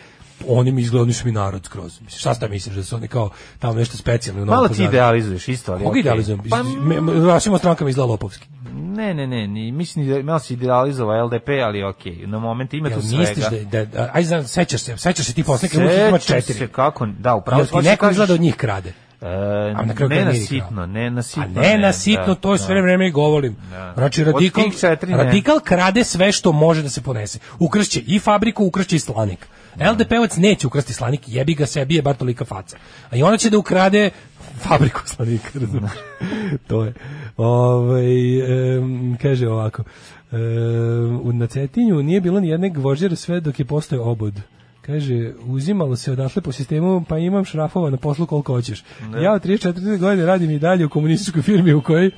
S6: Oni mi izgledali su mi narod skroz. Mislim, šta sta misliš da su oni kao tamo nešto specijalno? u Novom
S7: Malo ti
S6: Pazaru?
S7: da. idealizuješ isto, ali
S6: Koga
S7: okej.
S6: idealizujem?
S7: Pa,
S6: Okay. Pa, Rasimova stranka mi izgleda lopovski.
S7: ne, ne, ne, ni, mislim da malo si idealizovao LDP, ali okej, na moment ima
S6: Jel
S7: tu svega.
S6: misliš da, da, da aj znam, sećaš se, sećaš se ti poslanika, Vučić
S7: Sećam
S6: ima četiri.
S7: se kako, da, upravo
S6: Jel
S7: si,
S6: ti
S7: hoćeš
S6: neko
S7: kažeš-
S6: izgleda od njih krade?
S7: E,
S6: A na kraju
S7: ne
S6: krajeva
S7: na
S6: nije ni
S7: sitno,
S6: krao.
S7: pa ne da. na sitno.
S6: A ne na sitno, to je sve vreme i govorim. Znači,
S7: Od
S6: radikal,
S7: tih četiri ne.
S6: radikal krade sve što može da se ponese. Ukršće i fabriku, ukršće i slanik. LDP-ovac neće ukrasti slanik, jebi ga sebi, je bar tolika faca. A i ona će da ukrade fabriku slanika, razumiješ? to je. Ovaj, em, kaže ovako, em, u na Cetinju nije bilo ni jedne gvožđere sve dok je postao obod. Kaže, uzimalo se odatle po sistemu, pa imam šrafova na poslu koliko hoćeš.
S7: Da.
S6: Ja od 34 godine radim i dalje u komunističkoj firmi u kojoj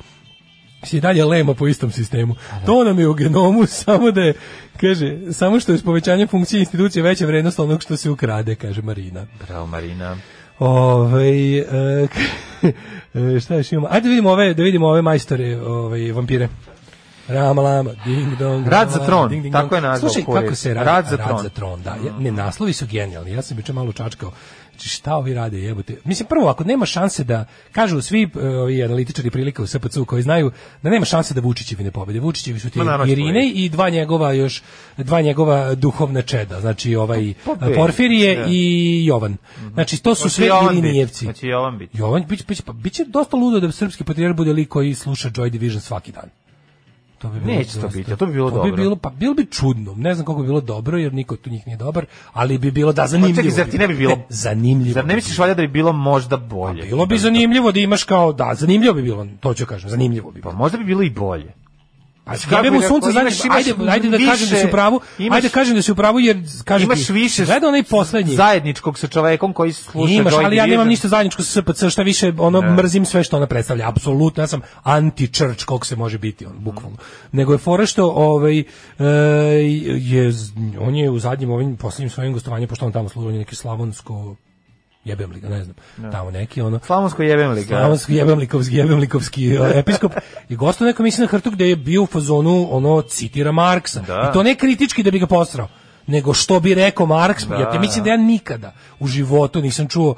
S6: se i dalje lema po istom sistemu. To nam je u genomu, samo da je, kaže, samo što je s povećanjem funkcije institucije veća vrednost onog što se ukrade, kaže Marina.
S7: Bravo, Marina.
S6: Ove, e, k- e, šta još imamo? Ajde da vidimo ove, da vidimo ove majstore, ove vampire. Rama lama, ding dong.
S7: Rad
S6: rama
S7: za
S6: lama,
S7: tron,
S6: ding, ding,
S7: tako
S6: dong.
S7: je nazvao
S6: Slušaj,
S7: kurir.
S6: kako se radi,
S7: Rad za tron.
S6: da. Ja- Ne, naslovi su genijalni. Ja sam juče malo čačkao. Znači, šta ovi rade, jebote? Mislim, prvo, ako nema šanse da, kažu svi e, ovi analitičari prilika u SPC-u koji znaju da nema šanse da Vučićevi ne pobede. Vučićevi su ti
S7: Ma, naravno da će
S6: Irine i dva njegova još, dva njegova duhovna čeda. Znači, ovaj
S7: Pa, pobedi,
S6: Porfirije
S7: da.
S6: i Jovan. Znači, to su
S7: Hoće
S6: sve
S7: Jovan biti,
S6: Irinijevci.
S7: hoće Jovan biti.
S6: Jovan biće, biće, pa, biće dosta ludo da srpski patrijarh bude lik koji sluša Joy Division svaki dan. To bi bilo
S7: Neće to biti, a to bi bilo
S6: Bi
S7: dobro.
S6: bilo, pa bilo bi čudno. Ne znam kako bi bilo dobro, jer niko tu njih nije dobar, ali bi bilo da
S7: Pa
S6: zanimljivo.
S7: čekaj, zar ti ne bi bilo...
S6: Ne, zanimljivo.
S7: Zar ne
S6: bi
S7: misliš valjda da bi bilo možda bolje?
S6: bilo. Pa Bilo bi zanimljivo da imaš kao, da, zanimljivo bi bilo, to ću kažem, zanimljivo bi
S7: Pa
S6: bilo.
S7: možda bi bilo i bolje.
S6: Pa,
S7: mislim,
S6: ja
S7: kako
S6: bih
S7: bi
S6: mu
S7: rekao,
S6: sunce,
S7: imaš-
S6: znaš,
S7: imaš
S6: ajde, ajde da kažem da si u
S7: više-
S6: pravu,
S7: imaš-
S6: ajde da kažem da si u pravu, jer kažem
S7: Imaš
S6: ti,
S7: više
S6: gleda onaj poslednji.
S7: zajedničkog sa čovekom koji sluša
S6: Imaš,
S7: Joy
S6: ali ja nemam
S7: Division.
S6: ništa zajedničko sa SPC, šta više, ono, mrzim sve što ona predstavlja, apsolutno, ja sam anti-church, koliko se može biti, on, bukvalno. Nego je fora što, ovaj, e, je, z- on je u zadnjim ovim, poslednjim svojim gostovanjem, pošto on tamo služi, on je neki slavonsko, jebem li ga, ne znam, tamo neki, ono,
S7: Slavonsko jebem li ga.
S6: Slavonski jebem likovski, jebem likovski e, episkop. I gosto neko mislim na hrtu gde je bio u fazonu, ono, citira Marksa.
S7: Da.
S6: I to ne kritički da bi ga posrao, nego što bi rekao Marks. ja te mislim da ja nikada u životu nisam čuo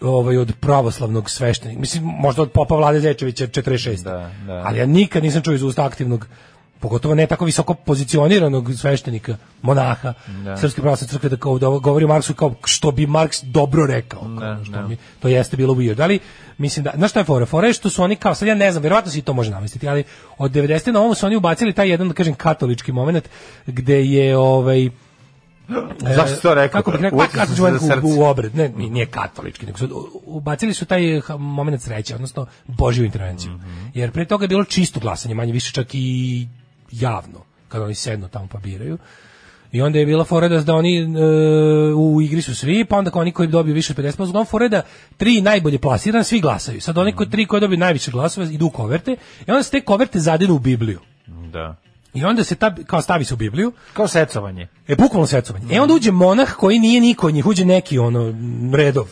S6: ovaj od pravoslavnog sveštenika. Mislim možda od popa Vlade Zečevića 46.
S7: Da, da.
S6: Ali ja nikad nisam čuo iz usta aktivnog pogotovo ne tako visoko pozicioniranog sveštenika, monaha, Srpske pravoslavne crkve da kao da govori o Marksu kao što bi Marks dobro rekao. kao,
S7: Da,
S6: što
S7: da.
S6: mi- to jeste bilo weird, ali mislim da, znaš šta je fora? Fora je što su oni kao, sad ja ne znam, verovatno se i to može namestiti, ali od 90. na ovom su oni ubacili taj jedan, da kažem, katolički moment gde je, ovaj, e,
S7: Zašto si to rekao?
S6: Kako bih rekao, pa
S7: Uhvatio sam
S6: katolički
S7: se
S6: moment
S7: za srce.
S6: u, u obred, ne, ni- nije katolički, nego su, u- ubacili su taj eh, moment sreće, odnosno Božju intervenciju. Jer pre toga je bilo čisto glasanje, manje više čak i javno, kada oni sednu tamo pa biraju. I onda je bila fora da, da oni e, u igri su svi, pa onda kao oni koji dobiju više od 50%, uglavnom fora je da tri najbolje plasirani svi glasaju. Sad oni koji tri koji dobiju najviše glasova idu u koverte i onda se te koverte zadiru u Bibliju.
S7: Da.
S6: I onda se ta, kao stavi se u Bibliju,
S7: Kao secovanje.
S6: E, bukvalno secovanje. E, onda uđe monah koji nije niko od njih, uđe neki, ono, m, redov.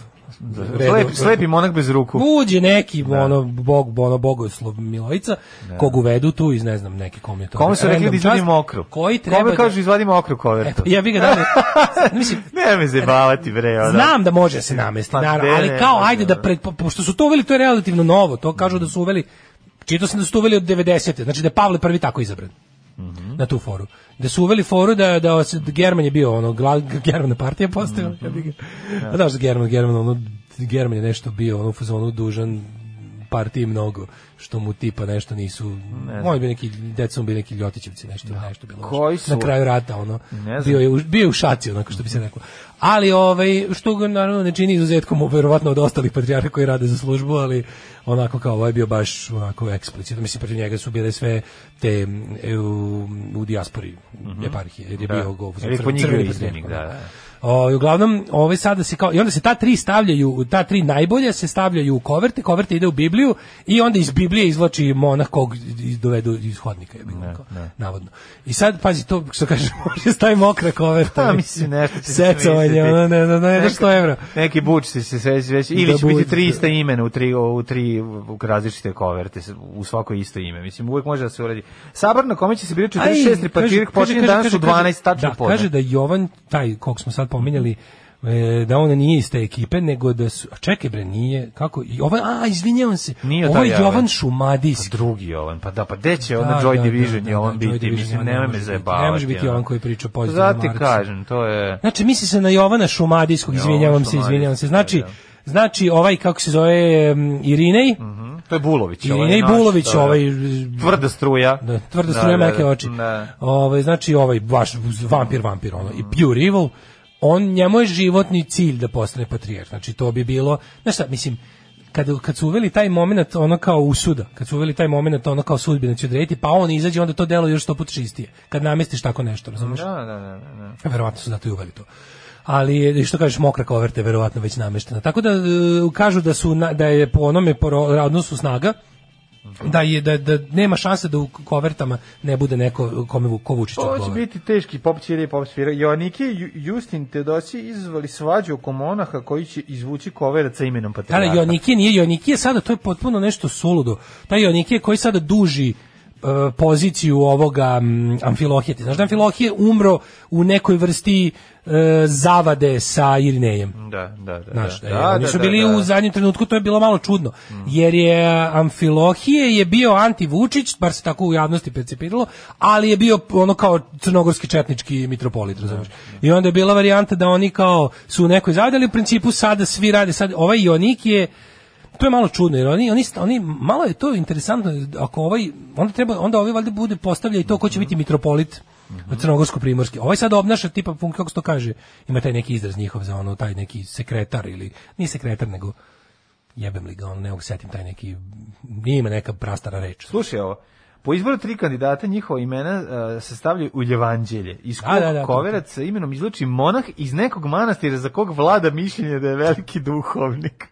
S7: Slep, Da. slepi monak bez ruku.
S6: Uđe neki,
S7: Da.
S6: ono, bog, ono, bogoslov Milojica, kog uvedu tu iz, ne znam, neke kom je to.
S7: Kome su rekli
S6: referendum
S7: da izvadimo
S6: čast,
S7: okru?
S6: Koji treba
S7: Kome
S6: da-
S7: kažu izvadimo okru
S6: E,
S7: kovertu?
S6: pa ja bih ga dali. Mislim,
S7: Ne me zebavati bre, ono.
S6: Znam da može se namesti,
S7: Pa
S6: naravno,
S7: ne,
S6: ali
S7: ne,
S6: kao
S7: ne,
S6: ajde
S7: ne.
S6: da pred, po- pošto su to uveli, to je relativno novo, to kažu da su uveli, čitao sam da su to uveli od 90. Znači da je Pavle prvi tako izabran. na tu foru. Da su uveli foru da, da, se- da German je bio ono, gla, German partija postavila. Ja bih ga. A znaš da German, German, ono, German je nešto bio ono, u fazonu dužan partiji mnogo, što mu tipa nešto nisu,
S7: znam. Da.
S6: oni bi neki, decom bi neki ljotićevci, nešto, nešto bilo. loše.
S7: Koji su-
S6: Na kraju rata, ono,
S7: Ne znam.
S6: bio je, u, bio je u šaci, onako što bi se reklo. Ali, ovaj, što ga naravno ne čini izuzetkom, verovatno od ostalih patrijarha koji rade za službu, ali onako kao ovo je bio baš onako eksplicitno. Mislim, protiv njega su bile sve te mm, e, u, u dijaspori eparhije, jer je
S7: Da.
S6: bio gov,
S7: Jer je kod njih bio
S6: crveni
S7: izdajnik,
S6: patrijarh,
S7: da, da.
S6: O, i Ovaj, uglavnom, ove sada se kao, i onda se ta tri stavljaju, ta tri najbolja se stavljaju u koverte, koverte ide u Bibliju i onda iz Biblije izvlači monah kog iz- dovedu iz hodnika, je bilo kao, navodno. I sad, pazi, to što kažeš, da može stavi mokra koverta.
S7: Pa, mislim, nešto ćeš
S6: da, Secovanje,
S7: misliti.
S6: ono, ne znam, ne, ne,
S7: Neka-
S6: što evra.
S7: Neki buč se se sve sveći,
S6: Da
S7: ili će
S6: buč,
S7: biti
S6: da.
S7: 300 imena u tri, u tri u različite koverte, s- u svako isto ime. Mislim, uvek može da se uradi. Sabor na kome će se birati
S6: Aj,
S7: 46. patrijarh
S6: kaže-
S7: počinje
S6: kaže-
S7: danas
S6: kaže-
S7: u 12
S6: kaže-
S7: tačno
S6: da,
S7: podne.
S6: Kaže da Jovan, taj kog smo sad pominjali, e, da on nije iz te ekipe, nego da su... A čekaj bre, nije, kako... Jovan, a, izvinjavam se,
S7: Nije
S6: ovo je
S7: taj Jovan.
S6: Jovan Šumadijski.
S7: Pa drugi Jovan, pa da, pa gde će onda Joy Division je on
S6: da, Joy
S7: biti,
S6: Division,
S7: mislim,
S6: on
S7: nemoj
S6: može
S7: me
S6: biti.
S7: zajebavati.
S6: Ne može biti
S7: ono.
S6: on koji priča pozitivno
S7: Zato ti
S6: Marksu.
S7: kažem, to je...
S6: Znači, misli se na Jovana Šumadijskog,
S7: Jovan
S6: izvinjavam se,
S7: Šumadijski,
S6: izvinjavam se. Znači,
S7: da, da.
S6: znači ovaj, kako se zove, em, Irinej,
S7: Mhm, To je Bulović.
S6: Irinej
S7: naš,
S6: Bulović,
S7: to je-
S6: ovaj...
S7: Tvrda struja.
S6: Da, tvrda struja
S7: da,
S6: meke
S7: da,
S6: oči.
S7: Da.
S6: Ovaj znači ovaj baš vampir vampir ono i pure evil, on njemu je životni cilj da postane patrijarh. Znači to bi bilo, znaš šta, mislim kad, kad su uveli taj momenat ono kao usuda, kad su uveli taj momenat ono kao sudbina će odrediti, pa on izađe onda to delo još sto put čistije. Kad namestiš tako nešto, razumeš?
S7: Da, da, da, da, da.
S6: Verovatno su zato i uveli to. Ali što kažeš mokra koverte je verovatno već nameštena. Tako da e, kažu da su na- da je po onome po ro- odnosu snaga da je da, da nema šanse da u kovertama ne bude neko kome vu- ko Vučić
S7: Ovo će
S6: odgovara.
S7: biti teški pop ćirije i pop svira. Joanike i Ju- Justin Tedosi izazvali svađu oko monaha koji će izvući koverat sa imenom
S6: Da,
S7: patrijarha.
S6: da, Jonikije nije Jonikije, sada to je potpuno nešto suludo. Taj Jonikije koji sada duži e, poziciju ovoga mm, Amfilohije. Ti Znaš da je Amfilohije umro u nekoj vrsti e, zavade sa Irinejem.
S7: Da, da, da.
S6: Znaš,
S7: da,
S6: da, je,
S7: da,
S6: oni
S7: da,
S6: su
S7: da,
S6: bili
S7: da.
S6: u zadnjem trenutku, to je bilo malo čudno, jer je Amfilohije je bio anti-Vučić, bar se tako u javnosti percipiralo, ali je bio ono kao crnogorski četnički mitropolit, razumiješ. I onda je bila varijanta da oni kao su u nekoj zavadi, ali u principu sada svi rade, sad ovaj Jonik je, to je malo čudno, jer oni, oni, oni malo je to interesantno, ako ovaj, onda treba, onda ovaj valjda bude postavlja i to ko će biti mitropolit crnogorsko-primorski. Ovaj sad obnaša tipa, fun- kako se to kaže, ima taj neki izraz njihov za ono, taj neki sekretar ili, nije sekretar, nego jebem li ga, on ne mogu setim taj neki, nije ima neka prastara reč.
S7: Slušaj ovo. Po izboru tri kandidata njihova imena uh, se stavljaju u ljevanđelje. Iz
S6: Da,
S7: kog
S6: da, da,
S7: koverat sa imenom izluči monah iz nekog manastira za kog vlada mišljenje da je veliki duhovnik.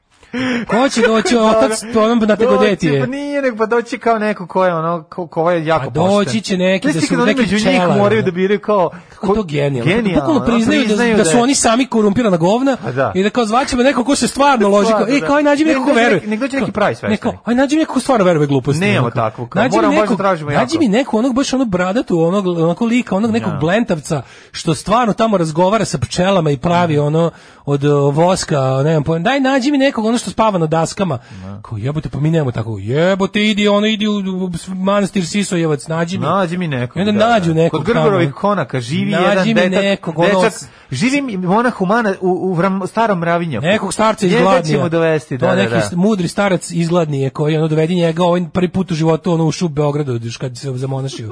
S6: Ko će doći otac onom na tegodeti
S7: Doći, Pa
S6: je?
S7: nije, nego pa doći kao neko ko je, ono, ko, ko je jako
S6: A Pa doći
S7: pošten.
S6: će neki da
S7: Znaš ti
S6: su
S7: kad oni
S6: neki
S7: među njih
S6: pčelari,
S7: moraju
S6: ono.
S7: da biraju kao...
S6: Kako je to genijalno.
S7: Genijalno.
S6: Bukvalno
S7: ono,
S6: priznaju, da, da su
S7: je-
S6: oni sami korumpirana govna
S7: Pa da.
S6: i da kao zvaćemo neko ko se stvarno loži. Kao,
S7: Stvarno,
S6: e,
S7: da.
S6: kao aj nađi mi
S7: Ne,
S6: neko ko
S7: dođe
S6: veruje.
S7: neki- nek dođe neki pravi sveštenik.
S6: Neko, aj e, nađi mi neko ko stvarno veruje gluposti.
S7: Nema
S6: Ono, kao,
S7: takvog, kao,
S6: nađi mi
S7: moramo baš
S6: nekog-
S7: da tražimo
S6: Nađi
S7: jako.
S6: mi neko, onog baš onog bradatu, onog, onako lika, onog nekog
S7: Ja.
S6: blentavca, što stvarno tamo razgovara sa pčelama i
S7: Da.
S6: pravi ono od o, voska, ne znam, pojma. daj nađi mi nekog ono što spava na daskama.
S7: Da.
S6: Kao jebote, pa mi nemamo tako, jebote, idi, ono, idi u, u manastir Sisojevac, nađi mi.
S7: Nađi mi nekog. da,
S6: I onda nađu nekog
S7: Kod Grgorovih
S6: tamo.
S7: konaka živi
S6: Nađi mi
S7: jedan dečak.
S6: nekog, ono,
S7: dečak
S6: s-
S7: živi mi monah u, mana, u, u vram, starom ravinjaku.
S6: Nekog starca iz
S7: Njega
S6: Gladnija.
S7: ćemo dovesti,
S6: to
S7: da, da,
S6: neki
S7: da.
S6: mudri starac iz Gladnije koji ono dovedi njega, on prvi put u životu ono ušao u Beogradu još kad se zamonašio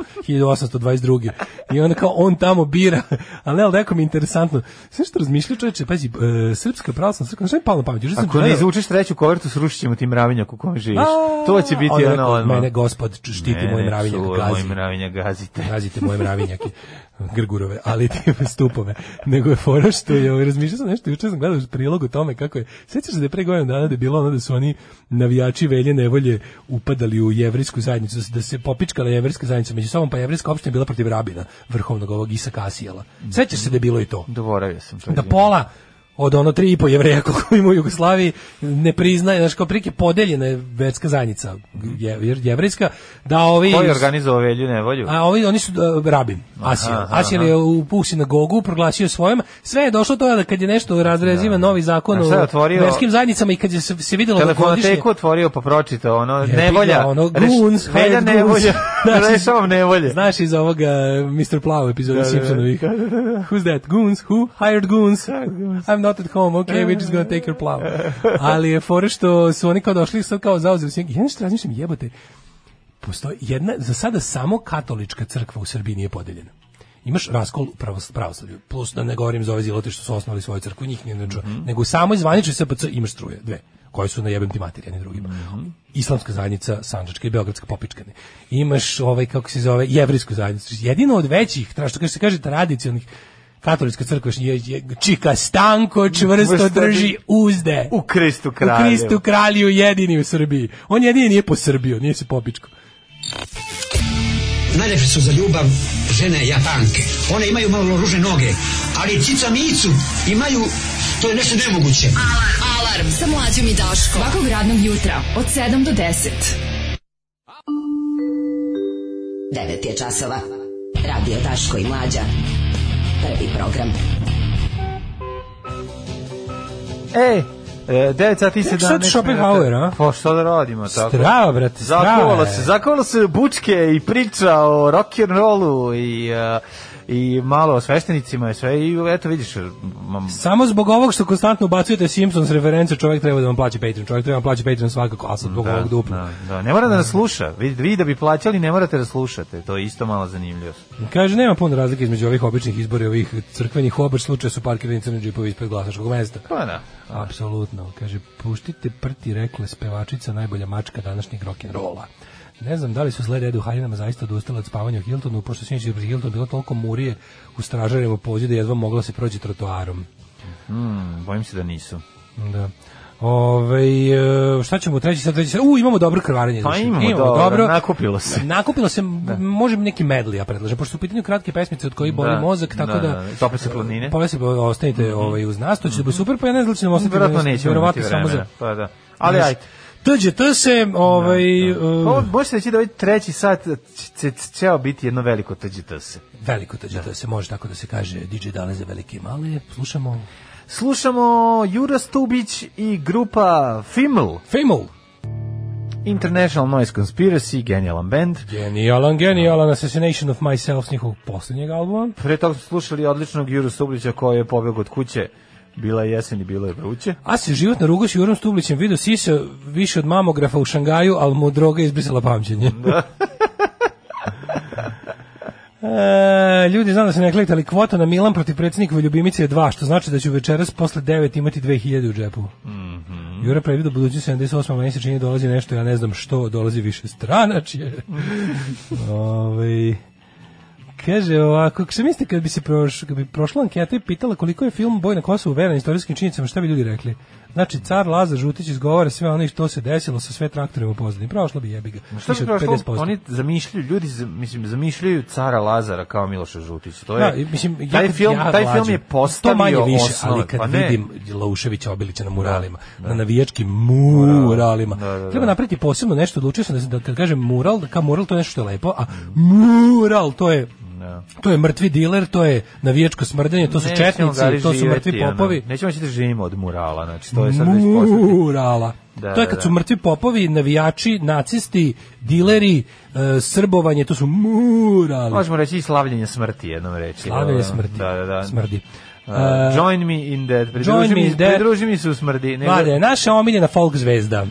S6: 1822. I onda kao on tamo bira, ali ne, ali neko mi je interesantno. Sve što razmišljaju čoveče, pazi, e, srpska pravoslavna crkva, šta mi je palo na pamet? Juče sam
S7: Ako ne
S6: gledao-
S7: izvučeš treću kovertu, srušit ćemo ti mravinjak u kom živiš.
S6: A,
S7: To će biti
S6: on je
S7: ono...
S6: rekao,
S7: odmah.
S6: Mene gospod štiti moj
S7: Mene
S6: mravinjak Da.
S7: čuva
S6: gazi.
S7: Moj mravinjak gazite.
S6: Pazite moje mravinjake, grgurove, ali ti stupove. Nego je fora što je, ovaj, razmišljao sam nešto, juče sam gledao prilog o tome kako je, sećaš se da je pre godinu dana da je bilo ono da su oni navijači velje nevolje upadali u jevrijsku zajednicu, da se, da se popičkala jevrijska zajednica među sobom, pa jevrijska opština je bila protiv rabina, vrhovnog ovog Isa Kasijela. Sećaš se da je bilo i to?
S7: Dovoravio sam to.
S6: da
S7: izvini.
S6: pola od ono tri i po jevreja koliko ima u Jugoslaviji ne priznaje, znači kao prike podeljena je verska zajednica je, jevrejska, da ovi
S7: Ko je organizovao velju nevolju?
S6: a ovi oni su uh, rabin, Asijel.
S7: Aha,
S6: Asijel je u u sinagogu proglasio svojom. Sve je došlo do toga da kad je nešto razreziva novi zakon
S7: Da. A šta je
S6: o
S7: otvorio?
S6: verskim zajednicama i kad je se, se videlo da godišnje
S7: Telefonoteku otvorio pa pročitao ono
S6: je
S7: nevolja.
S6: bilo ono
S7: reš-
S6: guns, Znači,
S7: velja
S6: hired
S7: nevolja.
S6: guns. Znaš,
S7: Rešavam nevolje.
S6: Znaš iz ovoga Mr. Plow epizoda
S7: da, da.
S6: Simpsonovih. Who's that? Goons? Who? Hired goons. I'm not at home, okay, we're just gonna take your plow. Ali je fora što su oni kao došli i sad kao zauzeli sve. Ja nešto razmišljam, jebote, postoji jedna, za sada samo katolička crkva u Srbiji nije podeljena. Imaš raskol u pravos- pravoslavlju, plus da ne govorim za ove zilote što su osnovali svoju crkvu, njih nije nečuo, nego samo iz zvanične SPC imaš struje, dve, koje su na jebem ti materi, jedni drugima. Islamska zajednica, Sanđačka i Beogradska popičkane. Imaš ovaj, kako se zove, jevrijsku zajednicu. Jedino od većih, tra- što kaže se kaže tradicionalnih, katolička crkva je, je čika stanko čvrsto
S7: Čvrsto
S6: drži uzde
S7: U Kristu
S6: u
S7: kralju.
S6: Kristu kralju jedini u Srbiji. On jedini nije po Srbiju, nije se popičko.
S10: Najlepše su za ljubav žene japanke. One imaju malo ruže noge, ali cica micu imaju, to je nešto nemoguće.
S5: Alarm. Alarm sa mlađom i Daškom. Svakog radnog jutra od 7 do 10.
S11: 9 je časova. Radio Daško i Mlađa. Prvi program.
S7: E, e, 9 sati i 17
S6: sad Schopenhauer, a?
S7: Pa što da radimo tako?
S6: Strava, brate, strava
S7: Zakovalo
S6: je.
S7: se, zakovalo se bučke i priča o rock and rollu i e, i malo o sveštenicima i sve i eto vidiš mam,
S6: Samo zbog ovog što konstantno ubacujete Simpsons reference, čovjek treba da vam plaća Patreon. Čovjek treba da vam plaća Patreon svakako, a sad zbog ovog dupla.
S7: da, da, ne mora da nas sluša vi, vi da bi plaćali ne morate da slušate to je isto malo zanimljivo
S6: Kaže, nema puno razlike između ovih običnih izbora i ovih crkvenih obač slučaja su parkirani crni džipovi ispred glasačkog mesta.
S7: pa da
S6: Apsolutno. Kaže, puštite prti rekle spevačica najbolja mačka današnjeg rock'n'rolla. Ne znam da li su zle rede u haljinama zaista odustale od spavanja u Hiltonu, pošto sinoć je pri Hiltonu bilo toliko murije u stražarima pozivu da je jedva mogla se proći trotoarom.
S7: mm, bojim se da nisu
S6: Da. Ove, e, šta ćemo u treći sad? Treći sad? U, imamo dobro krvarenje.
S7: Pa
S6: znači. Da,
S7: imamo dobro, nakupilo se.
S6: Nakupilo se, m- možem neki medli, ja predlažem, pošto su u pitanju kratke pesmice od kojih boli
S7: Da,
S6: mozak, tako da...
S7: da, da, tople se planine.
S6: Tople se planine, ostanite ovaj, uz nas, to će da bude super, pa ja ne znam da li će nam ostati.
S7: verovatno nećemo
S6: verovatno
S7: imati
S6: samo
S7: vremena
S6: za...
S7: pa da ali ajde
S6: Dođe, to se, ovaj,
S7: Ovo
S6: uh,
S7: može se reći da ovaj treći sat će- će- će biti jedno veliko TGTS.
S6: veliko dođe, to se može tako da se kaže, DJ Dale za velike i male, slušamo
S7: Slušamo Jura Stubić i grupa Fiml,
S6: Femol.
S7: International Noise Conspiracy, genijalan band.
S6: Genijalan,
S7: Da.
S6: genijalan Assassination of Myself s njihovog posljednjeg albuma.
S7: Pre toga smo slušali odličnog Juru Stubića koji je pobjeg od kuće. Bila je jesen i bilo je vruće.
S6: A se život na rugu s Jurom Stublićem video sisa više od mamografa u Šangaju, ali mu droga izbrisala pamćenje. E, ljudi, znam da se ne klikte, ali kvota na Milan protiv predsjednikove ljubimice je dva, što znači da ću večeras posle 9 imati 2000 u džepu.
S7: Mhm.
S6: Jura predvidio budućnost 78. meni se čini da dolazi nešto, ja ne znam što, dolazi više stranačje. Ovaj Kaže ovako, kako se mislite kad bi se proš, kad bi prošla anketa i pitala koliko je film Boj na Kosovu veran istorijskim činjenicama, šta bi ljudi rekli? Znači, car Lazar Žutić izgovara sve ono i što se desilo sa sve traktorima u pozadini. Prošlo bi jebiga.
S7: Šta
S6: Više
S7: bi
S6: od
S7: prošlo?
S6: 50%.
S7: Oni zamišljaju, ljudi za- mislim, zamišljaju cara Lazara kao Miloša Žutića. To je,
S6: Da, i mislim, ja
S7: taj
S6: kad
S7: film,
S6: ja
S7: taj
S6: mlađi,
S7: film je
S6: to manje
S7: postavio
S6: više,
S7: osnove.
S6: ali kad
S7: Pa ne.
S6: vidim Lauševića Obilića na muralima, na navijačkim muralima,
S7: Da, da, da.
S6: treba napraviti posebno nešto, odlučio sam da, se- da kad kažem mural, da kao mural to je nešto što je lepo, a mural to je To je mrtvi diler, to je navijačko smrdanje, to su
S7: Da. Nećemo ga
S6: četnici,
S7: li
S6: to su
S7: živjeti,
S6: mrtvi
S7: ono.
S6: popovi.
S7: Nećemoći da živimo od murala, znači to je sad već postavljeno.
S6: Murala.
S7: Da,
S6: to je
S7: da,
S6: kad
S7: da.
S6: su mrtvi popovi, navijači, nacisti, dileri, e, srbovanje, to su murali.
S7: Možemo reći i slavljenje smrti jednom reći.
S6: Slavljenje
S7: Pa, Da,
S6: smrti.
S7: Da, da, da.
S6: Smrdi.
S7: Uh,
S6: E,
S7: join me in death.
S6: Join
S7: Pridruži
S6: me
S7: mi,
S6: in death.
S7: pridruži mi se u smrdi. Nego- Mhm.
S6: Mlade, naša omiljena folk zvezda.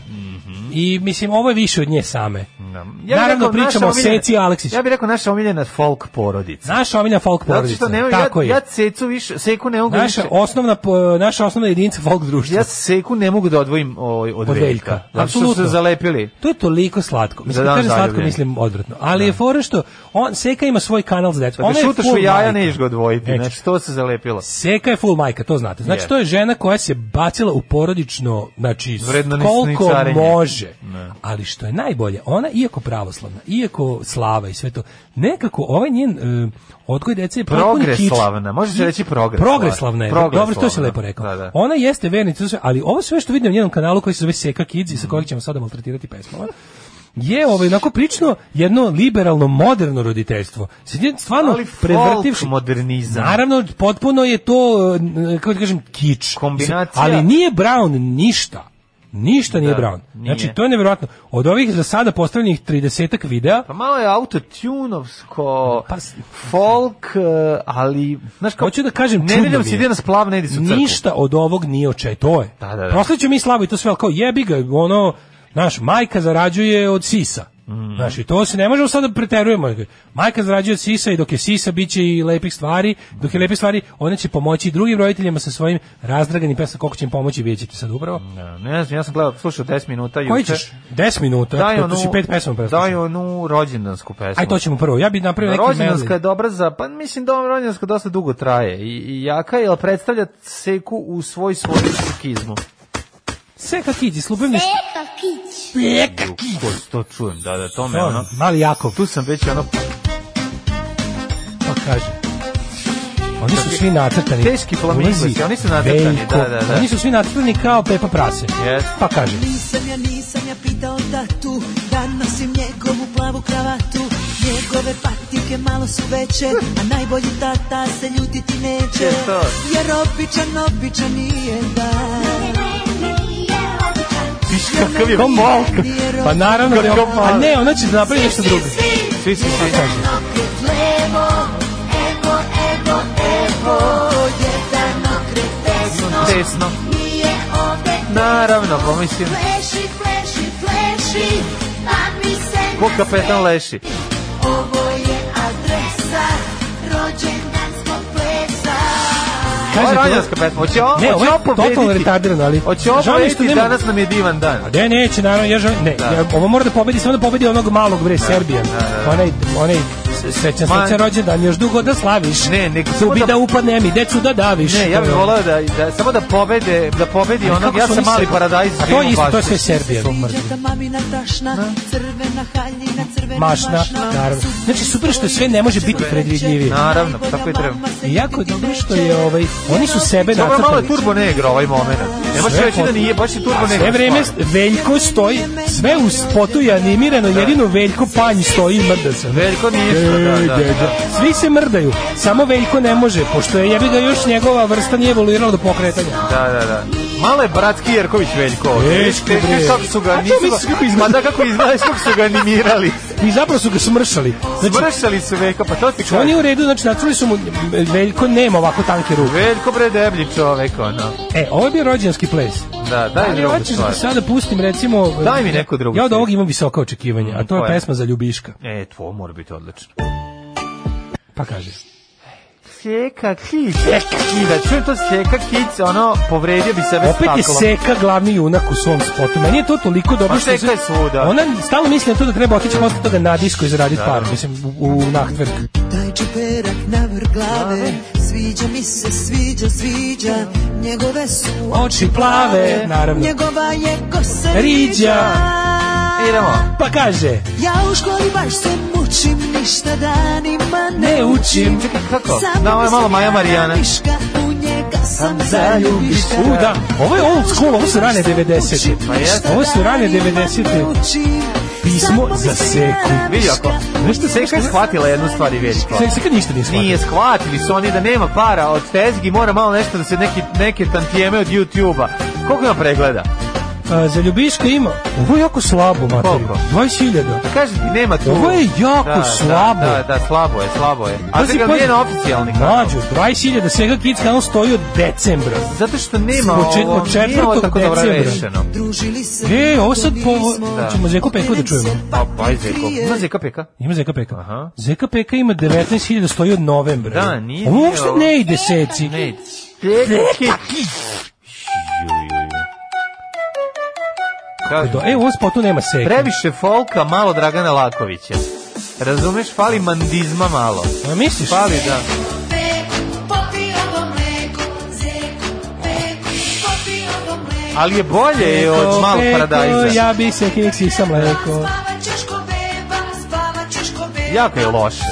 S6: I mislim, ovo je više od nje same.
S7: da- Ja bih
S6: Naravno,
S7: rekao,
S6: pričamo
S7: naša
S6: o
S7: omiljena-
S6: Seci Aleksić.
S7: Ja bih rekao naša omiljena folk porodica.
S6: Naša omiljena folk
S7: Zato
S6: porodica.
S7: što nema,
S6: Tako
S7: ja,
S6: je.
S7: ja cecu više, seku ne mogu
S6: naša,
S7: više.
S6: osnovna, po- naša osnovna jedinica folk društva.
S7: Ja seku ne mogu da odvojim ovaj, od,
S6: Od
S7: od
S6: Veljka.
S7: veljka. Zato što su
S6: Apsolutno.
S7: se zalepili. Dakle,
S6: To je toliko slatko. Mislim,
S7: Za
S6: kad
S7: dan
S6: kažem slatko,
S7: zaljubljenih.
S6: mislim odvratno. Ali je fora što, on, Seka ima svoj kanal za decu.
S7: Da
S6: Ona
S7: te
S6: je
S7: šutaš
S6: full
S7: u jaja,
S6: majka.
S7: nećeš ga odvojiti.
S6: Nećeš.
S7: Znači, to se zalepilo.
S6: Seka je full majka, to znate. Znači,
S7: Je.
S6: to je žena koja se bacila u porodično, znači, s-
S7: Vredno ni-
S6: koliko
S7: ni carenje.
S6: može.
S7: Ne.
S6: Ali što je najbolje, ona, iako pravoslavna, iako slava i sve to, nekako ovaj njen e, odgoj dece je potpuni kič.
S7: Progreslavna, može se reći progreslavna.
S6: Progreslavna je, dobro, to se lepo rekao.
S7: Da, da.
S6: Ona jeste vernica, to sve, ali ovo sve što vidim na njenom kanalu koji se zove Seka Kids i sa kojeg ćemo sada maltretirati pesmama, je ovaj, onako prično jedno liberalno moderno roditeljstvo. Sad je stvarno
S7: Ali folk
S6: prevrtivši-
S7: modernizam.
S6: Naravno, potpuno je to, e, eh, kako da kažem, kič.
S7: Kombinacija-
S6: Ali nije Brown ništa. Ništa nije
S7: Da,
S6: Brown.
S7: nije.
S6: Znači, to je nevjerojatno. Od ovih za sada postavljenih 30 videa,
S7: Pa malo je autotunovsko, folk, e, ali, znaš
S6: Pa
S7: kako...
S6: Hoću da kažem,
S7: ne
S6: čudno
S7: vidim
S6: mi
S7: se
S6: je.
S7: ide na splav, ne ide se u crkvu.
S6: Ništa od ovog nije očaj, to je.
S7: Da, da, da.
S6: Proslaću mi slavu i to sve, ali kao jebi ga, ono, naš, majka zarađuje od sisa.
S7: Mhm.
S6: Znaš, i to se ne možemo sada da preterujemo. Majka zarađuje od sisa i dok je sisa, bit će i lepih stvari. Dok je
S7: Mhm.
S6: lepih stvari, ona će pomoći i drugim roditeljima sa svojim razdraganim pesama. Koliko će im pomoći, vidjet ćete sad upravo.
S7: Ne, Da, ne znam, ja sam gledao, slušao 10 minuta.
S6: Koji
S7: juče.
S6: ćeš? 10 minuta,
S7: Daj
S6: to,
S7: onu-
S6: to si pet pesama preslušao.
S7: Daj onu rođendansku pesmu.
S6: Aj, to ćemo prvo. Ja bih napravio neki
S7: Rođendanska
S6: medley.
S7: je dobra za, pa mislim da ova rođendanska dosta dugo traje i, i jaka je, ali predstavlja seku u svoj svoj sukizmu.
S6: Seka Kiđi, slubavni Seka
S7: Ko to čujem, da, da, to me ono...
S6: Mali Jakov,
S7: Tu sam već ono...
S6: pa kaže. Oni su svi nacrtani.
S7: Teški flamingos,
S6: Ulazi
S7: oni su nacrtani,
S6: Veljko.
S7: da, da, da.
S6: Oni su svi nacrtani kao Pepa Prase.
S7: Jes.
S6: Pa kaže.
S12: Nisam ja, nisam ja pitao da tu Da nosim njegovu plavu kravatu Njegove patike malo su veće A najbolji tata se ljutiti neće
S7: Je to.
S12: Jer običan, običan nije da
S7: Viš kakav je mok!
S6: Pa naravno da je
S7: Kako
S6: A ne, ona će da napravi nešto drugo. Pa
S7: Svi su svi. Desno. Da. Naravno, pomislim.
S3: Fleši, fleši, fleši, pa mi se
S7: Ko kapetan leši.
S3: Ovo je adresa rođendanskog plesa.
S7: Kaže,
S6: Kaže,
S7: rođendanska pesma. Hoće ovo,
S6: Ne, ovo
S7: hoće
S6: je
S7: ovo
S6: totalno
S7: pobediti.
S6: retardirano, ali...
S7: Hoće ovo
S6: žao mi je što
S7: pobediti,
S6: nema-
S7: danas nam je divan dan.
S6: A Pa Ne, neće, naravno, ja želim, ne,
S7: Da.
S6: ja, ovo mora da pobedi, samo da pobedi onog malog, bre, Serbijan. Onaj, onaj srećan,
S7: Ma-
S6: srećan rođendan, još dugo da slaviš.
S7: Ne, nego samo
S6: Zubi
S7: da-
S6: da upadne mi, decu da daviš.
S7: Ne, ja bih volao da, da samo da pobede, da pobedi
S6: Ali
S7: onog,
S6: kako
S7: ja
S6: su
S7: sam
S6: oni
S7: mali
S6: se-
S7: paradajz.
S6: A to je isto, to je sve Serbijan.
S12: Sviđa ta mamina tašna Crvena haljina, crvena
S6: Mašna, naravno. Znači, super što je sve ne može biti predvidljivije.
S7: Naravno, pa tako i treba.
S6: I jako je dobro što je ovaj, oni su sebe
S7: Dobro, malo je
S6: nacrtali.
S7: turbo negra ovaj moment. Ne možeš
S6: Sve
S7: reći da
S6: pot-
S7: nije, baš je turbo negra.
S6: Sve vreme Veljko stoji, sve u spotu je animirano, jedino Veljko panj stoji i mrda se.
S7: Veliko nije što, da, da, da.
S6: Svi se mrdaju, samo Veljko ne može, pošto je jebi ga još njegova vrsta nije evoluirala do pokretanja.
S7: Da, da, da. Malo je bratski Jerković veliko. ovdje.
S6: Teško,
S7: Viš-
S6: bre.
S7: viš kako su
S6: A
S7: ga
S6: to
S7: nisu
S6: misliš kako
S7: ga...
S6: izgleda?
S7: Ma da, kako izgleda, kako su ga animirali.
S6: I zapravo su ga smršali. Znači,
S7: Zvršali su Veljko, pa to ti
S6: što nije
S7: kažem.
S6: u redu, znači nacrtali su mu, Veljko nema ovako tanke ruke.
S7: Veljko bre deblji čovek, ono.
S6: E, ovo je bio rođenski ples.
S7: Da, daj
S6: Ali
S7: drugu
S6: hoćeš da
S7: stvar.
S6: ti sada pustim recimo
S7: Daj mi neku drugu
S6: Ja od
S7: stvar.
S6: ovog imam visoka očekivanja, a to je
S7: Koja?
S6: pesma za ljubiška.
S7: E, to mora biti odlično.
S6: Pa kaže.
S7: Sjeka kic. Sjeka kic. Da čujem to sjeka kic, ono, povredio bi sebe
S6: Opet je
S7: staklom.
S6: Seka glavni junak u svom spotu. Meni je to toliko dobro
S7: Pa
S6: što
S7: Seka je svuda.
S6: Ona stalno misli na to da treba otići posle toga na disko i zaraditi
S7: Da,
S6: par,
S7: da.
S6: mislim u, u nahtvrk.
S12: Taj čeperak na vrh glave Sviđa mi se, sviđa, sviđa Njegove su
S6: Oči plave, naravno.
S12: Njegova je kosa
S6: Riđa.
S7: Idemo.
S6: Pa kaže,
S12: Ja u školi baš se mučim, ništa danima ne,
S6: ne učim.
S7: Čekaj, kako?
S12: Samo
S7: Da, ovo je malo
S12: mislim
S7: Maja Marijana.
S12: na Miška, u njega sam
S6: Zaljubiš.
S12: zaljubiška.
S6: U, da. Ovo je old school, ovo su rane 90.
S7: Pa jeste.
S6: Ovo su rane 90. Pismo za Seku.
S7: Vidi ako, znaš što Seka je shvatila jednu stvar i veliko.
S6: Seka, Seka ništa nije shvatila.
S7: Nije shvatili su oni da nema para od tezgi, mora malo nešto da se neki, neke tantijeme od YouTube-a. Koliko ima pregleda?
S6: A, za ljubiška ima. Ovo je jako slabo, materiju.
S7: Koliko?
S6: 20.000.
S7: Pa Kaži ti, nema tu.
S6: Ovo je jako
S7: da,
S6: slabo.
S7: Da, da, da, slabo je, slabo je. A
S6: Pazi,
S7: čekaj,
S6: pazi.
S7: nije na oficijalni kanal.
S6: Mlađo, 20.000 Sega Kids kanal stoji od decembra.
S7: Zato što nema
S6: Od čet-
S7: ovo,
S6: od
S7: nije ovo
S6: četvrtog
S7: tako dobro
S6: decembra.
S7: rešeno.
S12: Družili se.
S6: E, ovo sad po...
S7: Da.
S6: Ćemo Zeku Peku da čujemo.
S7: Pa, pa je zeko. Ima zeka peka?
S6: Ima Zeka Peka.
S7: Aha.
S6: Zeka Peka ima 19.000 stoji od novembra.
S7: Da, nije,
S6: Ovo
S7: nije
S6: uopšte
S7: ovo.
S6: ne ide seci.
S7: Ne, zeka
S6: Do, e, u ovom spotu nema seke.
S7: Previše folka, malo Dragana Lakovića. Razumeš, fali mandizma malo.
S6: A misliš?
S7: Fali, da. Ali je bolje je od malog
S6: Peko,
S7: paradajza.
S6: Ja bi se keksi sam leko.
S7: Jako je loše.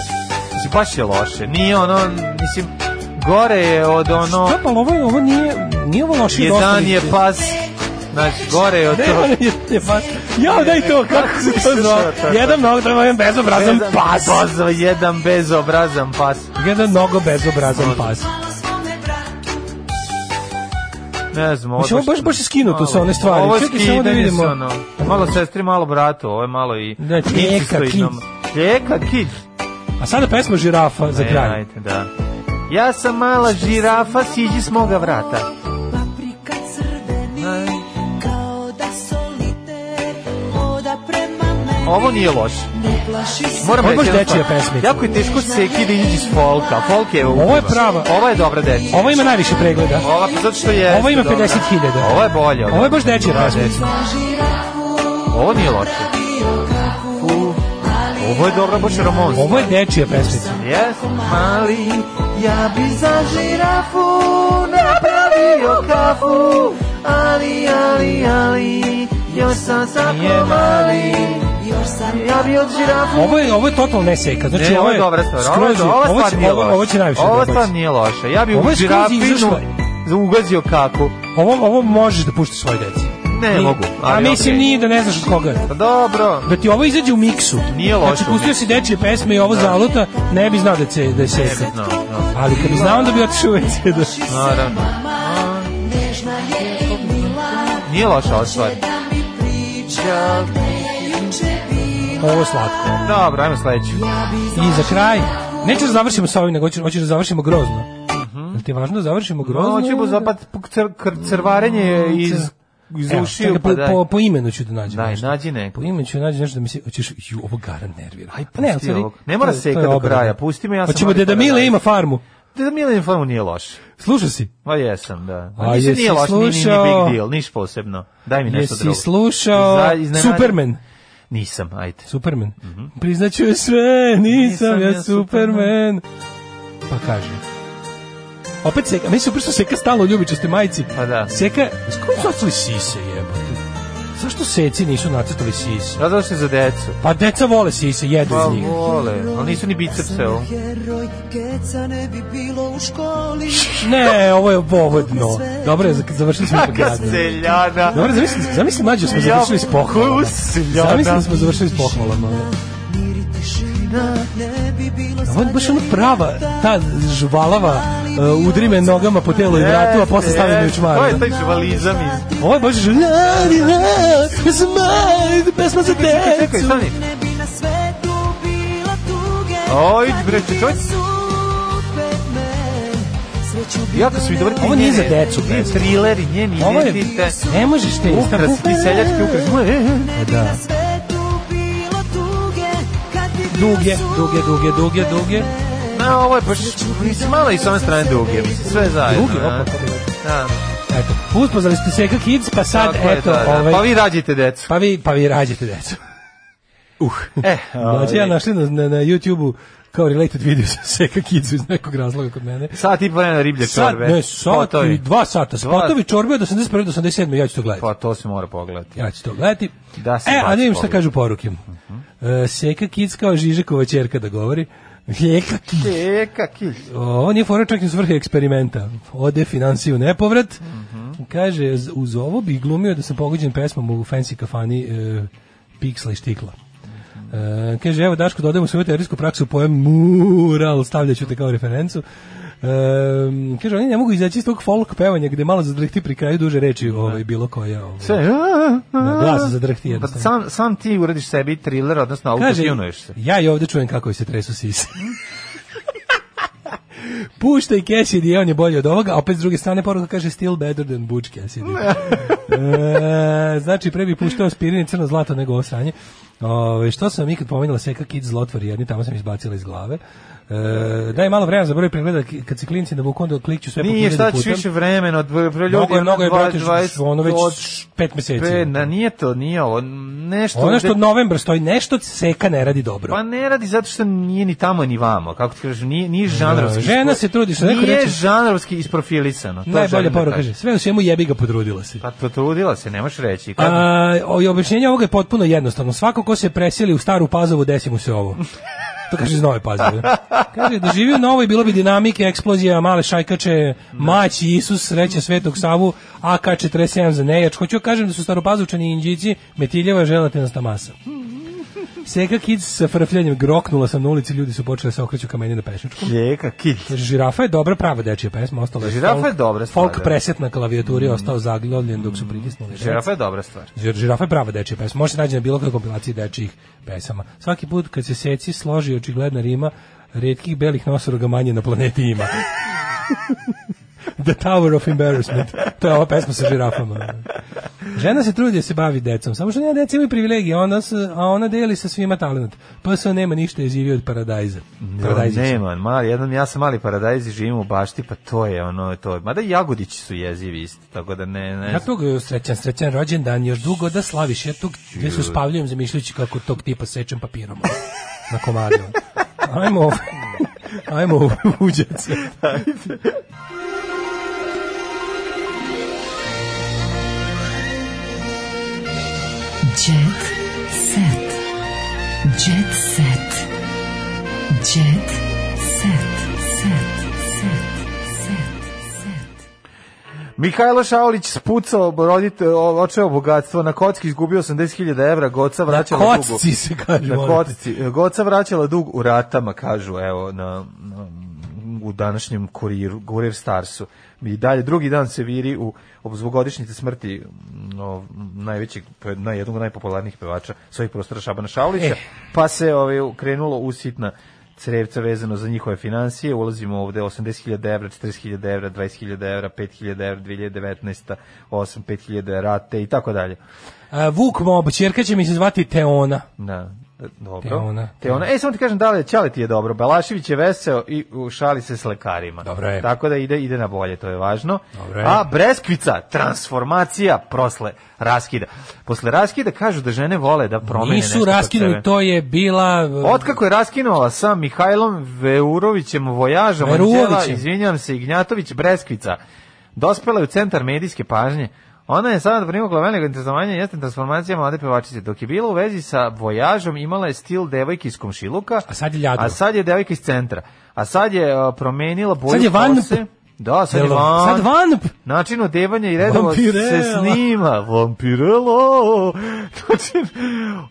S7: Mislim, baš je loše. Nije ono, mislim, gore je od ono...
S6: Da, pa ovo, je- ovo nije, nije ovo loše od
S7: Jedan
S6: ostalih.
S7: je pa- pas, znači, gore je od toga.
S6: Jedan je- je pas. Ja, daj
S7: pa-
S6: to, kako se to zove? Jedan mnogo, treba jedan bezobrazan
S7: da Jedan
S6: pas.
S7: Bozo, jedan bezobrazan pas.
S6: Jedan mnogo bezobrazan pas.
S7: Ne znam, ovo
S6: Mislim, ovo baš, baš je skinuto sa one stvari.
S7: Ovo je
S6: Čekaj samo da
S7: skidanje
S6: vidimo.
S7: sa ono, malo sestri, malo bratu, ovo je malo i... Da,
S6: Tijeka Kid.
S7: Tijeka Kid.
S6: A sada pesma žirafa za
S7: E,
S6: kraj.
S7: ajde, da. Ja sam mala žirafa, siđi s moga vrata.
S12: paprika crveni Kao da solite Hoda prema meni
S7: Ovo nije loše.
S12: Ne plaši se
S7: Moram
S6: Ovo je baš
S7: jednu stvar.
S6: dečija pesma.
S7: Jako je teško seki da iđi s folka. Folk je
S6: Ovo je prava.
S7: Ovo je dobra dečija.
S6: Ovo ima najviše pregleda.
S7: Ova, pa zato što je...
S6: Ovo ima 50.000.
S7: Ovo je bolje.
S6: Ovo je baš dečija
S7: Da,
S6: pesma.
S7: dečija. Ovo nije loše. Ovo je dobro, baš romans.
S6: Ovo je dečija pesmica.
S7: Jes, mali, ja bi za žirafu napravio kafu, ali, ali, ali, još sam
S6: Nije
S7: zapravo mali,
S12: Još sam
S7: ja bi od žirafu...
S6: Ovo je ovo je totalno ne seka. Znači
S7: Ne,
S6: ovo je
S7: dobra stvar. Ovo,
S6: skroz
S7: je-
S6: je-
S7: ova
S6: ovo
S7: stvar
S6: će-
S7: nije
S6: ovo-
S7: loša.
S6: ovo će najviše.
S7: Ova
S6: da
S7: stvar
S6: ubaci.
S7: nije loša. Ja bi
S6: Ovo
S7: u
S6: je skroz
S7: žirafinu
S6: izašla.
S7: ugazio kaku.
S6: Ovo ovo možeš da puštiš svoje deci.
S7: Ne
S6: Nije-
S7: mogu,
S6: A
S7: ali
S6: mislim
S7: okej.
S6: nije da ne znaš od koga. je.
S7: Pa dobro.
S6: Da ti ovo izađe u miksu.
S7: Nije loše
S6: Znači
S7: u
S6: pustio
S7: miksu. Da.
S6: si dečije pesme i ovo zaluta, ne bi znao da se da je seka.
S7: No, no.
S6: Ali kad bi znao onda bi otišao u WC da.
S7: Naravno.
S12: nežna je i mila
S7: Nije loša ova stvar.
S12: Priča gde je juče bila
S6: Da. Ovo je slatko.
S7: Dobro, ajmo sledeću.
S6: I za kraj, neću da završimo sa ovim, nego hoću, hoću da završimo grozno.
S7: Mhm.
S6: Jel ti je važno da završimo grozno?
S7: Ovo ćemo zapat crvarenje iz, iz
S6: Mm, Evo,
S7: ušiju,
S6: čekaj,
S7: pa
S6: po,
S7: daj.
S6: po, po imenu ću da nađem
S7: Daj,
S6: nešto.
S7: nađi neko.
S6: Po imenu ću da nađem nešto da mi se... Hoćeš, ju, ovo garan nervira.
S7: Aj,
S6: Pa ne,
S7: pusti
S6: u stvari,
S7: ovog. Ne mora
S6: to je-
S7: seka
S6: to je
S7: do
S6: obrada.
S7: kraja, pusti me, ja sam
S6: Hoćemo
S7: mali
S6: Deda Mile
S7: paradajz.
S6: ima farmu.
S7: Da Milan Farmu nije loš.
S6: Slušao si?
S7: Ma jesam, da.
S6: A
S7: A mislim,
S6: jesi
S7: nije loš, ni, ni, ni
S6: slušao-
S7: big deal, niš posebno. Daj mi nešto da
S6: Jesi
S7: drugo.
S6: slušao
S7: Iza- iznenadi-
S6: Superman?
S7: Nisam, ajde.
S6: Superman. Priznaću je sve, nisam,
S7: Mhm. Nisam
S6: ja
S7: ja
S6: Superman. Pa kaže. Opet Seka, meni se upravo što Seka stalo u ljubičaste majici.
S7: Pa da.
S6: Seka, s kojim su ostali sise jebote? Zašto seci nisu nacrtali sise?
S7: Ja zato što je za decu.
S6: Pa deca vole sise, jedu
S7: Pa
S6: iz njih.
S7: vole, ali nisu ni bicepse ovo.
S12: Heroj keca ne bi bilo u školi
S6: Ne, ovo je povodno. Dobro je, završili smo ipak
S7: Kaka
S6: gadno.
S7: seljana.
S6: Dobro, zamisli, zamisli mlađe smo završili s pohvalama.
S7: Koju seljana.
S6: Zamisli da smo završili s pohvalama. ono.
S12: Miri tišina ne bi bilo
S6: Ovo je baš ono prava, ta žvalava uh, udri me nogama po telu i vratu, da a posle stavi me u čmaru.
S7: To je taj živalizam iz...
S6: Ovo je baš žvalava, pesma za
S7: Čekaj,
S6: decu.
S7: stani.
S12: Ne bi na svetu bilo tuge
S7: Oj,
S12: kad
S7: bre,
S12: bi bio
S7: čovjek.
S12: Superman. Sreću bi
S7: Jako
S12: da
S7: su mi dobri ti
S6: Ovo nije za
S7: njene-
S6: decu
S7: Ti
S6: pesma.
S7: trileri njeni,
S6: Ovo je,
S7: ne, ti te...
S6: ne možeš te
S7: Ukras, ti seljački ukras. E, e, e.
S12: Ne bi na svetu bilo tuge kad bi bio
S6: Duge, duge, duge, duge, duge.
S7: Na, ovo je baš, mislim, malo i s ove strane duge, mislim, sve zajedno.
S6: Duge,
S7: a?
S6: opa, kako je.
S7: Da,
S6: Eto, uspozali ste Sega Kids, pa sad,
S7: tako je,
S6: eto,
S7: da, da.
S6: ovaj,
S7: Pa vi rađite decu.
S6: pa vi, pa vi rađete decu.
S7: E,
S6: Mlađe ja
S7: ovaj,
S6: našli na, na, na YouTube-u kao related video sa Seka Kidsu iz nekog razloga kod mene.
S7: Sat i po vremena riblje
S6: Sad,
S7: čorbe. Pa
S6: ne, sat i
S7: Potovi.
S6: dva sata. Spotovi čorbe od 81. do 87. Ja ću to gledati.
S7: Pa to se mora pogledati.
S6: Ja ću to gledati.
S7: Da se
S6: e, a
S7: baci Mhm.
S6: da vidim šta
S7: pogled.
S6: kažu poruke. E, Seka Kids kao Žižekova čerka da govori. Seka Kids.
S7: Čeka, kilj.
S6: Ovo nije fora čak iz vrhe eksperimenta. Ode financije u nepovrat. Kaže, z- uz ovo bi glumio da sam pogođen pesmom u fancy kafani e, Piksla i Štikla. E, kaže, evo Daško, dodajemo svoju teorijsku praksu pojem mural, stavljaću te kao referencu. E, kaže, oni ne mogu izaći iz tog folk pevanja gde malo zadrhti pri kraju duže reči ovaj, bilo koja. Ovaj,
S7: Da. Sve, a, a,
S6: na glas zadrhti
S7: Pa
S6: jednostavno.
S7: sam, sam ti uradiš sebi thriller, odnosno autotunuješ se.
S6: ja i ovde čujem kako joj se tresu sise. Puštaj Cassidy, on je bolji od ovoga, a opet s druge strane poruka kaže still better than Butch Cassidy. e, znači, pre bi puštao aspirin i crno zlato nego ovo sranje. Ove, što sam vam ikad pomenula Seka Kids zlotvori jedni, tamo sam izbacila iz glave. E, daj malo vremena za broj pregleda, k- kad se klinci na onda klikću sve po
S7: Nije,
S6: hiljadu
S7: šta
S6: puta.
S7: ćeš više vremena, od ljudi,
S6: Mnogo je, mnogo je, brate,
S7: 20,
S6: ono već
S7: od
S6: pet meseci.
S7: Pe, na, nije to, nije ovo, nešto...
S6: Ono što
S7: gde-
S6: od novembra stoji, nešto Seka ne radi dobro.
S7: Pa ne radi zato što nije ni tamo ni vamo, kako ti kažeš, nije, nije žanrovski.
S6: Da, žena
S7: ispro-
S6: se trudi, što neko
S7: Nije
S6: reče.
S7: žanrovski isprofilisano. To
S6: Najbolja
S7: želim da
S6: poruka kaže,
S7: kažem.
S6: sve u svemu jebi ga potrudila se.
S7: Pa potrudila se, ne možeš reći. Kako?
S6: A, o- i objašnjenje ovoga je potpuno jednostavno. Svako ko se preseli u staru pazovu, desi mu se ovo. To kaže iz nove pazove. Kaže, da živi u novoj, bilo bi dinamike, eksplozija, male šajkače, maći, Isus, sreće Svetog Savu, AK-47 za nejač. Hoću da kažem da su staropazovčani i inđici, metiljeva, želate nas tamasa. Seka Kids sa frfljanjem groknula sam na ulici, ljudi su počeli da se okreću ka meni na pešničku.
S7: Seka Kids.
S6: Kaže, žirafa je dobra prava dečija pesma, ostala je
S7: Žirafa je
S6: folk-
S7: dobra stvar,
S6: Folk
S7: da. Mm.
S6: preset na klavijaturi je ostao zaglavljen dok su pritisnuli.
S7: Žirafa pa je dobra stvar.
S6: Žir- Žirafa je prava dečija pesma. Može se naći na bilo kakvoj kompilaciji dečijih pesama. Svaki put kad se seci složi očigledna rima, redkih belih nosoroga manje na planeti ima. The Tower of Embarrassment. To je ova pesma sa žirafama. Žena se trudi da se bavi decom, samo što njena deca imaju privilegije, ona s- a ona deli sa svima talent. Pa se nema ništa, je živio od paradajza. Paradajzica.
S7: Nema, mali, jedan, ja sam mali paradajz i živim u bašti, pa to je ono, to je. Mada i jagodići su jezivi isti, tako da ne, ne.
S6: Ja tog e, srećan, srećan rođendan, još dugo da slaviš, ja tog gdje se uspavljujem zamišljajući kako tog tipa sečem papirom ono, na komade. ono. Ajmo, ovo- ajmo ovo, uđec.
S5: Jet set. Jet set. Jet set. Set. Set. Set. Set.
S7: Mihajlo Šaolić spucao rodite, o- očeo bogatstvo, na kocki izgubio 80.000 evra, Goca vraćala dugu.
S6: kocci se kaže,
S7: Na
S6: molim te.
S7: kocci. Goca vraćala dug u ratama, kažu, evo, na, na u današnjem kuriru, kurir Starsu. I dalje, drugi dan se viri u obzvogodišnjice smrti no, najvećeg, pe- na jednog od najpopularnijih pevača svojih prostora Šabana Šaulića,
S6: Eh.
S7: pa se ovaj, krenulo u sitna crevca vezano za njihove financije. Ulazimo ovde 80.000 evra, 40.000 evra, 20.000 evra, 5.000 evra, 2019. 8, 5.000 rate i tako dalje.
S6: A, E, Vuk Mob, čerka će mi se zvati Teona.
S7: Da, e, dobro.
S6: Te ona.
S7: Te ona. E, samo ti kažem, da li Ćale ti je dobro. Balašević je veseo i u šali se s lekarima.
S6: Dobro je.
S7: Tako da ide, ide na bolje, to je važno.
S6: Dobro je.
S7: A Breskvica, transformacija prosle raskida. Posle raskida kažu da žene vole da promene
S6: Nisu
S7: nešto kod
S6: raskinuli,
S7: sebe.
S6: to je bila...
S7: Otkako je raskinula sa Mihajlom Veurovićem vojaža
S6: Veruovićem.
S7: Anđela, izvinjavam se, Ignjatović Breskvica, dospela je u centar medijske pažnje. Ona je sada primogla veliko interesovanje jeste transformacija mlade pevačice. Dok je bila u vezi sa vojažom, imala je stil devojke iz komšiluka,
S6: A sad je ljadno.
S7: a sad je devojka iz centra. A sad je a, promenila boju
S6: Sad je van-
S7: kose. Da, sad je
S6: Jel-
S7: van.
S6: sad vanp.
S7: Način odevanja i redova se
S6: Vampirella.
S7: snima. Vampirelo. Način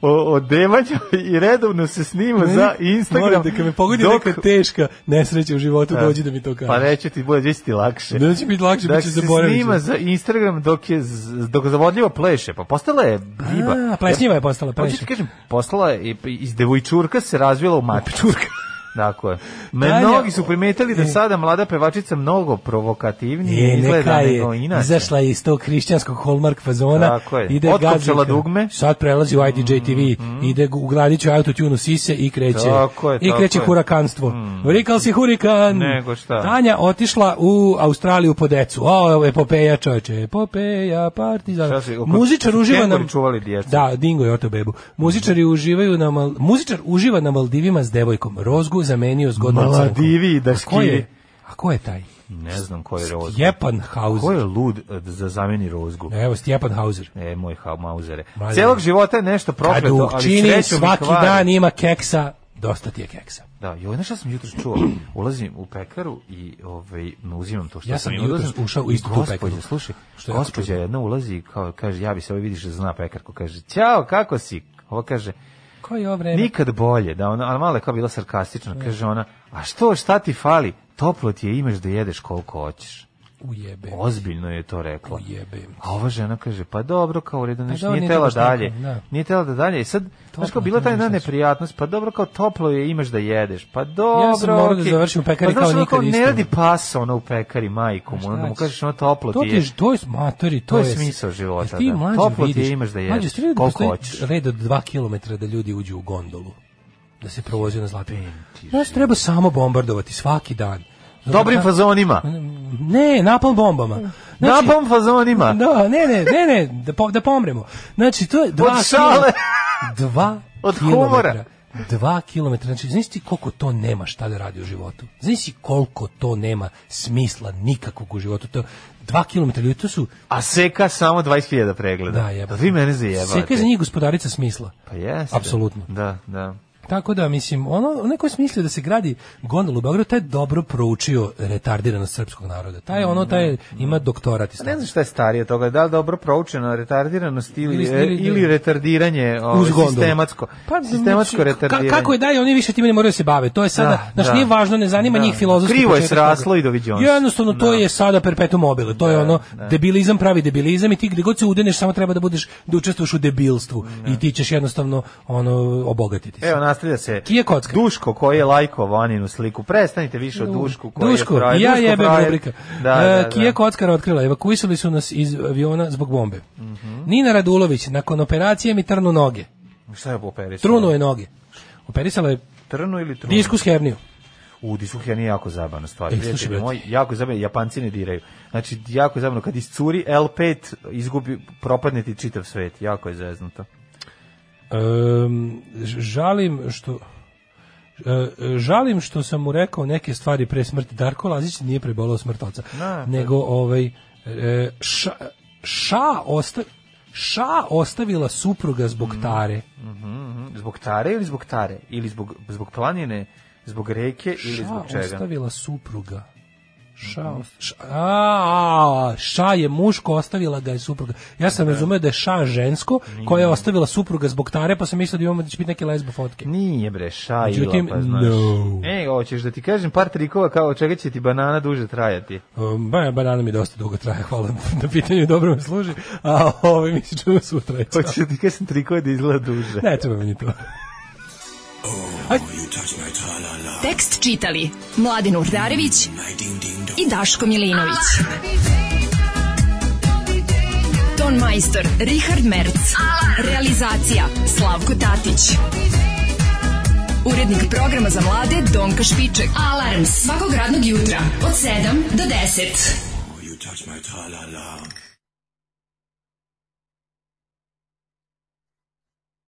S7: o- odevanja i redovno se snima za Instagram.
S6: Moram da kad me pogodi
S7: dok-
S6: neka teška nesreća u životu,
S7: Da.
S6: dođi da mi to kaže.
S7: Pa reću ti, bude će ti lakše.
S6: Da će biti lakše, bit će zaboravit
S7: se
S6: ću.
S7: snima za Instagram dok je z- dok zavodljivo pleše. Pa postala je biba.
S6: A, plesnjiva je postala,
S7: Hoću
S6: pleše.
S7: ti kažem, postala je i- iz devojčurka se razvila u mačurka. Dakle,
S6: Tanja-
S7: mnogi su primetili da sada mlada pevačica mnogo provokativnije
S6: E,
S7: izgleda
S6: neka
S7: nego
S6: je
S7: inače.
S6: izašla je iz tog hrišćanskog Hallmark fazona.
S7: Tako je.
S6: Ide
S7: Otkopčala
S6: gazika.
S7: dugme. Mhm.
S6: Sad prelazi u IDJ TV. Ide u gladiću autotune u sise i kreće.
S7: Tako je,
S6: I
S7: tako
S6: kreće
S7: je. Mhm.
S6: hurakanstvo. Rikal si hurikan.
S7: Nego šta.
S6: Tanja otišla u Australiju po decu. O, evo epopeja čoveče. Epopeja, partizan.
S7: Šta si, oko-
S6: Muzičar uživa
S7: kenguri
S6: nam...
S7: čuvali djecu.
S6: Da, dingo je oto bebu. Muzičari uživaju na Mal- Muzičar uživa na Maldivima s devojkom. Rozgu zamenio s godnom crnkom.
S7: Maldivi da i
S6: A ko je?
S7: daškiri.
S6: A ko je taj?
S7: Ne znam ko je roz.
S6: Jepan
S7: Ko je
S6: Hauser.
S7: lud e, da zameni rozgu?
S6: Evo, Stjepan Hauser.
S7: E, moj ha, mauzere.
S6: Mladen.
S7: Celog života je nešto
S6: Kad
S7: prokleto,
S6: u
S7: ali
S6: čini
S7: srećom
S6: svaki
S7: i kvari.
S6: dan ima keksa, dosta ti je keksa.
S7: Da, joj, znaš šta sam jutros čuo? Ulazim u pekaru i ovaj, no, uzimam to što
S6: Ja sam
S7: sam
S6: jutros
S7: ulazim.
S6: ušao u istu tu
S7: Gospođa,
S6: pekaru.
S7: Slušaj,
S6: Što
S7: što
S6: je
S7: je
S6: jako
S7: gospođa
S6: čudno.
S7: jedna ulazi i kao, kaže, ja bi se ovaj vidiš da zna pekarku. Kaže, ćao, kako si? Ovo
S6: E,
S7: kaže,
S6: Ko je ovo vreme?
S7: nikad bolje. Da ona, ali malo je kao bila sarkastična.
S6: E.
S7: Kaže ona, a što, šta ti fali? Toplo ti je, imaš da jedeš koliko hoćeš.
S6: E. Ujebe.
S7: Ozbiljno je to rekla.
S6: Ujebem.
S7: A ova žena kaže, pa dobro, kao u redu, znači,
S6: dobro,
S7: nije
S6: nije
S7: tela
S6: tako što
S7: dalje.
S6: rekao, da.
S7: Nije tela da dalje. I sad, znaš kao,
S6: Toplo,
S7: bila
S6: to
S7: taj
S6: nije
S7: jedna
S6: znači.
S7: neprijatnost, pa dobro, kao toplo je, imaš da jedeš. Pa dobro,
S6: Ja sam morao da
S7: okej.
S6: završim u pekari
S7: pa, znaš,
S6: kao
S7: ono,
S6: nikad isto.
S7: Ne radi pasa ono u pekari, majku mu, onda mu
S6: Znači,
S7: kažeš ono toplo
S6: to
S7: ti je.
S6: To je matori, to,
S7: To je smisao života,
S6: Jesi ti
S7: da.
S6: mlađe
S7: Toplo ti je,
S6: vidiš-
S7: imaš da jedeš,
S6: Mlađe, jesi ti vidio da
S7: koliko
S6: postoji
S7: hoćeš.
S6: red od 2 km da ljudi uđu u gondolu. Da se provoze na zlatinu. Znaš, treba samo bombardovati svaki dan.
S7: Dobrim
S6: Zato-
S7: fazonima.
S6: da, Pa Ne, napalm bombama. Znači-
S7: Napalm fazonima.
S6: Da, ne, ne, ne, ne, da, po, da pomremo. Znači, to je dva
S7: Od šale.
S6: kilo- Dva
S7: Od humora.
S6: kilometra. Dva kilometra. Znači, znaš ti koliko to nema šta da radi u životu? Znaš ti koliko to nema smisla nikakvog u životu? To, dva kilometra ljudi, to su...
S7: A seka samo 20.000 pregleda.
S6: Da, jebate.
S7: Vi mene Pa zajebate.
S6: Seka je za njih gospodarica smisla.
S7: Pa jeste.
S6: Apsolutno.
S7: Da, da.
S6: Tako da, mislim, ono, onaj koji smislio da se gradi gondola u Beogradu, taj je dobro proučio retardiranost srpskog naroda. Taj je ono, taj je- ima doktorat. iz
S7: Pa Ne znam šta je starije od toga, da li dobro proučena retardiranost ili,
S6: Ili-
S7: ili,
S6: ili-
S7: retardiranje ovaj,
S6: Uz gondolu.
S7: sistematsko.
S6: Pa, znači,
S7: sistematsko
S6: ka-
S7: retardiranje.
S6: Kako je dalje, oni više time ne moraju se bave. To je sada,
S7: Da,
S6: znaš,
S7: da.
S6: nije važno, ne zanima
S7: Da.
S6: njih filozofski.
S7: Krivo je
S6: početak toga.
S7: sraslo i doviđenja. Da.
S6: Jednostavno, to je sada perpetuum mobile. To je ono, debilizam pravi debilizam i ti gde god se udeneš, samo treba da budeš, da učestvuješ u debilstvu. I ti ćeš jednostavno, ono, obogatiti se.
S7: Evo, nastavlja se
S6: Kije kocka.
S7: Duško koji je lajkovao Aninu sliku. Prestanite više o Dušku koji
S6: Duško,
S7: je frajer.
S6: ja
S7: Duško
S6: jebem
S7: frajer.
S6: rubrika. E,
S7: Da, da, da.
S6: Kija Kockara otkrila, evakuisali su nas iz aviona zbog bombe.
S7: Mhm.
S6: Nina Radulović, nakon operacije mi trnu noge.
S7: Šta je operisao?
S6: Trunuo je noge. Operisala je
S7: Trnu ili trunu?
S6: diskus herniju.
S7: U Disuhija nije jako zabavna stvar.
S6: E,
S7: prijatelji
S6: slušaj, brate.
S7: moji, jako je zabavno, Japanci ne diraju. Znači, jako je zabavno. Kad iscuri L5, izgubi, propadne ti čitav svet. Jako je zeznuto.
S6: Ehm, ž- žalim što e, žalim što sam mu rekao neke stvari pre smrti Darko Lazić nije prebolao smrt oca
S7: Da, to-
S6: nego ovaj e, ša, ša, osta, ša ostavila supruga zbog tare
S7: Mhm, mhm. Zbog tare ili zbog tare? Ili zbog, zbog planine, zbog reke ili zbog
S6: Ša
S7: čega? Mm-hmm.
S6: ostavila supruga. Ša, ost- ša, a, a, ša je muško, ostavila ga je supruga. Ja sam razumeo da je ša žensko, koja je ostavila supruga zbog tare, pa sam mislio da imamo da će biti neke lesbo fotke.
S7: Nije bre, ša i
S6: Međutim,
S7: pa znaš.
S6: no.
S7: E, hoćeš da ti kažem par trikova kao od čega će ti banana duže trajati.
S6: Um, ba- banana mi dosta dugo traje, hvala na pitanju, dobro me služi. A ovo mi se čujemo sutra. Ćao.
S7: Hoćeš da ti kažem trikova da izgleda duže.
S6: Ne treba mi ni to.
S5: Tekst čitali Mladin Urdarević i Daško Milinović. Ton majstor Richard Merc. Realizacija Slavko Tatić. Urednik programa za mlade Donka Špiček. Alarms svakog radnog jutra od 7 do 10.
S10: You touch my tra-la-la.